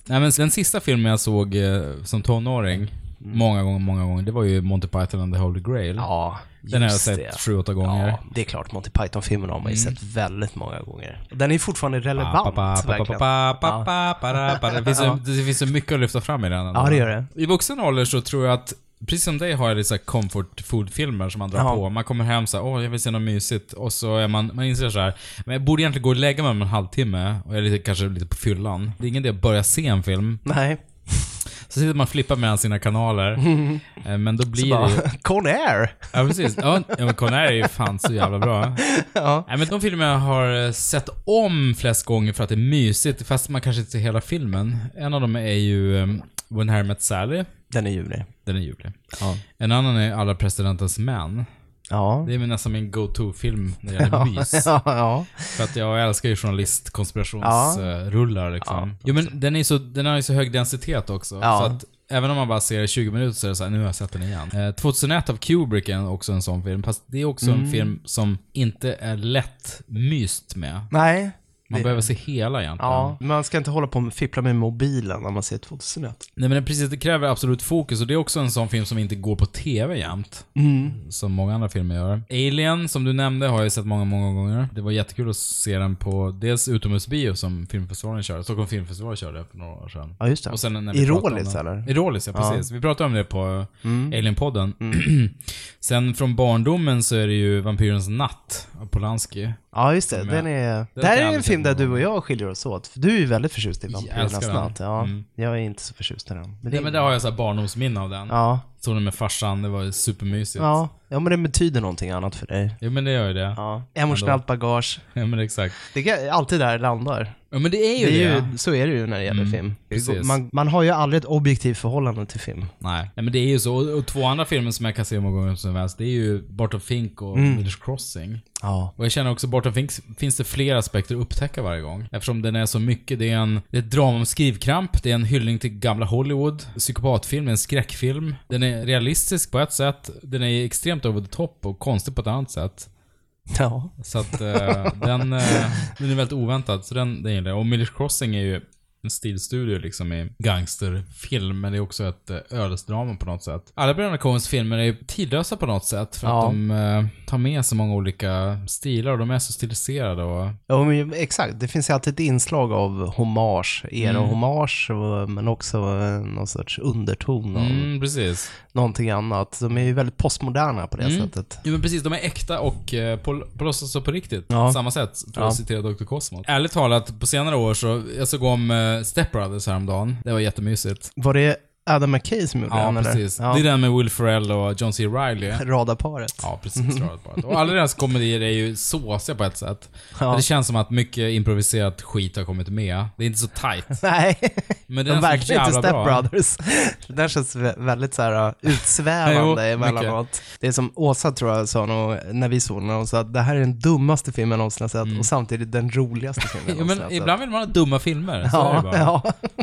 [SPEAKER 1] nej men den sista filmen jag såg eh, som tonåring, många gånger, många gånger, det var ju Monty Python and the Holy Grail.
[SPEAKER 2] Mm. Ja,
[SPEAKER 1] den har jag
[SPEAKER 2] just
[SPEAKER 1] sett sju, åtta gånger. Mm.
[SPEAKER 2] Ja, det är klart. Monty Python-filmerna har man ju sett väldigt många gånger. Den är fortfarande relevant,
[SPEAKER 1] Pa, pa, pa, pa,
[SPEAKER 2] verkligen.
[SPEAKER 1] pa, pa, pa, para, para. Det finns så- det finns så mycket att lyfta fram i den. ändå.
[SPEAKER 2] Ja, det gör det.
[SPEAKER 1] I vuxen ålder så tror jag att Precis som dig har jag lite så här comfort food-filmer som man drar
[SPEAKER 2] Ja.
[SPEAKER 1] på. Man kommer hem så här, åh jag vill se något mysigt. Och så är man, man inser så här, men jag borde egentligen gå och lägga mig om en halvtimme. Och jag är lite, kanske lite på fyllan. Det är ingen idé att börja se en film.
[SPEAKER 2] Nej,
[SPEAKER 1] Så sitter man och flippar mellan sina
[SPEAKER 2] [LAUGHS]
[SPEAKER 1] kanaler. Eh, Men då blir det ju...
[SPEAKER 2] bara Con Air.
[SPEAKER 1] Ja precis. Ja, ja, men Conair är ju fan så jävla bra. Nej, men de filmer jag har eh, sett om flest gånger för att det är mysigt, fast man kanske inte ser hela filmen. En av dem är ju um, When Harry Met Sally.
[SPEAKER 2] Den är ljuvlig.
[SPEAKER 1] Den är ljuvlig. En annan är Alla Presidentens Män.
[SPEAKER 2] Ja.
[SPEAKER 1] Det är väl nästan min go-to-film när det gäller mys.
[SPEAKER 2] [LAUGHS] Ja, ja.
[SPEAKER 1] För att jag älskar ju journalistkonspirationsrullar liksom. Jo men den, är så, den har ju så hög densitet också.
[SPEAKER 2] Ja.
[SPEAKER 1] Så att även om man bara ser 20 minuter så är det såhär, nu har jag sett den igen. Eh, 2001 av Kubrick är också en
[SPEAKER 2] Mm.
[SPEAKER 1] sån film, fast det är också en film som inte är lätt myst med.
[SPEAKER 2] Nej,
[SPEAKER 1] Man
[SPEAKER 2] Det-
[SPEAKER 1] behöver se hela egentligen.
[SPEAKER 2] Ja, man ska inte hålla på med fippla med mobilen när man ser 2001.
[SPEAKER 1] Nej men det- precis, det kräver absolut fokus och det är också en sån film som inte går på TV jämt.
[SPEAKER 2] Mm.
[SPEAKER 1] Som många andra filmer gör. Alien, som du nämnde, har jag sett många, många gånger. Det var jättekul att se den på dels utomhusbio som filmfestivalen körde, Stockholm filmfestival körde för några år sedan.
[SPEAKER 2] Ja, just det.
[SPEAKER 1] Och sen när
[SPEAKER 2] I
[SPEAKER 1] vi pratade om
[SPEAKER 2] Rålis,
[SPEAKER 1] den-
[SPEAKER 2] eller?
[SPEAKER 1] I Rålis, ja precis. Vi pratade om det på mm. Alien-podden.
[SPEAKER 2] Mm.
[SPEAKER 1] [CLEARS THROAT] sen från barndomen så är det ju Vampyrens natt av Polanski.
[SPEAKER 2] Ja, just det. Den är...
[SPEAKER 1] Den
[SPEAKER 2] där
[SPEAKER 1] ska
[SPEAKER 2] är en
[SPEAKER 1] aldrig
[SPEAKER 2] film där
[SPEAKER 1] se på.
[SPEAKER 2] du och jag skiljer oss åt. För du är ju väldigt förtjust i Vampyrernas
[SPEAKER 1] älskar den.
[SPEAKER 2] natt. Ja,
[SPEAKER 1] Mm.
[SPEAKER 2] Jag är inte så förtjust i den. Men det-
[SPEAKER 1] Nej men där har jag så här barndomsminne av den.
[SPEAKER 2] Ja,
[SPEAKER 1] Såg den med farsan, det var ju supermysigt.
[SPEAKER 2] ja. ja, men det betyder någonting annat för dig.
[SPEAKER 1] Jo men det gör ju det. Ja,
[SPEAKER 2] Ja. Emotionellt bagage.
[SPEAKER 1] men exakt.
[SPEAKER 2] Det är alltid där det landar.
[SPEAKER 1] Ja men det är ju det.
[SPEAKER 2] Det är ju, så är det ju när det gäller film. Det går-
[SPEAKER 1] precis.
[SPEAKER 2] Man, man har ju aldrig ett objektivt förhållande till film.
[SPEAKER 1] Nej. Nej men det är ju så. Och, och två andra filmer som jag kan se hur många gånger som helst, det är ju Barton Fink och Miller's Crossing.
[SPEAKER 2] Ja.
[SPEAKER 1] Och jag känner också Barton Fink finns det fler aspekter att upptäcka varje gång. Eftersom den är så mycket, det är en, det är ett drama om skrivkramp, det är en hyllning till gamla Hollywood, psykopatfilm, en skräckfilm. Den är realistisk på ett sätt, den är extremt over the top och konstig på ett annat sätt.
[SPEAKER 2] Ja.
[SPEAKER 1] Så att eh, den, eh, den är väldigt oväntad, så den, den gillar jag. Och Millers Crossing är ju en stilstudio liksom i gangsterfilm, men det är också ett eh, ödesdrama på något sätt. Alla Bröderna Coens filmer är ju tidlösa på något sätt, för att
[SPEAKER 2] Ja.
[SPEAKER 1] de eh, tar med så många olika stilar och de är så stiliserade och...
[SPEAKER 2] Ja, men ju- exakt. Det finns ju alltid ett inslag av hommage,
[SPEAKER 1] Mm.
[SPEAKER 2] era-hommage, och- men också eh, någon sorts underton av
[SPEAKER 1] Mm, precis.
[SPEAKER 2] någonting annat. De är ju väldigt postmoderna på det
[SPEAKER 1] Mm.
[SPEAKER 2] sättet.
[SPEAKER 1] Jo men precis, de är äkta och eh, på, på låtsas och på riktigt. På
[SPEAKER 2] Ja.
[SPEAKER 1] samma sätt, tror jag
[SPEAKER 2] Ja.
[SPEAKER 1] citerar Dr. Cosmo. Ärligt talat, på senare år så, jag såg om eh, Step Brothers häromdagen. Det var jättemysigt.
[SPEAKER 2] Var det Adam McKay som gjorde
[SPEAKER 1] Ja,
[SPEAKER 2] den? eller?
[SPEAKER 1] precis.
[SPEAKER 2] Ja,
[SPEAKER 1] Det är den med Will Ferrell och John C.
[SPEAKER 2] [LAUGHS]
[SPEAKER 1] Reilly.
[SPEAKER 2] Radarparet.
[SPEAKER 1] Ja, precis. Radat Barrett. Och alla deras komedier är ju såsiga på ett sätt.
[SPEAKER 2] Ja.
[SPEAKER 1] Men Det känns som att mycket improviserat skit har kommit med. Det är inte så tight.
[SPEAKER 2] [LAUGHS] Nej,
[SPEAKER 1] Men det är
[SPEAKER 2] de verkligen inte Step
[SPEAKER 1] bra.
[SPEAKER 2] [LAUGHS] Brothers. Den där känns vä- väldigt så här uh,
[SPEAKER 1] [LAUGHS]
[SPEAKER 2] utsvävande
[SPEAKER 1] Jo,
[SPEAKER 2] emellanåt. Det är som Åsa tror jag sa nog, när vi såg den, hon sa att det här är den dummaste filmen jag någonsin har sett och samtidigt den roligaste filmen jag
[SPEAKER 1] Mm. [LAUGHS] Ja,
[SPEAKER 2] någonsin
[SPEAKER 1] men
[SPEAKER 2] har sett.
[SPEAKER 1] ibland vill man ha dumma filmer. Så är det
[SPEAKER 2] Ja,
[SPEAKER 1] bara.
[SPEAKER 2] [LAUGHS] ja.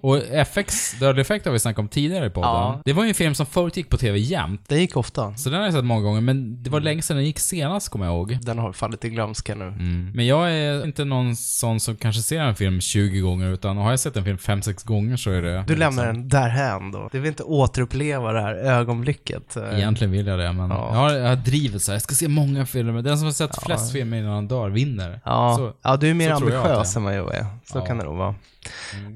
[SPEAKER 1] Och FX, Dödlig Effekt har vi snackat om tidigare i podden.
[SPEAKER 2] Ja.
[SPEAKER 1] Det var ju en film som förut gick på TV jämt.
[SPEAKER 2] Det gick ofta.
[SPEAKER 1] Så den har jag sett många gånger, men
[SPEAKER 2] Mm.
[SPEAKER 1] det var länge sedan den gick senast, kommer jag ihåg.
[SPEAKER 2] Den har fallit i glömska nu.
[SPEAKER 1] Men jag är inte någon sån som kanske ser en film 20 gånger, utan har jag sett en film 5-6 gånger så är det...
[SPEAKER 2] Du lämnar den därhän då. Du vill inte återuppleva det här ögonblicket. eh,
[SPEAKER 1] Egentligen vill jag det, men
[SPEAKER 2] Ja.
[SPEAKER 1] jag, har, jag har drivet så här. jag ska se många filmer. Den som har sett flest filmer innan han dör vinner.
[SPEAKER 2] Ja.
[SPEAKER 1] Så,
[SPEAKER 2] ja, du är mer
[SPEAKER 1] så tror jag att
[SPEAKER 2] ambitiös
[SPEAKER 1] det
[SPEAKER 2] än vad jag är. Så
[SPEAKER 1] Ja. Mm.
[SPEAKER 2] kan det nog vara.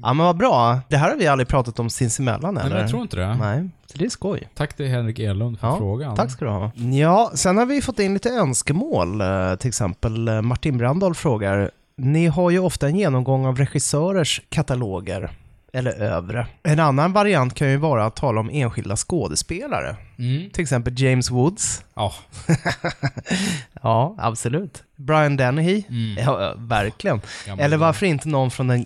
[SPEAKER 2] Ja, men vad bra. Det här har vi aldrig pratat om sinsemellan
[SPEAKER 1] nej,
[SPEAKER 2] eller?
[SPEAKER 1] men jag tror inte det.
[SPEAKER 2] Nej, så det är skoj.
[SPEAKER 1] Tack till Henrik Elund för
[SPEAKER 2] Ja,
[SPEAKER 1] frågan.
[SPEAKER 2] Tack ska du ha. Ja, sen har vi fått in lite önskemål. eh, Till exempel eh, Martin Brandahl frågar, ni har ju ofta en genomgång av regissörers kataloger, eller övre. En annan variant kan ju vara att tala om enskilda skådespelare.
[SPEAKER 1] Mm.
[SPEAKER 2] Till exempel James Woods,
[SPEAKER 1] Ja,
[SPEAKER 2] Ja, absolut. Brian Dennehy?
[SPEAKER 1] mm,
[SPEAKER 2] Ja, ja, verkligen.
[SPEAKER 1] Gammal
[SPEAKER 2] eller varför inte någon från den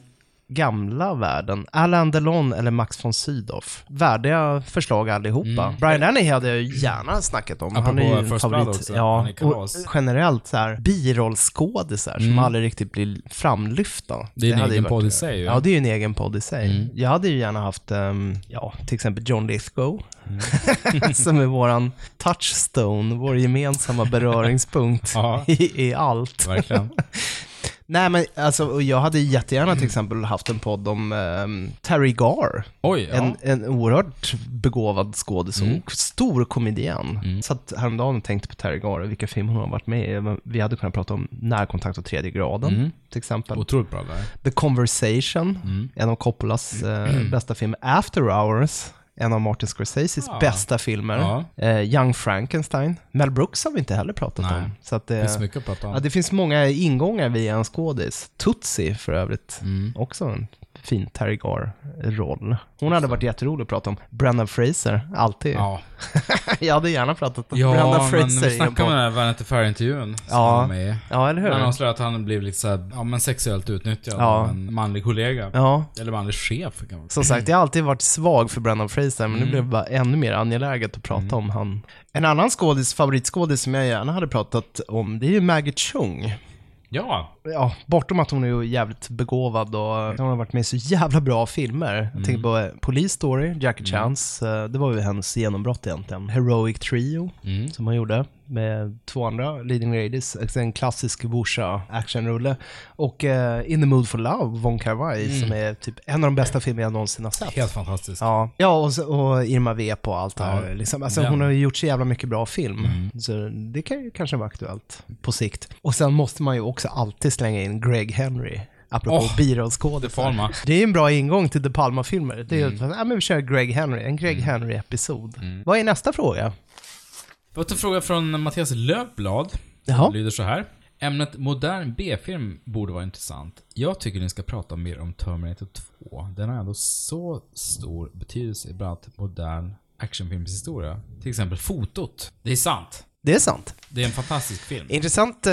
[SPEAKER 2] gamla världen? Alain Delon eller Max von Sydow? Värdiga förslag allihopa. Brian Dennehy hade jag ju gärna snackat om. han
[SPEAKER 1] Mm. Apropå
[SPEAKER 2] är ju
[SPEAKER 1] First
[SPEAKER 2] favorit.
[SPEAKER 1] Blood också,
[SPEAKER 2] Ja,
[SPEAKER 1] han är
[SPEAKER 2] och
[SPEAKER 1] kalas. Mm.
[SPEAKER 2] generellt så här birollskådisar som aldrig riktigt blir framlyfta.
[SPEAKER 1] det är en
[SPEAKER 2] hade ju
[SPEAKER 1] egen
[SPEAKER 2] varit-
[SPEAKER 1] podd i sig Mm. ju.
[SPEAKER 2] Ja, det är ju en egen podd i sig. Jag hade ju gärna haft, ehm, ja, till exempel John Lithgow,
[SPEAKER 1] Mm.
[SPEAKER 2] [LAUGHS] som är våran touchstone, vår gemensamma beröringspunkt
[SPEAKER 1] Ja.
[SPEAKER 2] i, i allt. [LAUGHS]
[SPEAKER 1] Verkligen.
[SPEAKER 2] Nej, men alltså, och jag hade ju
[SPEAKER 1] [CLEARS THROAT]
[SPEAKER 2] jättegärna till exempel haft en podd om ehm, Terry Garr,
[SPEAKER 1] Oj, ja. Mm.
[SPEAKER 2] en, en oerhört begåvad skådis och stor komedian. Så att häromdagen och tänkte på Terry Garr och vilka filmer hon har varit med i. Vi hade kunnat prata om Närkontakt och tredje graden,
[SPEAKER 1] Mm.
[SPEAKER 2] till exempel.
[SPEAKER 1] Otroligt bra där.
[SPEAKER 2] The Conversation,
[SPEAKER 1] Mm.
[SPEAKER 2] en av Coppolas eh,
[SPEAKER 1] [CLEARS THROAT]
[SPEAKER 2] bästa filmer. After Hours, en av Martin Scorseses
[SPEAKER 1] Ja.
[SPEAKER 2] bästa filmer.
[SPEAKER 1] Ah. Ja.
[SPEAKER 2] Eh, Young Frankenstein. Mel Brooks har vi inte heller pratat
[SPEAKER 1] Nej.
[SPEAKER 2] om. Så att eh, det,
[SPEAKER 1] Det finns mycket att prata om.
[SPEAKER 2] ja, det finns många ingångar via en skådis. Tootsie för övrigt,
[SPEAKER 1] Mm.
[SPEAKER 2] också en fin Terry Garr-roll. Hon hade varit jätterolig att prata om. Brenda Fraser, alltid.
[SPEAKER 1] Ja,
[SPEAKER 2] [LAUGHS] Jag hade gärna pratat om Brenda
[SPEAKER 1] ja men vi
[SPEAKER 2] Fraser. i en
[SPEAKER 1] snackade om
[SPEAKER 2] podd.
[SPEAKER 1] den här Vanity Fair-intervjun som
[SPEAKER 2] Ja.
[SPEAKER 1] han var med i.
[SPEAKER 2] Ja, eller hur?
[SPEAKER 1] Han avslöjade att han blev lite såhär, ja men sexuellt utnyttjad
[SPEAKER 2] Ja.
[SPEAKER 1] av en manlig kollega.
[SPEAKER 2] Ja,
[SPEAKER 1] Eller manlig chef kan man säga.
[SPEAKER 2] Som sagt, jag har alltid varit svag för Brendan Fraser, men
[SPEAKER 1] Mm.
[SPEAKER 2] nu blev det bara ännu mer angeläget att prata om han. En annan skådis, favoritskådis som jag gärna hade pratat om, det är ju Maggie Chung.
[SPEAKER 1] Ja,
[SPEAKER 2] ja, bortom att hon är ju jävligt begåvad och hon har varit med i så jävla bra filmer. Jag tänker på eh, Police Story, Jackie Chans. eh, Det var ju hennes genombrott egentligen. Heroic Trio, som hon gjorde med två andra, Leading Ladies, alltså en klassisk Wusha actionrulle. Och eh, In the Mood for Love, Von kar som är typ en av de bästa filmer jag någonsin har sett.
[SPEAKER 1] Helt fantastiskt.
[SPEAKER 2] Ja, ja och, så, och Irma Vep och allt det här. Liksom. Alltså,
[SPEAKER 1] den.
[SPEAKER 2] hon har ju gjort så jävla mycket bra film.
[SPEAKER 1] Mm.
[SPEAKER 2] Så det kan ju kanske vara aktuellt på sikt. Och sen måste man ju också alltid slänga in Greg Henry. Apropå
[SPEAKER 1] Åh, De Palma.
[SPEAKER 2] birollskådisar. Det är en bra ingång till De Palma-filmer. Det är ju,
[SPEAKER 1] Mm.
[SPEAKER 2] ja, men vi kör Greg Henry, en Greg Henry-episod. Vad är nästa fråga?
[SPEAKER 1] Vi har fått en fråga från Mattias Löfblad.
[SPEAKER 2] Jaha.
[SPEAKER 1] Den lyder så här. Ämnet modern B-film borde vara intressant. Jag tycker ni ska prata mer om Terminator 2. Den har ändå så stor betydelse i bland annat modern actionfilmshistoria. Till exempel fotot. Det är sant.
[SPEAKER 2] Det är sant.
[SPEAKER 1] Det är en fantastisk film.
[SPEAKER 2] Intressant eh,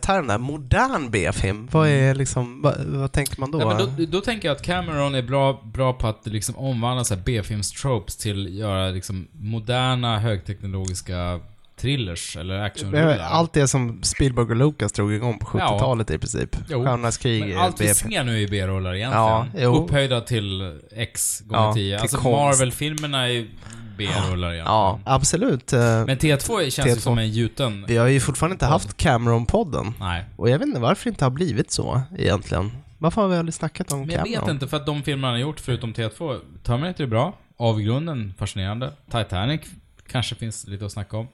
[SPEAKER 2] term där, modern B-film. Vad är liksom, vad, vad tänker man då?
[SPEAKER 1] Ja, men då, då tänker jag att Cameron är bra, bra på att liksom omvandla så här B-films-tropes till att göra liksom moderna högteknologiska thrillers eller actionrullar.
[SPEAKER 2] Allt det som Spielberg och Lucas drog igång på 70-talet i princip.
[SPEAKER 1] Jo.
[SPEAKER 2] Stjärnornas krig
[SPEAKER 1] Men
[SPEAKER 2] är
[SPEAKER 1] allt vi
[SPEAKER 2] BP.
[SPEAKER 1] ser nu är B-roller
[SPEAKER 2] Ja,
[SPEAKER 1] egentligen.
[SPEAKER 2] jo.
[SPEAKER 1] Upphöjda till X gånger
[SPEAKER 2] Ja,
[SPEAKER 1] 10.
[SPEAKER 2] till
[SPEAKER 1] Alltså
[SPEAKER 2] konst.
[SPEAKER 1] Marvel-filmerna är B-roller egentligen.
[SPEAKER 2] Ja, absolut. Eh,
[SPEAKER 1] Men T2 känns ju
[SPEAKER 2] T2.
[SPEAKER 1] som en gjuten...
[SPEAKER 2] Vi har ju fortfarande inte haft Cameron-podden.
[SPEAKER 1] Nej.
[SPEAKER 2] Och jag vet inte varför det inte har blivit så egentligen. Varför har vi aldrig snackat om
[SPEAKER 1] Men jag
[SPEAKER 2] Cameron?
[SPEAKER 1] vet inte, för att de filmerna han har gjort förutom T2, Terminator är bra. Avgrunden, fascinerande. Titanic kanske finns lite att snacka om.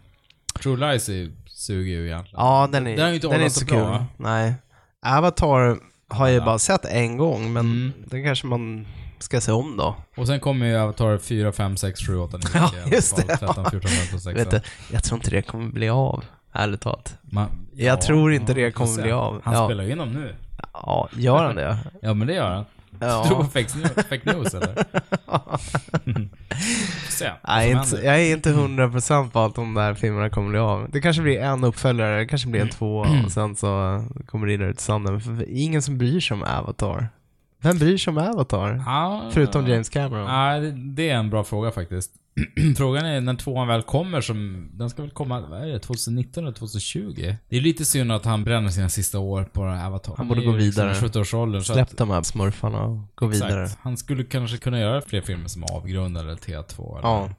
[SPEAKER 1] True Lies är, suger ju egentligen.
[SPEAKER 2] Ja, den är,
[SPEAKER 1] Den har ju inte
[SPEAKER 2] den är
[SPEAKER 1] åldrats
[SPEAKER 2] inte så
[SPEAKER 1] så bra,
[SPEAKER 2] kul.
[SPEAKER 1] va?
[SPEAKER 2] Nej. Avatar har jag ju bara sett en gång, men
[SPEAKER 1] Mm.
[SPEAKER 2] den kanske man ska se om då.
[SPEAKER 1] Och sen kommer ju Avatar 4, 5, 6, 7, 8, 9, 10,
[SPEAKER 2] Ja,
[SPEAKER 1] 11,
[SPEAKER 2] just
[SPEAKER 1] 12,
[SPEAKER 2] det.
[SPEAKER 1] 13, 14, 15,
[SPEAKER 2] [LAUGHS] Vet du,
[SPEAKER 1] 16.
[SPEAKER 2] jag tror inte det kommer bli av, ärligt talat.
[SPEAKER 1] Man,
[SPEAKER 2] Jag tror inte det
[SPEAKER 1] vi får
[SPEAKER 2] kommer
[SPEAKER 1] se.
[SPEAKER 2] bli av.
[SPEAKER 1] Han
[SPEAKER 2] Ja.
[SPEAKER 1] spelar ju in dem nu.
[SPEAKER 2] Ja, gör
[SPEAKER 1] [LAUGHS]
[SPEAKER 2] han det?
[SPEAKER 1] Ja, men det gör han.
[SPEAKER 2] Ja.
[SPEAKER 1] Tror på fake news, fake news eller? Får se vad
[SPEAKER 2] Nej,
[SPEAKER 1] som
[SPEAKER 2] inte,
[SPEAKER 1] händer. Mm.
[SPEAKER 2] jag är inte hundra procent på att de där filmerna kommer bli av. Det kanske blir en uppföljare, det kanske
[SPEAKER 1] Mm.
[SPEAKER 2] blir en två och sen så kommer det rinna ut i sanden. För det är ingen som bryr sig om Avatar. Vem bryr sig om Avatar?
[SPEAKER 1] Ja, eh,
[SPEAKER 2] Förutom James Cameron.
[SPEAKER 1] Nej, det- det är en bra fråga faktiskt. [CLEARS THROAT] Frågan är när tvåan väl kommer som, den ska väl komma, vad är det, 2019 eller 2020? Det är lite synd att han bränner sina sista år på Avatar.
[SPEAKER 2] Han borde
[SPEAKER 1] är ju
[SPEAKER 2] gå
[SPEAKER 1] liksom
[SPEAKER 2] vidare.
[SPEAKER 1] i 70-årsåldern. så att-
[SPEAKER 2] Släpp de här smurfarna och gå vidare.
[SPEAKER 1] Exakt. Han skulle kanske kunna göra fler filmer som Avgrund eller T2. Eller.
[SPEAKER 2] Ja,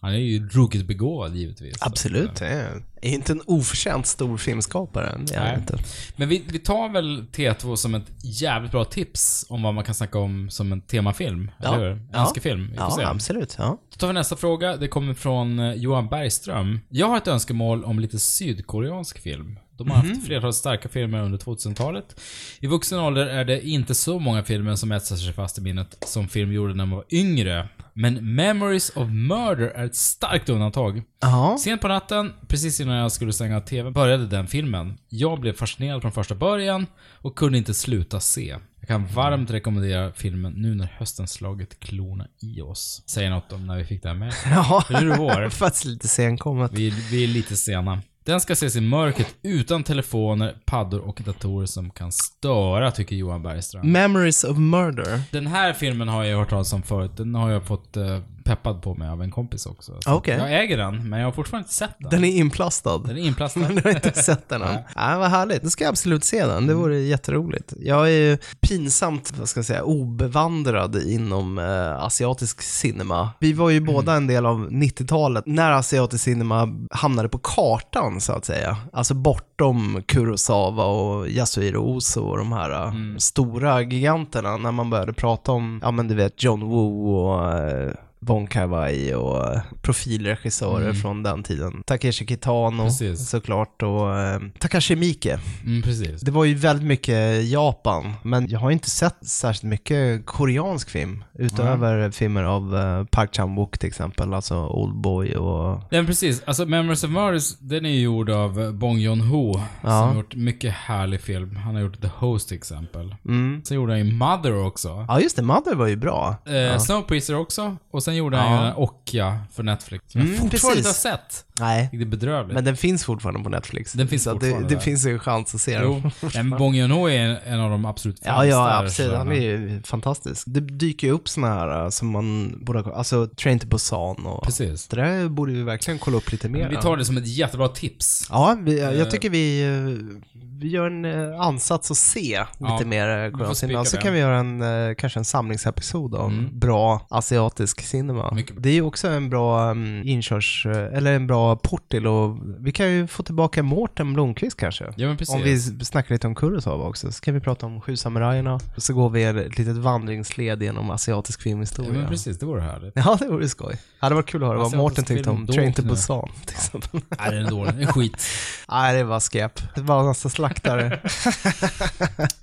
[SPEAKER 1] Han är ju ruggigt begåvad givetvis.
[SPEAKER 2] absolut. Det är är inte en oförtjänt stor filmskapare. Det är han
[SPEAKER 1] Nej.
[SPEAKER 2] inte.
[SPEAKER 1] Men vi, vi tar väl T2 som ett jävligt bra tips om vad man kan snacka om som en temafilm.
[SPEAKER 2] Ja.
[SPEAKER 1] Eller hur?
[SPEAKER 2] Ja.
[SPEAKER 1] Önskefilm. Vi får
[SPEAKER 2] Ja,
[SPEAKER 1] se.
[SPEAKER 2] absolut. Ja.
[SPEAKER 1] Då tar vi nästa fråga. Det kommer från eh, Johan Bergström. Jag har ett önskemål om lite sydkoreansk film. De har
[SPEAKER 2] Mhm.
[SPEAKER 1] haft flertal starka filmer under 2000-talet. I vuxen ålder är det inte så många filmer som etsar sig fast i minnet som film gjorde när man var yngre. Men Memories of Murder är ett starkt undantag.
[SPEAKER 2] Ja.
[SPEAKER 1] Sent på natten, precis innan jag skulle stänga TVn, började den filmen. Jag blev fascinerad från första början och kunde inte sluta se. Jag kan varmt rekommendera filmen nu när hösten slagit klorna i oss. Säger något om när vi fick den med.
[SPEAKER 2] Ja. [LAUGHS]
[SPEAKER 1] För nu är det vår.
[SPEAKER 2] Fast lite senkommet.
[SPEAKER 1] Vi, vi är lite sena. Den ska ses i mörkret utan telefoner, paddor och datorer som kan störa, tycker Johan Bergström.
[SPEAKER 2] Memories of Murder.
[SPEAKER 1] Den här filmen har jag hört talas om förut. Den har jag fått eh, peppad på mig av en kompis också. Så
[SPEAKER 2] Okej.
[SPEAKER 1] Jag äger den, men jag har fortfarande inte sett den.
[SPEAKER 2] Den är inplastad.
[SPEAKER 1] Den är inplastad.
[SPEAKER 2] [LAUGHS] Men du har inte sett den än. Ja, vad härligt. Nu ska jag absolut se den. Det vore jätteroligt. Jag är ju pinsamt, vad ska jag säga, obevandrad inom eh, asiatisk cinema. Vi var ju båda en del av 90-talet när asiatisk cinema hamnade på kartan, så att säga. Alltså bortom Kurosawa och Yasuhiro Ozu och de här eh, stora giganterna. När man började prata om, ja men du vet, John Woo och eh, Bon Kar-wai och eh, profilregissörer från den tiden. Takeshi Kitano
[SPEAKER 1] Precis.
[SPEAKER 2] såklart och eh, Takashi Miike.
[SPEAKER 1] Mm, precis.
[SPEAKER 2] Det var ju väldigt mycket Japan, men jag har inte sett särskilt mycket koreansk film utöver filmer av eh, Park Chan-wook till exempel, alltså Oldboy och...
[SPEAKER 1] Nej men precis, alltså Memories of Murders, den är ju gjord av eh, Bong Joon-Ho.
[SPEAKER 2] Ja.
[SPEAKER 1] Som gjort mycket härlig film. Han har gjort The Host till exempel.
[SPEAKER 2] Mm.
[SPEAKER 1] Sen gjorde han ju Mother också.
[SPEAKER 2] Ja just det, Mother var ju bra.
[SPEAKER 1] Eh, Snowpiercer också. Och sen sen gjorde han ju den och ja, för Netflix. Som jag
[SPEAKER 2] Mm,
[SPEAKER 1] fortfarande inte har
[SPEAKER 2] precis.
[SPEAKER 1] sett.
[SPEAKER 2] Nej.
[SPEAKER 1] Det är bedrövligt.
[SPEAKER 2] Men den finns fortfarande på Netflix.
[SPEAKER 1] Den finns
[SPEAKER 2] så att
[SPEAKER 1] fortfarande
[SPEAKER 2] det,
[SPEAKER 1] där.
[SPEAKER 2] det finns ju en chans att se den.
[SPEAKER 1] Jo, men Bong Joon-ho är en- en av de absolut
[SPEAKER 2] [LAUGHS] Ja, ja,
[SPEAKER 1] främsta
[SPEAKER 2] absolut. Han
[SPEAKER 1] regissörerna.
[SPEAKER 2] är ju fantastisk. Det dyker ju upp såna här eh, som man borde ha Alltså, Train to Busan och...
[SPEAKER 1] Precis.
[SPEAKER 2] Det där borde vi verkligen kolla upp lite mer.
[SPEAKER 1] Vi tar det som ett jättebra tips.
[SPEAKER 2] Ja, vi,
[SPEAKER 1] Eh.
[SPEAKER 2] jag tycker vi, eh, vi gör en eh, ansats att se
[SPEAKER 1] Ja,
[SPEAKER 2] lite mer eh,
[SPEAKER 1] får
[SPEAKER 2] koreansk
[SPEAKER 1] spika
[SPEAKER 2] cinema. Så
[SPEAKER 1] det.
[SPEAKER 2] kan vi göra en, eh, kanske en samlingsepisod om
[SPEAKER 1] Mm.
[SPEAKER 2] bra asiatisk cinema.
[SPEAKER 1] Mycket bra.
[SPEAKER 2] Det är ju också en bra um, inkörs, eh, eller en bra port till och vi kan ju få tillbaka Mårten Blomqvist kanske.
[SPEAKER 1] Ja, men precis.
[SPEAKER 2] Om vi s- snackar lite om Kurosawa också, så kan vi prata om Sju samurajerna. Så går vi ett litet vandringsled genom asiatisk
[SPEAKER 1] ja,
[SPEAKER 2] filmhistoria.
[SPEAKER 1] men precis. Det vore härligt.
[SPEAKER 2] Ja, det vore skoj. Ja, det var kul att höra vad
[SPEAKER 1] Asiatisk
[SPEAKER 2] Mårten tyckte
[SPEAKER 1] film
[SPEAKER 2] om
[SPEAKER 1] då
[SPEAKER 2] Train to
[SPEAKER 1] och nu.
[SPEAKER 2] Busan. till exempel.
[SPEAKER 1] Nej, den är dålig. Den är skit.
[SPEAKER 2] Nej, det var skep. Det var en
[SPEAKER 1] [LAUGHS]
[SPEAKER 2] massa slaktare.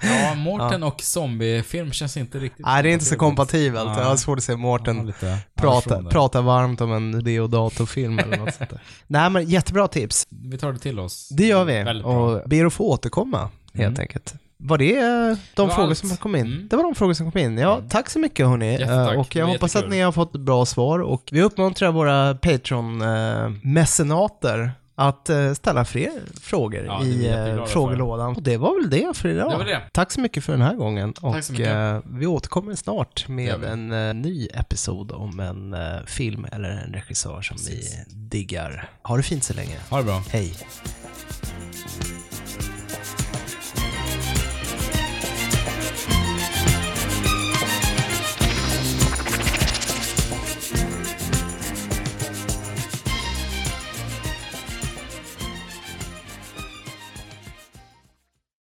[SPEAKER 1] Ja, Mårten och zombiefilm känns inte riktigt...
[SPEAKER 2] Nej, det är inte så kompatibelt.
[SPEAKER 1] Nej.
[SPEAKER 2] Jag har svårt att se
[SPEAKER 1] Ja,
[SPEAKER 2] Mårten
[SPEAKER 1] lite
[SPEAKER 2] prata,
[SPEAKER 1] aversion där.
[SPEAKER 2] prata varmt om en Deodato-film eller något
[SPEAKER 1] [LAUGHS]
[SPEAKER 2] sånt där. Nej, men jättebra tips.
[SPEAKER 1] Vi tar det till oss.
[SPEAKER 2] Det gör vi.
[SPEAKER 1] Väldigt bra.
[SPEAKER 2] Och ber att få återkomma, helt
[SPEAKER 1] Mm.
[SPEAKER 2] enkelt. Var det eh, de
[SPEAKER 1] var
[SPEAKER 2] frågor
[SPEAKER 1] allt.
[SPEAKER 2] som kom in?
[SPEAKER 1] Mm.
[SPEAKER 2] Det var de frågor som kom in. Ja, tack så mycket hörni.
[SPEAKER 1] Jättetack.
[SPEAKER 2] Eh, Och
[SPEAKER 1] Det
[SPEAKER 2] jag
[SPEAKER 1] var
[SPEAKER 2] hoppas att
[SPEAKER 1] jättekul.
[SPEAKER 2] ni har fått bra svar. Och vi uppmuntrar våra Patreon-mecenater att eh, ställa fler frågor
[SPEAKER 1] Ja, det är vi
[SPEAKER 2] i eh,
[SPEAKER 1] jätteglada
[SPEAKER 2] frågelådan. Och det var väl det för idag.
[SPEAKER 1] Det var det.
[SPEAKER 2] Tack så mycket för den här gången. Och
[SPEAKER 1] så mycket.
[SPEAKER 2] eh, vi återkommer snart
[SPEAKER 1] gör
[SPEAKER 2] med
[SPEAKER 1] vi.
[SPEAKER 2] en eh, ny episod om en eh, film eller en regissör som vi diggar. Ha det fint så länge.
[SPEAKER 1] Ha det bra.
[SPEAKER 2] Hej.